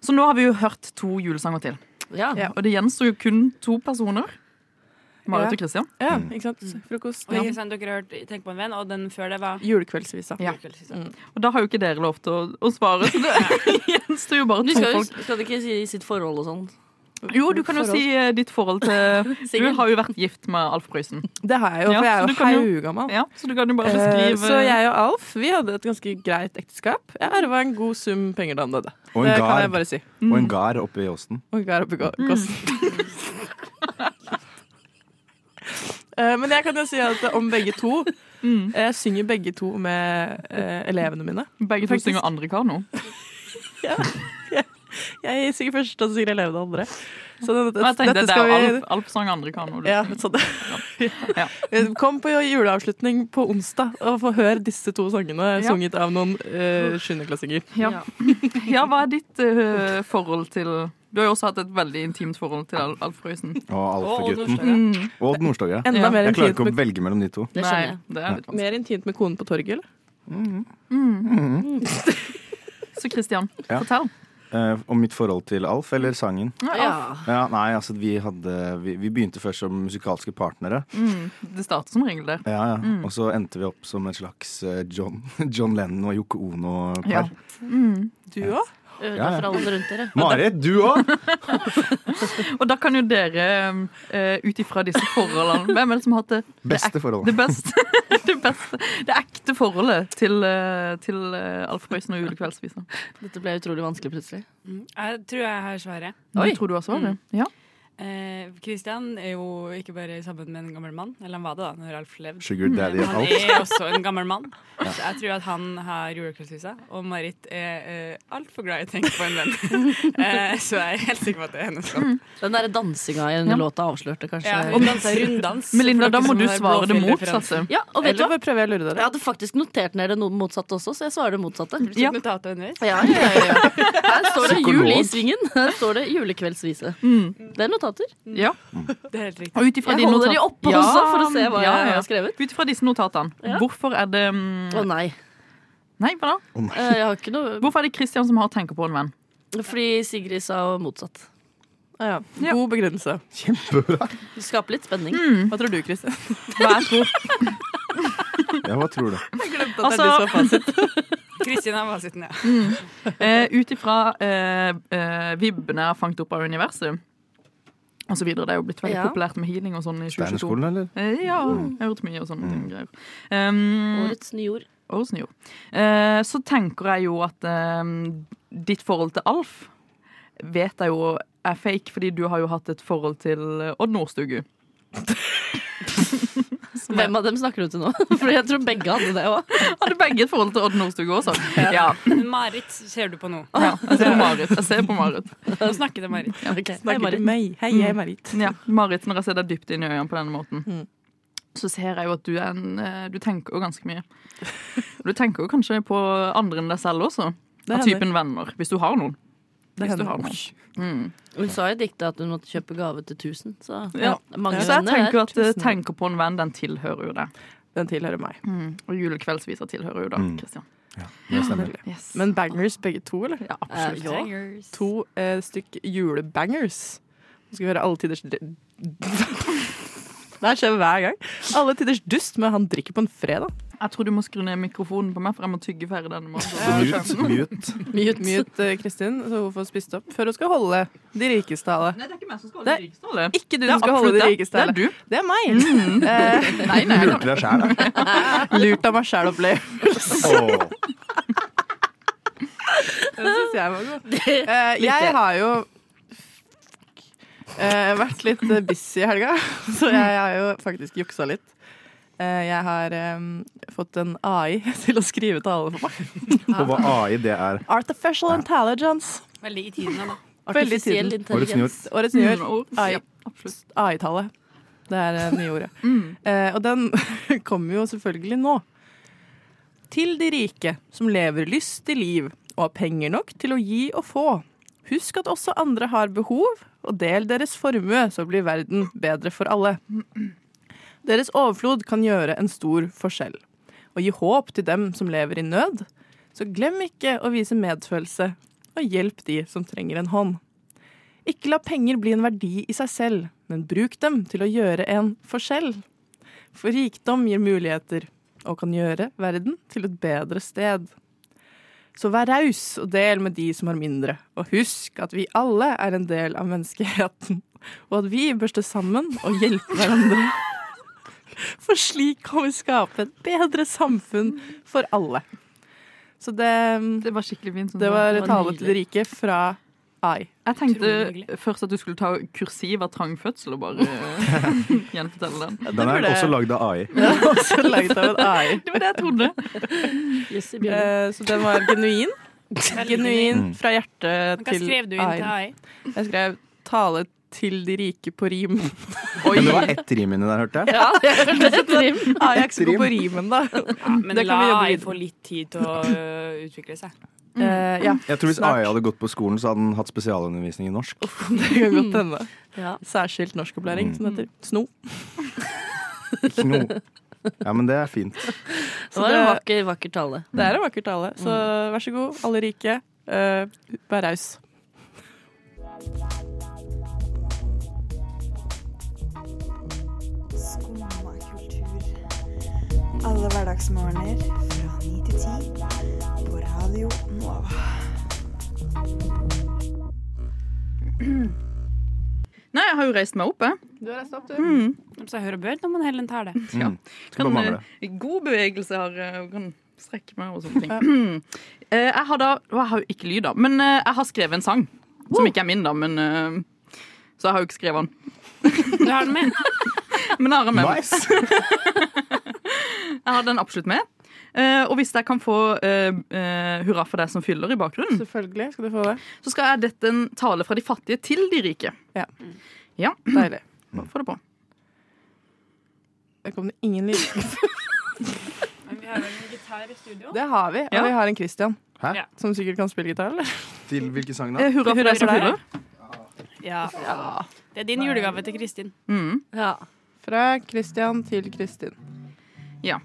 S5: Så nå har vi jo hørt to julesanger til. Ja, Og det gjenstår jo kun to personer. Marit og Christian. Mm.
S1: Ja, ikke sant. Frokost.
S17: Ja. Ikke sant, dere har hørt 'Tenk på en venn', og den før det var
S1: Julekveldsvisa.
S5: Ja.
S1: Mm.
S5: Og da har jo ikke dere lov til å, å svare, så det gjenstår jo bare
S3: Du
S5: to
S3: skal, jo-
S5: folk.
S3: skal du ikke si sitt forhold og sånn?
S5: Jo, du kan jo
S3: Forhold.
S5: si eh, ditt forhold til Du
S3: Singel.
S5: har jo vært gift med Alf Prøysen.
S1: Det har jeg jo,
S5: Ja,
S1: for jeg
S5: så
S1: er
S5: du
S1: jo
S5: kan jo-
S1: haugammel.
S5: Ja, så du kan jo bare
S1: Eh,
S5: beskrive
S1: Så jeg og Alf vi hadde et ganske greit ekteskap. Jeg arva en god sum penger da han døde.
S2: Og en
S1: det kan
S2: gard.
S1: jeg bare si. Mm.
S2: Og en gard oppe i åsen.
S1: Og en gard oppi gå-
S5: Mm.
S1: kosten. Eh, Men jeg kan jo si at om begge to
S5: Mm.
S1: eh, Jeg synger begge to med eh, elevene mine.
S5: Begge to
S1: Faktisk.
S5: synger andre kar nå.
S1: Jeg synger først, og så synger elevene andre. Så det,
S5: Og jeg tenkte,
S1: dette
S5: det
S1: skal
S5: er
S1: vi
S5: jo Alf, Alf sang andre kar nå.
S1: ja, så det. eh, Kom på juleavslutning på onsdag og få høre disse to sangene
S5: Ja.
S1: sunget av noen uh, sjuendeklassinger.
S5: Ja. ja, hva er ditt eh, forhold til Du har jo også hatt et veldig intimt forhold til Al- Alf Prøysen.
S2: Og Alfegutten.
S5: Mm.
S2: Og Odd Nordstoga.
S1: Enda mer
S2: Jeg klarer
S1: intimt
S2: ikke å velge mellom de to.
S5: Nei, det er litt vanskelig.
S1: Mer intimt med konen på torget, eller?
S5: Mm. Så Christian,
S2: Ja.
S5: fortell.
S2: Eh, om mitt forhold til Alf eller sangen?
S5: Ja.
S2: Ja, nei, altså vi hadde Vi, vi begynte først som musikalske partnere.
S5: Mm. Det starter som regel der.
S2: Ja, ja.
S5: Mm.
S2: Og så endte vi opp som et slags eh, John, John Lennon og Yoko Ono-par.
S5: Ja. Mm.
S1: Du òg?
S2: Ja, ja. for alle
S3: rundt dere.
S2: Marit, du òg!
S5: Og da kan jo dere, eh, ut ifra disse forholdene Hvem er det som har hatt det,
S2: Beste
S5: det
S2: forholdet.
S5: beste? Det beste Det ekte forholdet til, eh, til eh, Alf Prøysen og julekveldsvisa.
S3: Dette ble utrolig vanskelig plutselig.
S17: Jeg tror jeg har svaret.
S5: Oi. tror du har svaret. Ja.
S17: Eh, Christian er jo ikke bare sammen med en gammel mann, eller han var det da når Alf levde.
S2: Sugar daddy
S17: Men han
S2: Alf.
S17: er også en gammel mann.
S2: Ja.
S17: Så jeg tror at han har julekveldsvisa, og Marit er eh, altfor glad i å tenke på en venn. eh, så jeg er helt sikker på at det er hennes låt.
S3: Den derre dansinga i den
S17: Ja.
S3: låta avslørte kanskje
S17: Ja, hun danser runddans,
S5: Melinda,
S17: for
S5: da
S17: dere
S5: må
S17: som
S5: du
S17: har
S5: svare det
S17: blåfjellreferanse.
S5: motsatte.
S3: Ja, og vet du
S1: Eller
S3: hva?
S1: bare prøver jeg å lure dere?
S3: Jeg hadde faktisk notert ned noe motsatt også, så jeg svarer det motsatte.
S17: Ja. Notatet underveis.
S3: Ja, ja, ja, ja. Her står det
S5: Psykolog.
S3: jul i svingen. Her står det julekveldsvise. Det er notater.
S5: Ja.
S18: Mm.
S17: Det er helt riktig.
S5: Og ut ifra
S3: Jeg
S5: de
S3: holder de
S5: notat-
S3: oppe også for å se hva jeg har Eh, skrevet.
S5: Ut ifra disse notatene,
S3: Ja.
S5: hvorfor er det mm,
S3: Å nei.
S5: Nei, hva da?
S3: Eh, Jeg har ikke noe
S5: Hvorfor er det Christian som har tenker på en venn?
S3: Fordi Sigrid sa motsatt.
S1: Ja, ja. God begrunnelse.
S2: Kjempebra.
S3: Det skaper litt spenning.
S1: Hva tror du, Kristin?
S5: Hva jeg tror
S2: Ja, hva tror du?
S5: Altså-
S17: Kristin har fasiten, ja.
S5: Mm. Eh, Ut ifra eh, eh, vibbene jeg har fanget opp av universet, og så videre. Det er jo blitt veldig
S3: Ja.
S5: populært med healing og sånn i 2022.
S2: Steinerskolen, eller?
S5: Eh, ja. Jeg har gjort mye og sånne greier. Um,
S3: Årets nye ord.
S5: Årets nyord. Eh, så tenker jeg jo at eh, ditt forhold til Alf vet jeg jo er fake, fordi du har jo hatt et forhold til Odd Nordstugu.
S3: Hvem av dem snakker du til nå? For jeg tror begge hadde det òg.
S5: Hadde begge et forhold til Odd Nordstugu også. Ja.
S17: Men Marit ser du på nå.
S5: ja. Jeg ser på Marit. Jeg ser på Marit.
S17: Nå snakker det Marit.
S1: Snakker
S5: Marit. Mm.
S1: til meg. Hei, jeg er Marit.
S5: Ja, Marit, når jeg ser deg dypt inn i øynene på denne måten, så ser jeg jo at du, er en, eh, du tenker jo ganske mye. Du tenker jo kanskje på andre enn deg selv også,
S1: Det
S5: av
S1: hender.
S5: typen venner, hvis du har noen.
S1: Det
S5: Hvis du
S1: hender.
S5: har noe. Mm.
S3: Hun sa i diktet at hun måtte kjøpe gave til 1000. Så
S5: Ja.
S3: mange
S5: så jeg
S3: venner
S5: tenker
S3: her.
S5: at eh, tenker på en venn, den tilhører jo det.
S1: Den tilhører meg.
S5: Mm. Og julekveldsviser tilhører jo da, Kristian.
S1: Ja,
S5: stemmer.
S1: veldig. Men bangers begge to, eller? Ja,
S5: absolutt. Eh, ja.
S1: To eh, stykk julebangers. Nå skal vi høre Alle tiders dr- Det her skjer hver gang. Alle tiders dust, men han drikker på en fredag.
S5: Jeg tror du må skru ned mikrofonen på meg, for jeg må tygge ferdig denne
S1: Mute, Mute, mute eh, Kristin, så hun får spist opp før hun skal holde de rikes tale.
S5: Nei, det er ikke meg som skal
S1: Det
S5: holde
S1: er
S5: rikeste alle.
S1: ikke du
S5: Det er
S1: som skal holde
S5: absolutt
S1: de
S5: det.
S1: rikeste alle.
S5: Det er du.
S1: Det er meg.
S5: Mm.
S1: Eh,
S5: Nei, nei, jeg kan-
S2: deg sjæl, da.
S1: Lurt av meg sjæl-opplevelse.
S2: Åh.
S1: Det syns jeg var god.
S3: Det
S1: Eh,
S3: likte jeg.
S1: jeg har jo eh, vært litt eh, busy i helga, så jeg har jo faktisk juksa litt. Eh, jeg har em, fått en AI til å skrive tale for meg.
S2: Og hva AI det er.
S1: Artificial intelligence.
S17: Veldig i tiden ennå.
S1: Veldig i tiden.
S2: Årets nyord.
S1: Årets nyord.
S17: Mm,
S1: AI. AI-tallet. Det er det nye ordet. Eh, og den kommer jo selvfølgelig nå. Til de rike som lever lystig liv og har penger nok til å gi og få. Husk at også andre har behov, og del deres formue, så blir verden bedre for alle. Deres overflod kan gjøre en stor forskjell. Og gi håp til dem som lever i nød. Så glem ikke å vise medfølelse, og hjelp de som trenger en hånd. Ikke la penger bli en verdi i seg selv, men bruk dem til å gjøre en forskjell. For rikdom gir muligheter, og kan gjøre verden til et bedre sted. Så vær raus og del med de som har mindre, og husk at vi alle er en del av menneskeheten, og at vi bør stå sammen og hjelpe hverandre. For slik kan vi skape et bedre samfunn for alle. Så det
S5: Det var skikkelig fint. sånn
S1: Det
S5: som-
S1: var
S5: var
S1: tale til de
S5: nydelig.
S1: rike fra AI.
S5: Jeg tenkte først at du skulle ta kursiv av trang fødsel og bare eh, gjenfortelle den.
S2: Den er også lagd av AI.
S1: Den er også laget av en AI.
S5: Det var det jeg trodde.
S1: Eh, Så den var genuin. Genuin
S5: genuin.
S1: fra hjertet
S17: Men hva
S1: til
S17: skrev du inn til AI?
S1: Jeg skrev 'tale til de rike på rim'.
S2: Men det var ett rim inni der, hørte jeg.
S1: Ja, det er et rim. AI er ikke så
S2: Ett
S1: god på
S2: rim.
S1: rimen, da.
S17: Men
S1: Det kan
S17: la
S1: vi jobbe
S17: AI
S1: videre
S17: få litt tid til å ø, utvikle seg.
S5: Mm.
S1: Eh, ja.
S2: Jeg tror Hvis AI hadde gått på skolen, så hadde den hatt spesialundervisning i norsk.
S1: Det kan godt hende.
S3: Mm. Ja. Mm.
S1: Særskilt norskopplæring, som det heter. Sno.
S2: Kno. Ja, men det er fint.
S3: Det
S1: Så
S3: var en
S1: det-
S3: vakker, vakker tale. Mm.
S1: Det er en vakker tale, så vær så god, alle rike. eh, Vær raus.
S19: Skumma kultur. Alle hverdagsmorgener fra 9 til 10 på Radio Nova.
S5: Nei, jeg har jo reist meg opp, jeg. Mm.
S1: Du har reist opp, du.
S17: Så jeg hører bød når man heller enn tar det.
S5: Ja.
S17: Mm. bare
S5: Kan,
S17: mangle.
S5: eh, god bevegelse har eh, og Kan strekke meg og sånne ting. Eh, jeg har da og Jeg har jo ikke lyd, da, men eh, jeg har skrevet en sang. Som ikke er min, da, men eh, Så jeg har jo ikke skrevet den.
S17: Du har den med?
S5: Men jeg har den med. meg.
S17: Nice.
S5: jeg har den absolutt med. Eh, og hvis jeg kan få eh, eh, hurra for deg som fyller i bakgrunnen,
S1: Selvfølgelig skal du få det.
S5: så skal jeg dette en tale fra de fattige til de rike.
S1: Ja.
S5: ja.
S1: Deilig.
S5: Få det på.
S1: Der kom det ingen lyd.
S17: Men vi har vel en gitar i studio?
S1: Det har vi, og
S17: Ja.
S1: vi har en Christian.
S2: Hæ?
S1: Som sikkert kan spille gitar, eller?
S2: Til hvilken sang da?
S1: Eh, hurra for deg som fyller.
S17: Ja. Det er din julegave til Kristin.
S5: Mm.
S1: Mm. Fra Christian til Kristin.
S5: Ja.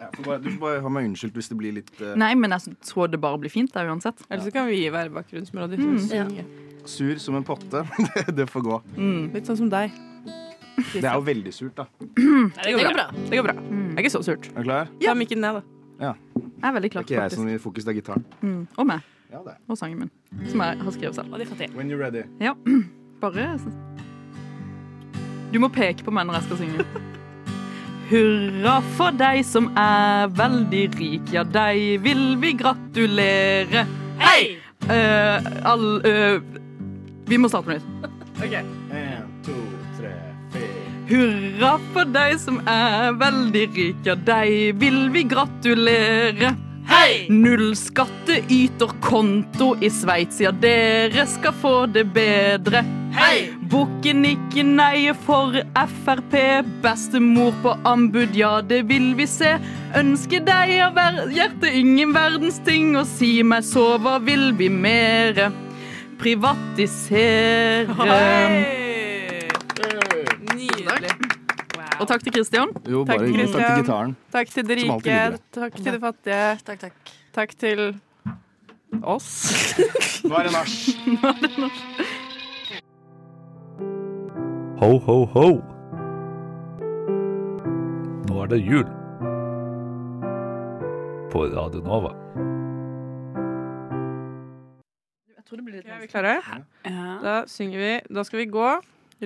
S2: Ja, får bare- Du får bare ha meg unnskyldt hvis det blir litt eh,
S5: Nei, men jeg tror det bare blir fint der uansett.
S1: Ellers så kan vi være bakgrunnsmelodi.
S5: Mm.
S1: synge.
S2: sur som en potte. Det- det får gå.
S1: Litt sånn som deg.
S2: Det er jo veldig surt, da.
S1: Det går bra. Mm. Det går bra. Det er ikke så surt.
S2: Er du klar?
S1: Ta mikken ned, da.
S2: Ja.
S5: Jeg er veldig
S2: Det er
S5: klar,
S2: ikke jeg
S5: faktisk.
S2: som gir fokus, det er gitaren.
S5: Mm. Og meg.
S2: Ja, det.
S5: Og sangen min, som jeg har skrevet selv.
S2: When you're ready.
S5: Ja. Bare Du må peke på meg når jeg skal synge. Hurra for deg som er veldig rik, ja, deg vil vi gratulere. Hei! all eh, Vi må starte på nytt.
S1: Ok.
S2: En, to, tre, fire.
S5: Hurra for deg som er veldig rik, ja, deg vil vi gratulere. Hei! Nullskatteyterkonto i Sveits, ja, dere skal få det bedre. Hei! Bukken ikke nei for Frp. Bestemor på anbud, ja, det vil vi se. Ønsker deg av ver hjerte ingen verdens ting, og si meg så, hva vil vi mere? Privatisere.
S17: Nydelig.
S5: Og takk til Christian.
S2: Jo,
S3: Takk,
S2: bare takk til
S3: Christian.
S2: gitaren.
S3: Takk til de
S2: Som alltid
S3: rike.
S2: videre.
S3: Takk til de fattige.
S17: Takk, takk.
S3: til oss.
S2: Nå er det nach.
S12: Ho, ho, ho. Nå er det jul. På Radio Nova.
S3: Er vi klare? Da synger vi. Da skal vi gå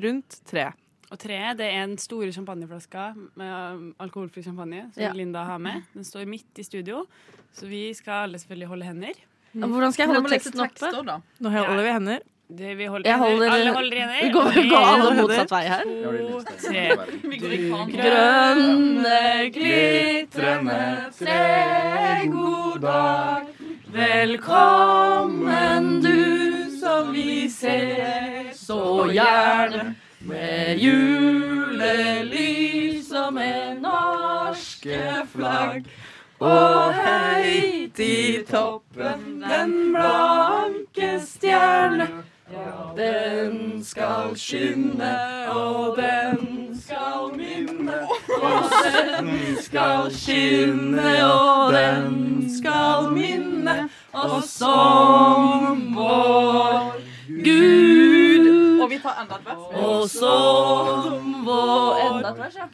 S3: rundt tre.
S17: Og treet det er den store champagneflaska med um, alkoholfri champagne som
S3: Ja.
S17: Linda har med. Den står midt i studio, så vi skal alle selvfølgelig holde hender.
S11: Ja, hvordan skal jeg holde teksten oppe?
S3: Nå holder vi hender.
S17: Det, vi holder
S11: Jeg
S17: hender.
S11: holder-
S17: alle holder hender.
S11: Vi går- går alle
S17: En,
S11: motsatt vei her.
S17: To, tre. Vi går i kamp.
S11: Grønne,
S17: glitrende
S11: tre, god dag. Velkommen du som vi ser så gjerne. Med julelys og med norske flagg. Og høyt i toppen den blanke stjerne. Ja, den skal skinne, og den skal minne. Og den skal skinne, og den skal minne oss om vår Gud.
S5: Og vi tar enda et vers.
S11: Og som vår Enda et vers, ja.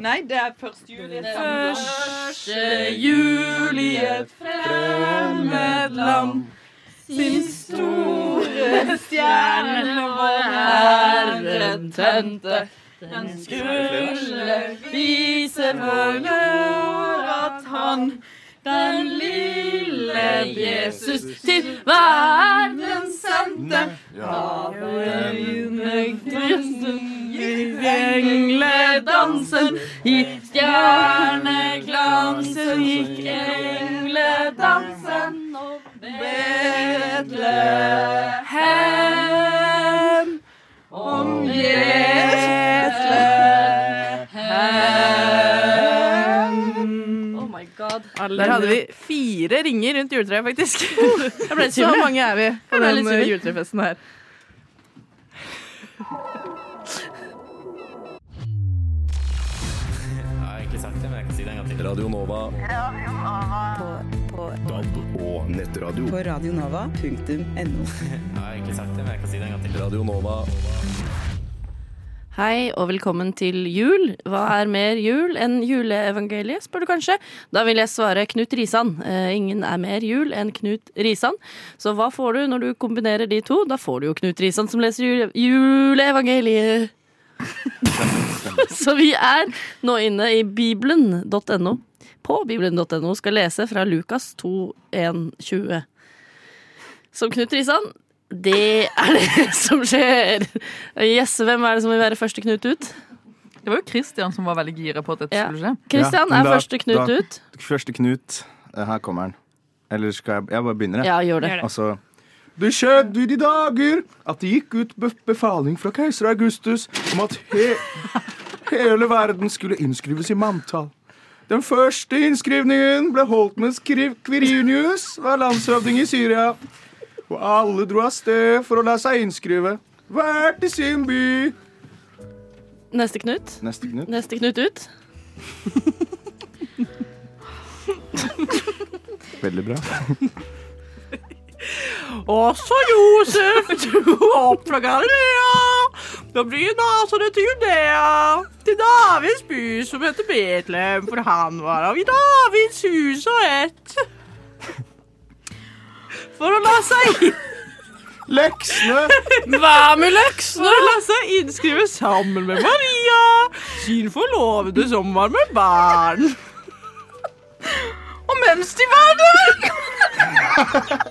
S5: Nei, det er først juli.
S11: Første juli i et fremmed land. Sin store stjerne vår Herre tente. Den skulle vise for jord at han den lille Jesus til verden sendte. Ja, denne gnisten gikk engledansen. I stjerneglansen gikk engledansen. Og Betlehem om Betlehem. Oh my god.
S3: Der hadde vi fire ringer rundt juletreet, faktisk.
S1: Oh,
S11: ble litt
S3: Så
S11: svimmel.
S3: mange er vi på
S11: Jeg
S1: eh,
S11: ble
S3: den
S11: litt svimmel.
S3: juletrefesten her.
S13: Jeg har egentlig sagt det, men jeg kan si det en gang til. Radio Nova.
S7: DAB og nettradio.
S13: På radionova.no. Jeg har egentlig sagt det, men jeg kan si det en gang til. Radio Nova.
S11: Hei og velkommen til jul. Hva er mer jul enn juleevangeliet, spør du kanskje? Da vil jeg svare Knut Risan. Eh, ingen er mer jul enn Knut Risan. Så hva får du når du kombinerer de to? Da får du jo Knut Risan som leser jule juleevangeliet. Så vi er nå inne i bibelen.no. På bibelen.no skal lese fra Lukas 2.1.20. Som Knut Risan, det er det som skjer. Yes, hvem er det som vil være første Knut ut?
S5: Det var jo Christian som var veldig gira på at dette skulle skje.
S2: Ja,
S11: Christian
S2: men
S11: er
S2: da-
S11: første Knut
S2: da-
S11: ut.
S2: Første Knut. Eh, Her kommer han. Eller skal jeg Jeg bare begynner, jeg.
S11: Ja, gjør det. Gjør det.
S2: Altså det skjedde i de dager at det gikk ut be- befaling fra keiser Augustus om at he hele verden skulle innskrives i manntall. Den første innskrivningen ble holdt mens Kri- Quirinius var landshøvding i Syria. Og alle dro av sted for å la seg innskrive, hver til sin by.
S11: Neste Knut.
S2: Neste Knut.
S11: Neste Knut ut.
S2: Veldig bra.
S1: Også Josef dro opp fra Galilea. Da blir Nasaret til Judea, til Davids by som heter Betlehem, for han var av i Davids hus og ett. For å la seg Leksene! Hva med leksene? For å la seg innskrive sammen med Maria, sin forlovede som var med barn. Og mens de var der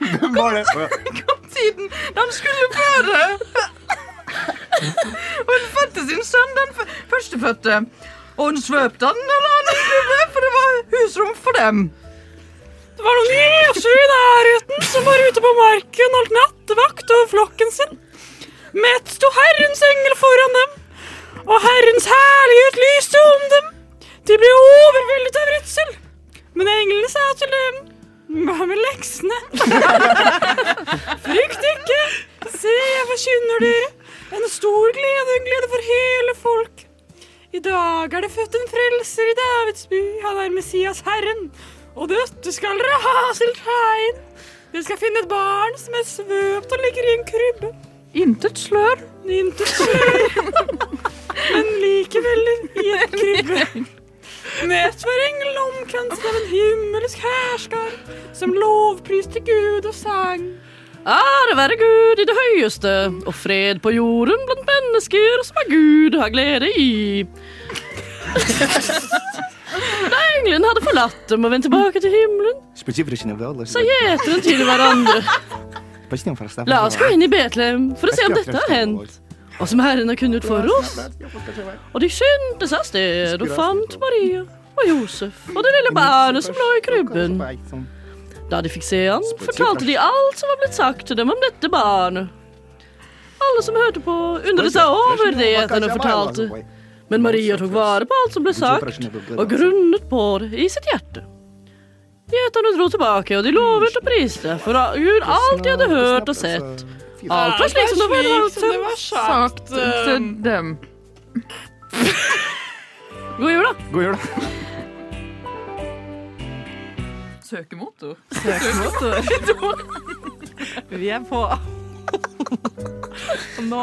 S2: Hvem var det? Å, ja.
S5: Kom tiden da han skulle føde. Og hun fødte sin sønn, den f- førstefødte. Og hun svøpte han, eller han skulle, for det var husrom for dem.
S11: Det var noen gjøser i nærheten som var ute på marken og holdt nattevakt over flokken sin. Mett sto Herrens engel foran dem, og Herrens herlighet lyste om dem. De ble overveldet av redsel, men englene sa til dem hva med leksene? Frykt ikke! Se, jeg forkynner dere en stor glede, en glede for hele folk. I dag er det født en frelser i Davids by. Han er Messias Herren. Og dette skal dere ha til tegn. Dere skal finne et barn som er svøpt og ligger i en krybbe. Intet slør. Intet slør. Men likevel i en krybbe. Møt hver engel omkranset av en himmelsk hærskar som lovpriste Gud og sang.
S3: Ære være Gud i det høyeste, og fred på jorden blant mennesker som er Gud har glede i. Da englene hadde forlatt dem og vendt tilbake til himmelen, så gjeteren til hverandre. La oss gå inn i Betlehem for å se om dette har hendt, og som Herren har kunngjort for oss. Og de skyndte seg av sted og fant Maria og Josef og det lille barnet som lå i krybben. Da de fikk se han, fortalte de alt som var blitt sagt til dem om dette barnet. Alle som hørte på, undret seg over det gjeterne fortalte. Men Maria tok vare på alt som ble sagt, og grunnet på det i sitt hjerte. Gjeterne dro tilbake, og de lovet og priste for Gud alt de hadde hørt og sett. Alt var slik som det var, eh,
S17: som det var sagt til
S5: dem.
S3: God jul, da.
S2: God jul, da.
S5: Søkemotor.
S1: Vi er på. Og nå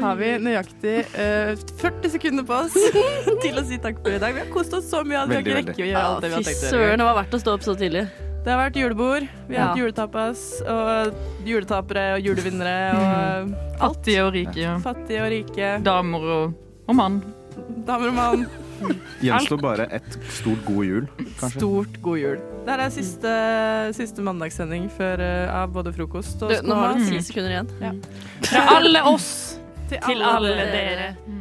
S1: har vi nøyaktig eh, 40 sekunder på oss til å si takk for i dag. Vi har kost oss så mye at vi har
S3: Veldig,
S1: ikke rekke å gjøre alt det vi har
S3: Fy
S1: tenkt å
S3: søren,
S1: gjøre.
S3: det var verdt å stå opp så tidlig.
S1: Det har vært julebord, vi har
S3: Ja.
S1: hatt juletapas, og juletapere og julevinnere
S3: Mm.
S1: og
S5: Fattige og rike. Ja.
S1: fattige og rike.
S5: Damer og, og mann.
S1: Damer og mann,
S2: Gjenstår bare et stort god jul, kanskje.
S1: stort god jul. Det her er siste, siste mandagssending før, eh, av både frokost og
S3: Du, nå har du
S1: skolemat.
S3: ti sekunder igjen.
S1: Ja.
S17: Fra alle oss til alle
S1: alle
S17: dere.
S1: dere.
S11: Mm.